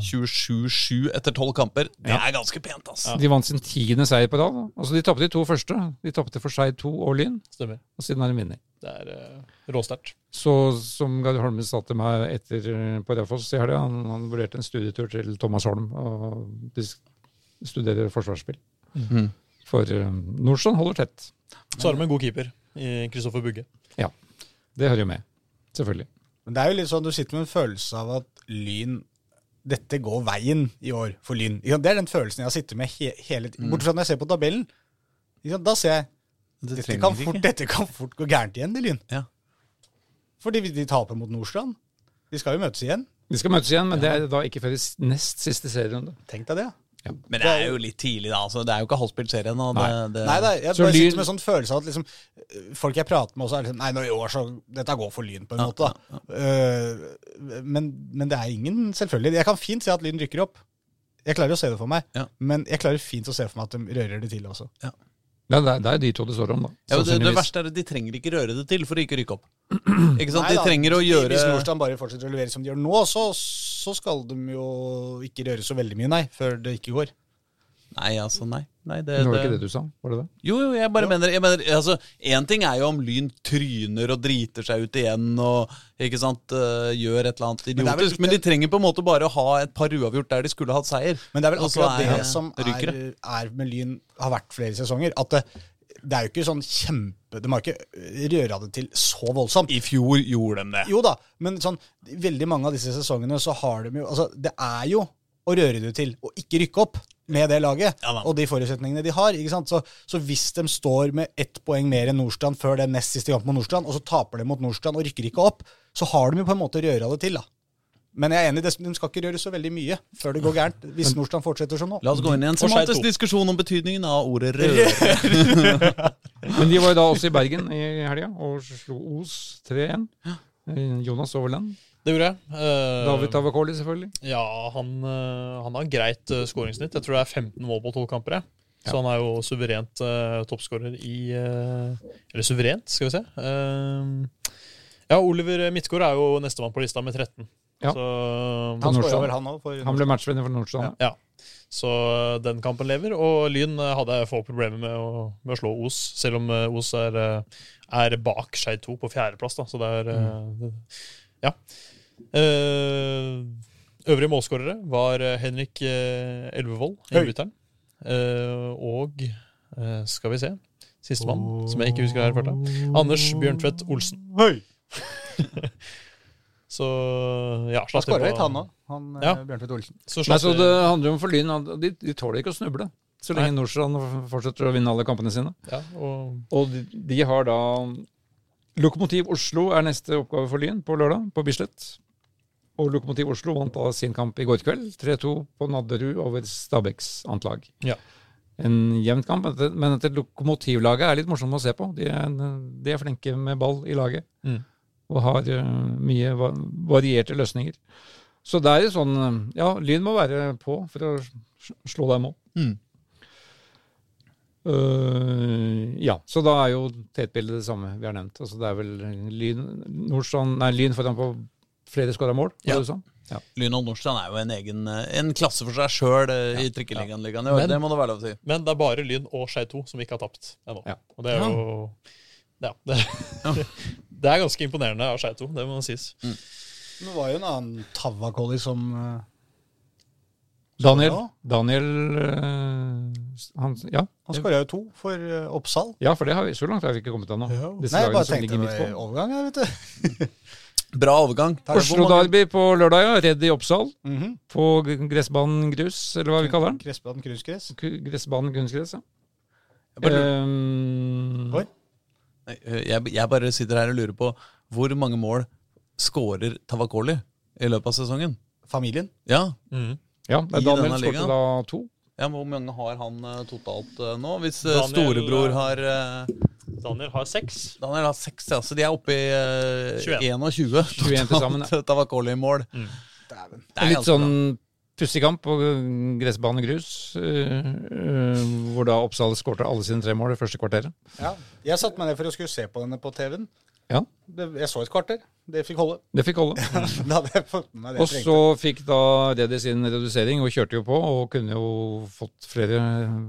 [SPEAKER 2] 27-7 etter 12 kamper. Det er ganske pent, altså. ass.
[SPEAKER 3] De vant sin tiende seier på rad. da. Altså, de tapte de to første. De tapte for Skeid 2 og Lyn,
[SPEAKER 4] Stemmer.
[SPEAKER 3] og siden har de vunnet.
[SPEAKER 4] Det er eh, råsterkt.
[SPEAKER 3] Så som Gard Holmen sa til meg etter eh, på Raufoss i helga, han, han vurderte en studietur til Thomas Holm, og de s- studerer forsvarsspill.
[SPEAKER 2] Mhm.
[SPEAKER 3] For eh, Nordstrand holder tett.
[SPEAKER 4] Så har de en god keeper i Kristoffer Bugge.
[SPEAKER 3] Det hører jo med, selvfølgelig.
[SPEAKER 1] Men det er jo litt sånn, du sitter med en følelse av at Lyn dette går veien i år for Lyn. Ikke sant? Det er den følelsen jeg har sittet med he hele tiden.
[SPEAKER 2] Mm.
[SPEAKER 1] Bortsett fra når jeg ser på tabellen. Ikke sant? Da ser jeg
[SPEAKER 2] Det
[SPEAKER 1] dette
[SPEAKER 2] trenger
[SPEAKER 1] kan,
[SPEAKER 2] de
[SPEAKER 1] fort,
[SPEAKER 2] ikke.
[SPEAKER 1] dette kan fort gå gærent igjen i Lyn.
[SPEAKER 2] Ja.
[SPEAKER 1] Fordi vi- de taper mot Nordstrand. De skal jo møtes igjen.
[SPEAKER 3] De skal møtes igjen, men det er da ikke før i s- nest siste serierunde.
[SPEAKER 1] Tenk deg det.
[SPEAKER 2] Men det er jo litt tidlig, da. Altså. Det er jo ikke halvspilt serien. Og det, det...
[SPEAKER 1] Nei, nei, jeg
[SPEAKER 3] Så
[SPEAKER 1] bare
[SPEAKER 3] Lyn-
[SPEAKER 1] sitter med en sånn følelse av at liksom, øh, folk jeg prater med også er liksom Nei, nå i år så Dette går for Lyn, på en måte. Da. Øh, men, men det er ingen selvfølgelig. Jeg kan fint se at Lyn rykker opp. Jeg klarer å se det for meg.
[SPEAKER 2] Ja.
[SPEAKER 1] Men jeg klarer fint å se for meg at de rører det til også.
[SPEAKER 3] Ja, det, er, det er de to det står om, da.
[SPEAKER 2] ja, men det, det
[SPEAKER 3] sannsynligvis.
[SPEAKER 2] verste er at de trenger ikke røre det til for å ikke rykke opp. Ikke
[SPEAKER 1] Nei
[SPEAKER 2] sant?
[SPEAKER 1] da,
[SPEAKER 2] de trenger å gjøre
[SPEAKER 1] Hvis Nordstrand bare fortsetter å levere som de gjør nå, så, så skal de jo ikke røre så veldig mye, nei, før det ikke går.
[SPEAKER 2] Nei, altså, nei. nei det,
[SPEAKER 3] Det var ikke det du sa, var det det?
[SPEAKER 2] Jo, jo, jeg bare mener, jeg mener altså, En ting er jo om Lyn tryner og driter seg ut igjen og ikke sant, øh, gjør et eller annet
[SPEAKER 1] det er vel
[SPEAKER 2] idiotisk,
[SPEAKER 1] ikke-
[SPEAKER 2] men, de trenger på en måte bare å ha et par uavgjort der de skulle hatt seier.
[SPEAKER 1] Men det er vel
[SPEAKER 2] Og så
[SPEAKER 1] akkurat
[SPEAKER 2] er
[SPEAKER 1] det
[SPEAKER 2] han
[SPEAKER 1] som er,
[SPEAKER 2] rykere.
[SPEAKER 1] er med Lyn, har vært flere sesonger. At det, det er jo ikke sånn kjempe De har ikke røra det til så voldsomt.
[SPEAKER 2] I fjor gjorde de det.
[SPEAKER 1] Jo da, men sånn, veldig mange av disse sesongene så har de jo Altså, det er jo å røre det til, og ikke rykke opp med det laget
[SPEAKER 2] Ja da.
[SPEAKER 1] og de forutsetningene de har. ikke sant? Så, så hvis de står med ett poeng mer enn Nordstrand før den nest siste kampen mot Nordstrand, og så taper de mot Nordstrand og rykker ikke opp, så har de jo på en måte røra det til, da. Men jeg er enig, det- de skal ikke røre så veldig mye før det går gærent, hvis Nordstrand fortsetter som nå.
[SPEAKER 2] La oss gå inn i en
[SPEAKER 4] seg
[SPEAKER 2] semantisk
[SPEAKER 4] to.
[SPEAKER 2] diskusjon om betydningen av ordet røre.
[SPEAKER 3] Men de var jo da også i Bergen i helga og slo Os 3-1. Eh, Jonas Overland.
[SPEAKER 4] Det gjorde jeg. Eh,
[SPEAKER 3] David Tavakoli, selvfølgelig.
[SPEAKER 4] Ja, han, eh, han har greit eh, skåringssnitt. Jeg tror det er 15 mål på 12 kamper. Jeg. Så han er jo suverent uh, toppskårer i eh, Eller suverent, skal vi se. Eh, ja, Oliver Midtgaard er jo nestemann på lista med 13.
[SPEAKER 3] Ja.
[SPEAKER 4] Så, eh,
[SPEAKER 1] Han
[SPEAKER 3] Nordstrand.
[SPEAKER 1] skårer vel, han eh, òg.
[SPEAKER 3] Han ble matchvinner for Nordstrand.
[SPEAKER 4] ja. Så eh, den kampen lever. Og Lyn eh, hadde jeg få problemer med å, med å slå Os, selv om eh, Os er, eh, er bak Skeid 2 på fjerdeplass. da, Så det er
[SPEAKER 3] Mm.
[SPEAKER 4] eh, Ja. Eh, øvrige målskårere var eh, Henrik eh, Elvevold, elverytteren, eh, og eh, skal vi se Sistemann, som jeg ikke husker her i farta. Anders Bjørntvedt Olsen. [LAUGHS] så ja,
[SPEAKER 1] Han
[SPEAKER 4] slapp det
[SPEAKER 1] skåra
[SPEAKER 4] på-
[SPEAKER 1] litt, han òg. Han eh,
[SPEAKER 4] Ja.
[SPEAKER 1] Bjørntvedt Olsen.
[SPEAKER 4] Så
[SPEAKER 3] Nei,
[SPEAKER 4] slapp
[SPEAKER 3] så
[SPEAKER 4] det-
[SPEAKER 3] det handler jo om for Lyn. at De, de tåler ikke å snuble. Så lenge Nordstrand fortsetter å vinne alle kampene sine.
[SPEAKER 4] ja, og
[SPEAKER 3] Og de, de har da Lokomotiv Oslo er neste oppgave for Lyn på lørdag, på Bislett. Og Lokomotiv Oslo vant da sin kamp i går kveld, 3-2 på Nadderud over Stabæks antlag.
[SPEAKER 4] Ja.
[SPEAKER 3] En jevn kamp, men dette- men dette lokomotivlaget er litt morsomt å se på. De er, de er flinke med ball i laget,
[SPEAKER 4] Mm.
[SPEAKER 3] og har eh, mye va- varierte løsninger. Så det er jo sånn eh, Ja, Lyn må være på for å s- slå dem opp.
[SPEAKER 2] Mm.
[SPEAKER 3] Eh, ja, så da er jo tetbildet det samme vi har nevnt. Altså det er vel Lyn, Nordstrand, nei, lyn foran på flere skåra mål, var
[SPEAKER 2] Ja.
[SPEAKER 3] det du sa?
[SPEAKER 2] Lyn og Nordstrand er jo en egen eh, en klasse for seg sjøl i Trikkeligaen. ligaen i år.
[SPEAKER 4] Men-
[SPEAKER 2] Det må det være lov til.
[SPEAKER 4] Men det er bare Lyn og Skei 2 som ikke har tapt ennå.
[SPEAKER 3] Ja.
[SPEAKER 4] Og det er jo ja, [LAUGHS] det, det er ganske imponerende av Skei 2, det må sies.
[SPEAKER 1] Det var jo en annen Tavakoli som eh,
[SPEAKER 3] Daniel,
[SPEAKER 1] bra.
[SPEAKER 3] Daniel eh, han, ja.
[SPEAKER 1] Han skåra jo to for eh, Oppsal.
[SPEAKER 3] ja, for det har vi, så langt har vi ikke kommet ennå. Disse
[SPEAKER 1] Nei, jeg
[SPEAKER 3] lagene
[SPEAKER 1] bare
[SPEAKER 3] som
[SPEAKER 1] tenkte
[SPEAKER 3] ligger midt
[SPEAKER 1] det var
[SPEAKER 3] på.
[SPEAKER 1] overgang, jeg, vet du.
[SPEAKER 2] Bra overgang.
[SPEAKER 3] Oslo Derby på lørdag, ja. Redd i Oppsal.
[SPEAKER 1] Mm
[SPEAKER 3] På g- gressbanen grus, eller hva vi kaller den.
[SPEAKER 1] Kressbaden kunstgress.
[SPEAKER 3] Ku- Gressbanen kunstgress, ja. Eh.
[SPEAKER 2] Jeg bare,
[SPEAKER 3] Ehm,
[SPEAKER 1] Oi.
[SPEAKER 2] Nei, jeg, jeg bare sitter her og lurer på hvor mange mål skårer Tavakoli i løpet av sesongen?
[SPEAKER 1] Familien.
[SPEAKER 2] Ja,
[SPEAKER 4] Mm.
[SPEAKER 3] ja, det
[SPEAKER 2] I
[SPEAKER 3] er Daniel
[SPEAKER 2] denne
[SPEAKER 3] skåret
[SPEAKER 2] ligaen.
[SPEAKER 3] da to.
[SPEAKER 2] ja Hvor mange har han eh, totalt eh, nå? Hvis eh,
[SPEAKER 4] Daniel,
[SPEAKER 2] storebror
[SPEAKER 4] eh,
[SPEAKER 2] har eh,
[SPEAKER 4] Daniel har seks.
[SPEAKER 2] Daniel har seks, ja, så de er oppe i eh,
[SPEAKER 4] 21.
[SPEAKER 2] 21.
[SPEAKER 3] 21 til sammen,
[SPEAKER 2] totalt, eh, Tavakoli-mål.
[SPEAKER 4] Mm.
[SPEAKER 1] Dæven.
[SPEAKER 3] En
[SPEAKER 2] Det er
[SPEAKER 3] litt
[SPEAKER 2] ganske bra.
[SPEAKER 3] sånn pussig kamp på øh, gressbane og grus, øh, øh, hvor da Oppsal skårte alle sine tre mål det første kvarteret.
[SPEAKER 1] Ja. Jeg satte meg ned for å skulle se på denne på TV-en.
[SPEAKER 3] Ja.
[SPEAKER 1] Det- Jeg så et kvarter. Det fikk holde. [LAUGHS]
[SPEAKER 3] Det fikk holde.
[SPEAKER 1] Da hadde jeg fått med meg det
[SPEAKER 3] Og
[SPEAKER 1] jeg
[SPEAKER 3] så fikk da Redi sin redusering og kjørte jo på og kunne jo fått flere,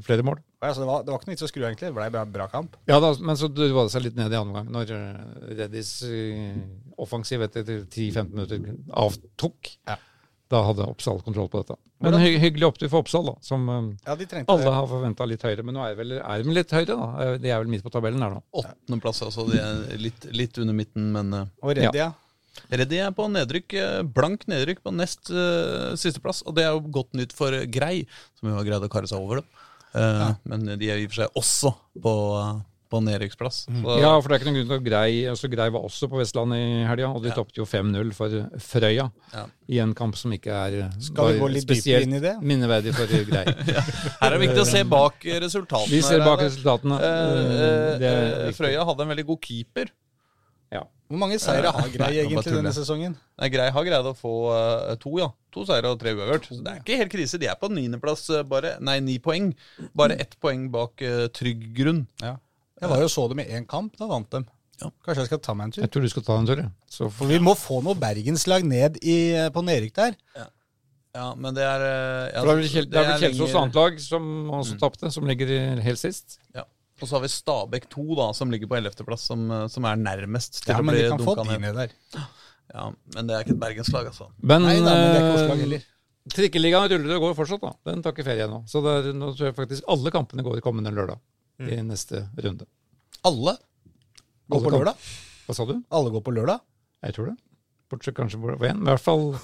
[SPEAKER 3] flere mål.
[SPEAKER 1] trengte. Altså, det, var, det var ikke noe vits å skru, egentlig. Det ble bra, bra kamp.
[SPEAKER 3] Ja da, men så dro det seg litt ned i andre gang når eh, Reddys eh, offensiv etter 10-15 minutter avtok.
[SPEAKER 1] Ja.
[SPEAKER 3] Da hadde Oppsal kontroll på dette. Men hy hyggelig opptur for Oppsal, da, som eh,
[SPEAKER 1] Ja, de trengte
[SPEAKER 3] alle har forventa litt høyere. Men nå er, vel, er de litt høyere, da. Eh, De er vel midt på tabellen der nå.
[SPEAKER 2] Åttendeplass, altså. Det er litt, litt under midten, men eh,
[SPEAKER 1] det. Og Reddy, ja.
[SPEAKER 2] Reddy er på nedrykk, eh, blank nedrykk på nest eh, sisteplass, og det er jo godt nytt for eh, Grei, som jo har greid å kare seg over det. Eh, Men de er i og for seg også på, eh, på nedrykksplass. Så-
[SPEAKER 3] Mm. Ja, for det er ikke noen grunn til å grei altså Grei var også på Vestlandet i helga, og de tapte jo 5-0 for Frøya.
[SPEAKER 2] Ja.
[SPEAKER 3] I en kamp som ikke er
[SPEAKER 1] Skal vi
[SPEAKER 3] var
[SPEAKER 1] gå litt dypere
[SPEAKER 3] spesielt
[SPEAKER 1] inn i det?
[SPEAKER 3] minneverdig
[SPEAKER 1] [LAUGHS]
[SPEAKER 3] for Grei.
[SPEAKER 2] Her er det viktig å se bak eh, resultatene.
[SPEAKER 3] Vi ser
[SPEAKER 2] her,
[SPEAKER 3] bak
[SPEAKER 2] Einar.
[SPEAKER 3] resultatene. Mm,
[SPEAKER 2] Eh, eh,
[SPEAKER 3] Det er
[SPEAKER 2] eh,
[SPEAKER 3] riktig.
[SPEAKER 2] Frøya hadde en veldig god keeper.
[SPEAKER 3] Ja.
[SPEAKER 1] Hvor mange seire har Grei
[SPEAKER 2] Nei, jeg bare
[SPEAKER 1] egentlig denne
[SPEAKER 2] tuller.
[SPEAKER 1] sesongen?
[SPEAKER 2] Nei, Grei har greid å få eh, to, ja. To seire og tre uavgjort. Så det er ikke helt krise. De er på niendeplass, eh, bare Nei, ni poeng. Bare ett poeng bak eh, Trygg grunn.
[SPEAKER 1] Jeg var jo og så dem i én kamp. Da vant dem. Kanskje jeg skal ta meg en tur?
[SPEAKER 3] Jeg tror du skal ta en tur, ja. så får
[SPEAKER 1] For vi må få noe bergenslag ned i, på nedrykk der.
[SPEAKER 2] Ja, men det er eh, ja,
[SPEAKER 3] For det er vel Kjel- det er Mm. vel
[SPEAKER 2] det er
[SPEAKER 3] Kjelsås
[SPEAKER 2] lenger-
[SPEAKER 3] annet lag som også tapte, som ligger i- helt sist.
[SPEAKER 2] ja. Og så har vi Stabæk 2, da, som ligger på ellevteplass, som, eh, som er nærmest til
[SPEAKER 1] Ja,
[SPEAKER 2] å
[SPEAKER 1] men
[SPEAKER 2] bli
[SPEAKER 1] de kan få
[SPEAKER 2] dunka
[SPEAKER 1] de
[SPEAKER 2] ned.
[SPEAKER 1] ned der.
[SPEAKER 2] Ja, men det er ikke et bergenslag, altså.
[SPEAKER 3] Men,
[SPEAKER 1] Nei da, men det er ikke
[SPEAKER 3] eh,
[SPEAKER 1] Oslo heller.
[SPEAKER 3] Trikkeligaen ruller og går fortsatt, da. Den tar ikke ferie nå. Så det er, nå tror jeg faktisk alle kampene går kommende lørdag i
[SPEAKER 1] Mm.
[SPEAKER 3] neste runde.
[SPEAKER 1] Alle går
[SPEAKER 3] Alle
[SPEAKER 1] på
[SPEAKER 3] kan-
[SPEAKER 1] lørdag.
[SPEAKER 3] Hva sa du?
[SPEAKER 1] Alle går på lørdag.
[SPEAKER 3] Jeg tror det. Bortsett kanskje hvor- hvor en. I hvert fall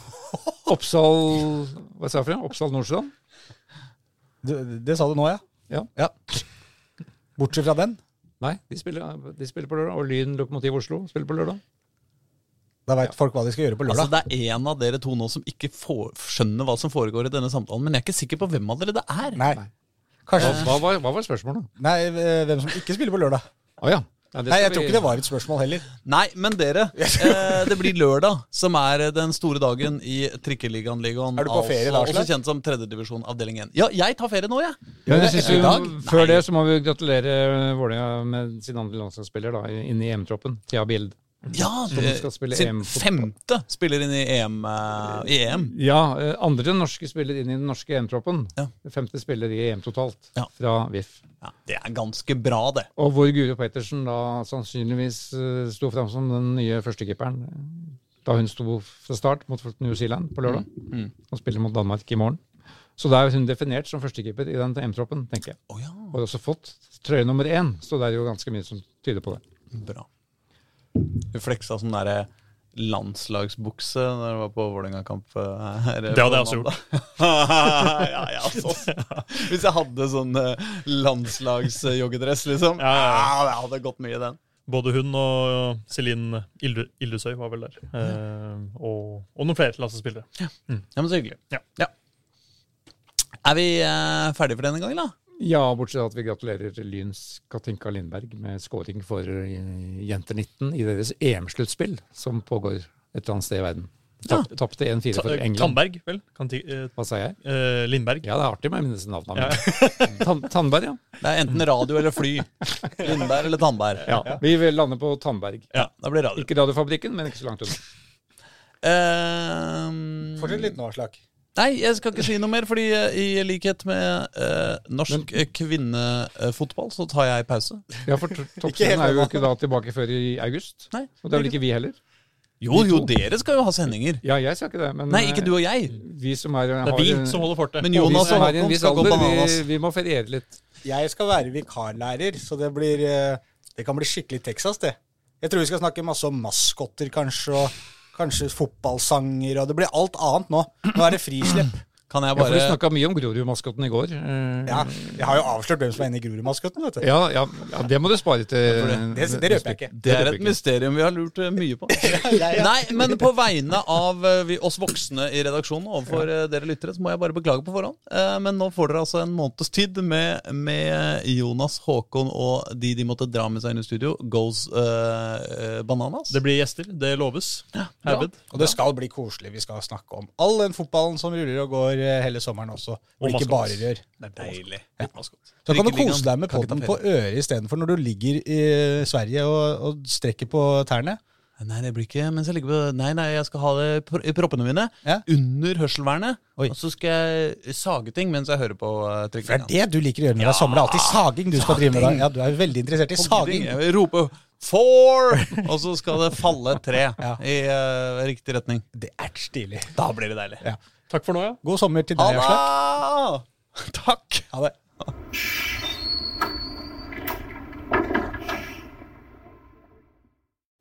[SPEAKER 3] Oppsal Hva sa jeg for noe? Oppsal Nordstrand?
[SPEAKER 1] Det, det sa du nå, ja.
[SPEAKER 3] Ja.
[SPEAKER 1] Bortsett fra den.
[SPEAKER 3] Nei, de spiller, de spiller på lørdag. Og Lyn Lokomotiv Oslo spiller på lørdag.
[SPEAKER 1] Da veit folk hva de skal gjøre på
[SPEAKER 2] Altså,
[SPEAKER 1] lørdag.
[SPEAKER 2] det er en av dere to nå som ikke får, skjønner hva som foregår i denne samtalen, men jeg er ikke sikker på hvem av dere det er.
[SPEAKER 1] Nei. Kanskje
[SPEAKER 3] Hva, hva, var, hva var spørsmålet?
[SPEAKER 1] Nei, eh, hvem som ikke spiller på lørdag.
[SPEAKER 3] Å ja. Ja, det
[SPEAKER 1] Nei, jeg
[SPEAKER 3] skal
[SPEAKER 1] tror
[SPEAKER 3] vi-
[SPEAKER 1] ikke det var et spørsmål heller.
[SPEAKER 2] Nei, men dere,
[SPEAKER 1] [LAUGHS]
[SPEAKER 2] eh, det blir lørdag, som er eh, den store dagen i Trikkeligaen. ligaen,
[SPEAKER 1] Er du på ferie da,
[SPEAKER 2] Også
[SPEAKER 1] Aslak?
[SPEAKER 2] kjent som tredjedivisjon avdeling 1. Ja, jeg tar ferie nå, jeg.
[SPEAKER 3] Ja, jeg synes
[SPEAKER 1] I
[SPEAKER 3] vi,
[SPEAKER 1] dag?
[SPEAKER 3] Før det så må vi gratulere Vålerenga med sin andre landslagsspiller da, inn i EM-troppen. Thea Bild.
[SPEAKER 2] Ja,
[SPEAKER 3] Som
[SPEAKER 2] eh,
[SPEAKER 3] skal spille
[SPEAKER 2] sin
[SPEAKER 3] EM fotball.
[SPEAKER 2] femte spiller inn i EM. eh, i EM.
[SPEAKER 3] Ja, eh, andre norske spiller inn i den norske EM-troppen.
[SPEAKER 2] Ja.
[SPEAKER 3] Femte spiller i EM totalt
[SPEAKER 2] Ja.
[SPEAKER 3] fra VIF.
[SPEAKER 2] Ja, det er ganske bra, det.
[SPEAKER 3] Og hvor Guro Pettersen da sannsynligvis eh, sto fram som den nye førstekeeperen eh, da hun sto fra start mot New Zealand på lørdag.
[SPEAKER 2] Mm,
[SPEAKER 3] Og spiller mot Danmark i morgen. Så da er hun definert som førstekeeper i den EM-troppen, tenker jeg.
[SPEAKER 2] Å ja,
[SPEAKER 3] Og har også fått trøye nummer én, så det er jo ganske mye som tyder på det.
[SPEAKER 2] bra. Du fleksa sånn derre landslagsbukse når du var på Vålerenga-kamp. eh, her
[SPEAKER 4] Det hadde
[SPEAKER 2] på
[SPEAKER 4] jeg også
[SPEAKER 2] mandag. [LAUGHS] ja, ja, altså. Hvis jeg hadde sånn eh, landslagsjoggedress, liksom.
[SPEAKER 4] Ja, ja,
[SPEAKER 2] jeg hadde gått mye i den.
[SPEAKER 4] Både hun og Celine Ildu Ildusøy var vel der. Eh, og, og noen flere landslagsspillere.
[SPEAKER 2] Ja, men så hyggelig.
[SPEAKER 4] Ja.
[SPEAKER 2] Er vi eh, ferdige for denne gangen, da?
[SPEAKER 3] Ja, bortsett fra at vi gratulerer til Lyns Katinka Lindberg med scoring for eh, Jenter 19 i deres EM-sluttspill, som pågår et eller annet sted i verden.
[SPEAKER 2] Ja.
[SPEAKER 3] Tap- Tapte 1-4
[SPEAKER 4] Ta-
[SPEAKER 3] for
[SPEAKER 4] eh,
[SPEAKER 3] England.
[SPEAKER 4] Tandberg, vel? Kan ti, eh,
[SPEAKER 3] Hva sa jeg?
[SPEAKER 4] eh, Lindberg.
[SPEAKER 3] Ja, det er artig med å minnes navnene. Tan Tandberg, ja.
[SPEAKER 2] Det er enten radio eller fly.
[SPEAKER 4] [LAUGHS]
[SPEAKER 2] Lindberg eller Tandberg.
[SPEAKER 3] Vi vil lande på Tandberg.
[SPEAKER 2] Ja, da blir det radio.
[SPEAKER 3] Ikke Radiofabrikken, men ikke så langt unna.
[SPEAKER 2] Eh,
[SPEAKER 1] Fortsett litt nå, Aslak.
[SPEAKER 2] Nei, jeg skal ikke si noe mer, fordi eh, i likhet med eh, norsk eh, kvinnefotball, så tar jeg pause.
[SPEAKER 3] Ja, for
[SPEAKER 4] [LAUGHS]
[SPEAKER 3] to- Toppserien er jo ikke da tilbake før i august.
[SPEAKER 2] Nei.
[SPEAKER 3] Og det er vel ikke vi heller.
[SPEAKER 2] Jo, jo, dere skal jo ha sendinger.
[SPEAKER 3] Ja, jeg sa ikke det, men eh,
[SPEAKER 2] Nei, ikke du og jeg.
[SPEAKER 3] vi som er
[SPEAKER 4] Det er vi som holder fortet.
[SPEAKER 2] Men
[SPEAKER 3] vi
[SPEAKER 2] Jonas
[SPEAKER 3] som
[SPEAKER 2] og
[SPEAKER 3] er i en
[SPEAKER 2] Håkon
[SPEAKER 3] viss
[SPEAKER 2] skal gå
[SPEAKER 3] alder,
[SPEAKER 2] bananas.
[SPEAKER 3] vi, vi må feriere litt.
[SPEAKER 1] Jeg skal være vikarlærer, så det blir eh, Det kan bli skikkelig Texas, det. Jeg tror vi skal snakke masse om maskotter, kanskje, og kanskje fotballsanger, og det blir alt annet nå. Nå er det frislipp.
[SPEAKER 2] Kan jeg
[SPEAKER 3] Ja, for
[SPEAKER 2] bare
[SPEAKER 3] Vi snakka mye om Grorud-maskoten i går. eh,
[SPEAKER 1] Ja, jeg har jo avslørt hvem som er inne i Grorud-maskotten, vet [LAUGHS] du.
[SPEAKER 3] Ja, ja, ja, det må du spare til
[SPEAKER 1] Det, det røper jeg ikke.
[SPEAKER 2] Det er et mysterium vi har lurt eh, mye på. [LAUGHS] Nei, men på vegne av eh, vi, oss voksne i redaksjonen overfor eh, dere lyttere, så må jeg bare beklage på forhånd. Eh, Men nå får dere altså en måneds tid med, med Jonas, Håkon og de de måtte dra med seg inn i studio, Goes eh, eh, Bananas.
[SPEAKER 4] Det blir gjester, det loves. Herved.
[SPEAKER 1] Og det skal bli koselig. Vi skal snakke om all den fotballen som ruller og går eh, hele sommeren også. Og ikke
[SPEAKER 4] maskot.
[SPEAKER 1] bare rør.
[SPEAKER 2] Det er deilig. Ja.
[SPEAKER 1] Så kan du kose deg med podden på øret istedenfor når du ligger i Sverige og, og strekker på tærne.
[SPEAKER 2] Nei, det blir ikke mens jeg ligger på Nei, nei, jeg skal ha det pr- i proppene mine.
[SPEAKER 1] Ja.
[SPEAKER 2] Under hørselvernet.
[SPEAKER 1] Oi.
[SPEAKER 2] Og så skal jeg sage ting mens jeg hører på uh,
[SPEAKER 1] For det
[SPEAKER 2] trykkinga.
[SPEAKER 1] er det du liker å gjøre når det er sommer. Det er alltid saging du skal drive med. da. Ja, du er veldig interessert i saging.
[SPEAKER 2] Jeg vil rope 'four', [LAUGHS] og så skal det falle et tre
[SPEAKER 1] Ja.
[SPEAKER 2] i eh, riktig retning.
[SPEAKER 1] Det er stilig.
[SPEAKER 2] Da blir det deilig.
[SPEAKER 1] Ja.
[SPEAKER 4] Takk for nå, ja.
[SPEAKER 1] God sommer til
[SPEAKER 2] Ha
[SPEAKER 1] deg, Aslak. [LAUGHS]
[SPEAKER 2] det! Takk.
[SPEAKER 1] Ha det.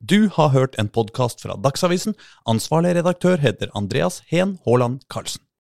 [SPEAKER 2] Du har hørt en podkast fra Dagsavisen. Ansvarlig redaktør heter Andreas Heen Haaland Karlsen.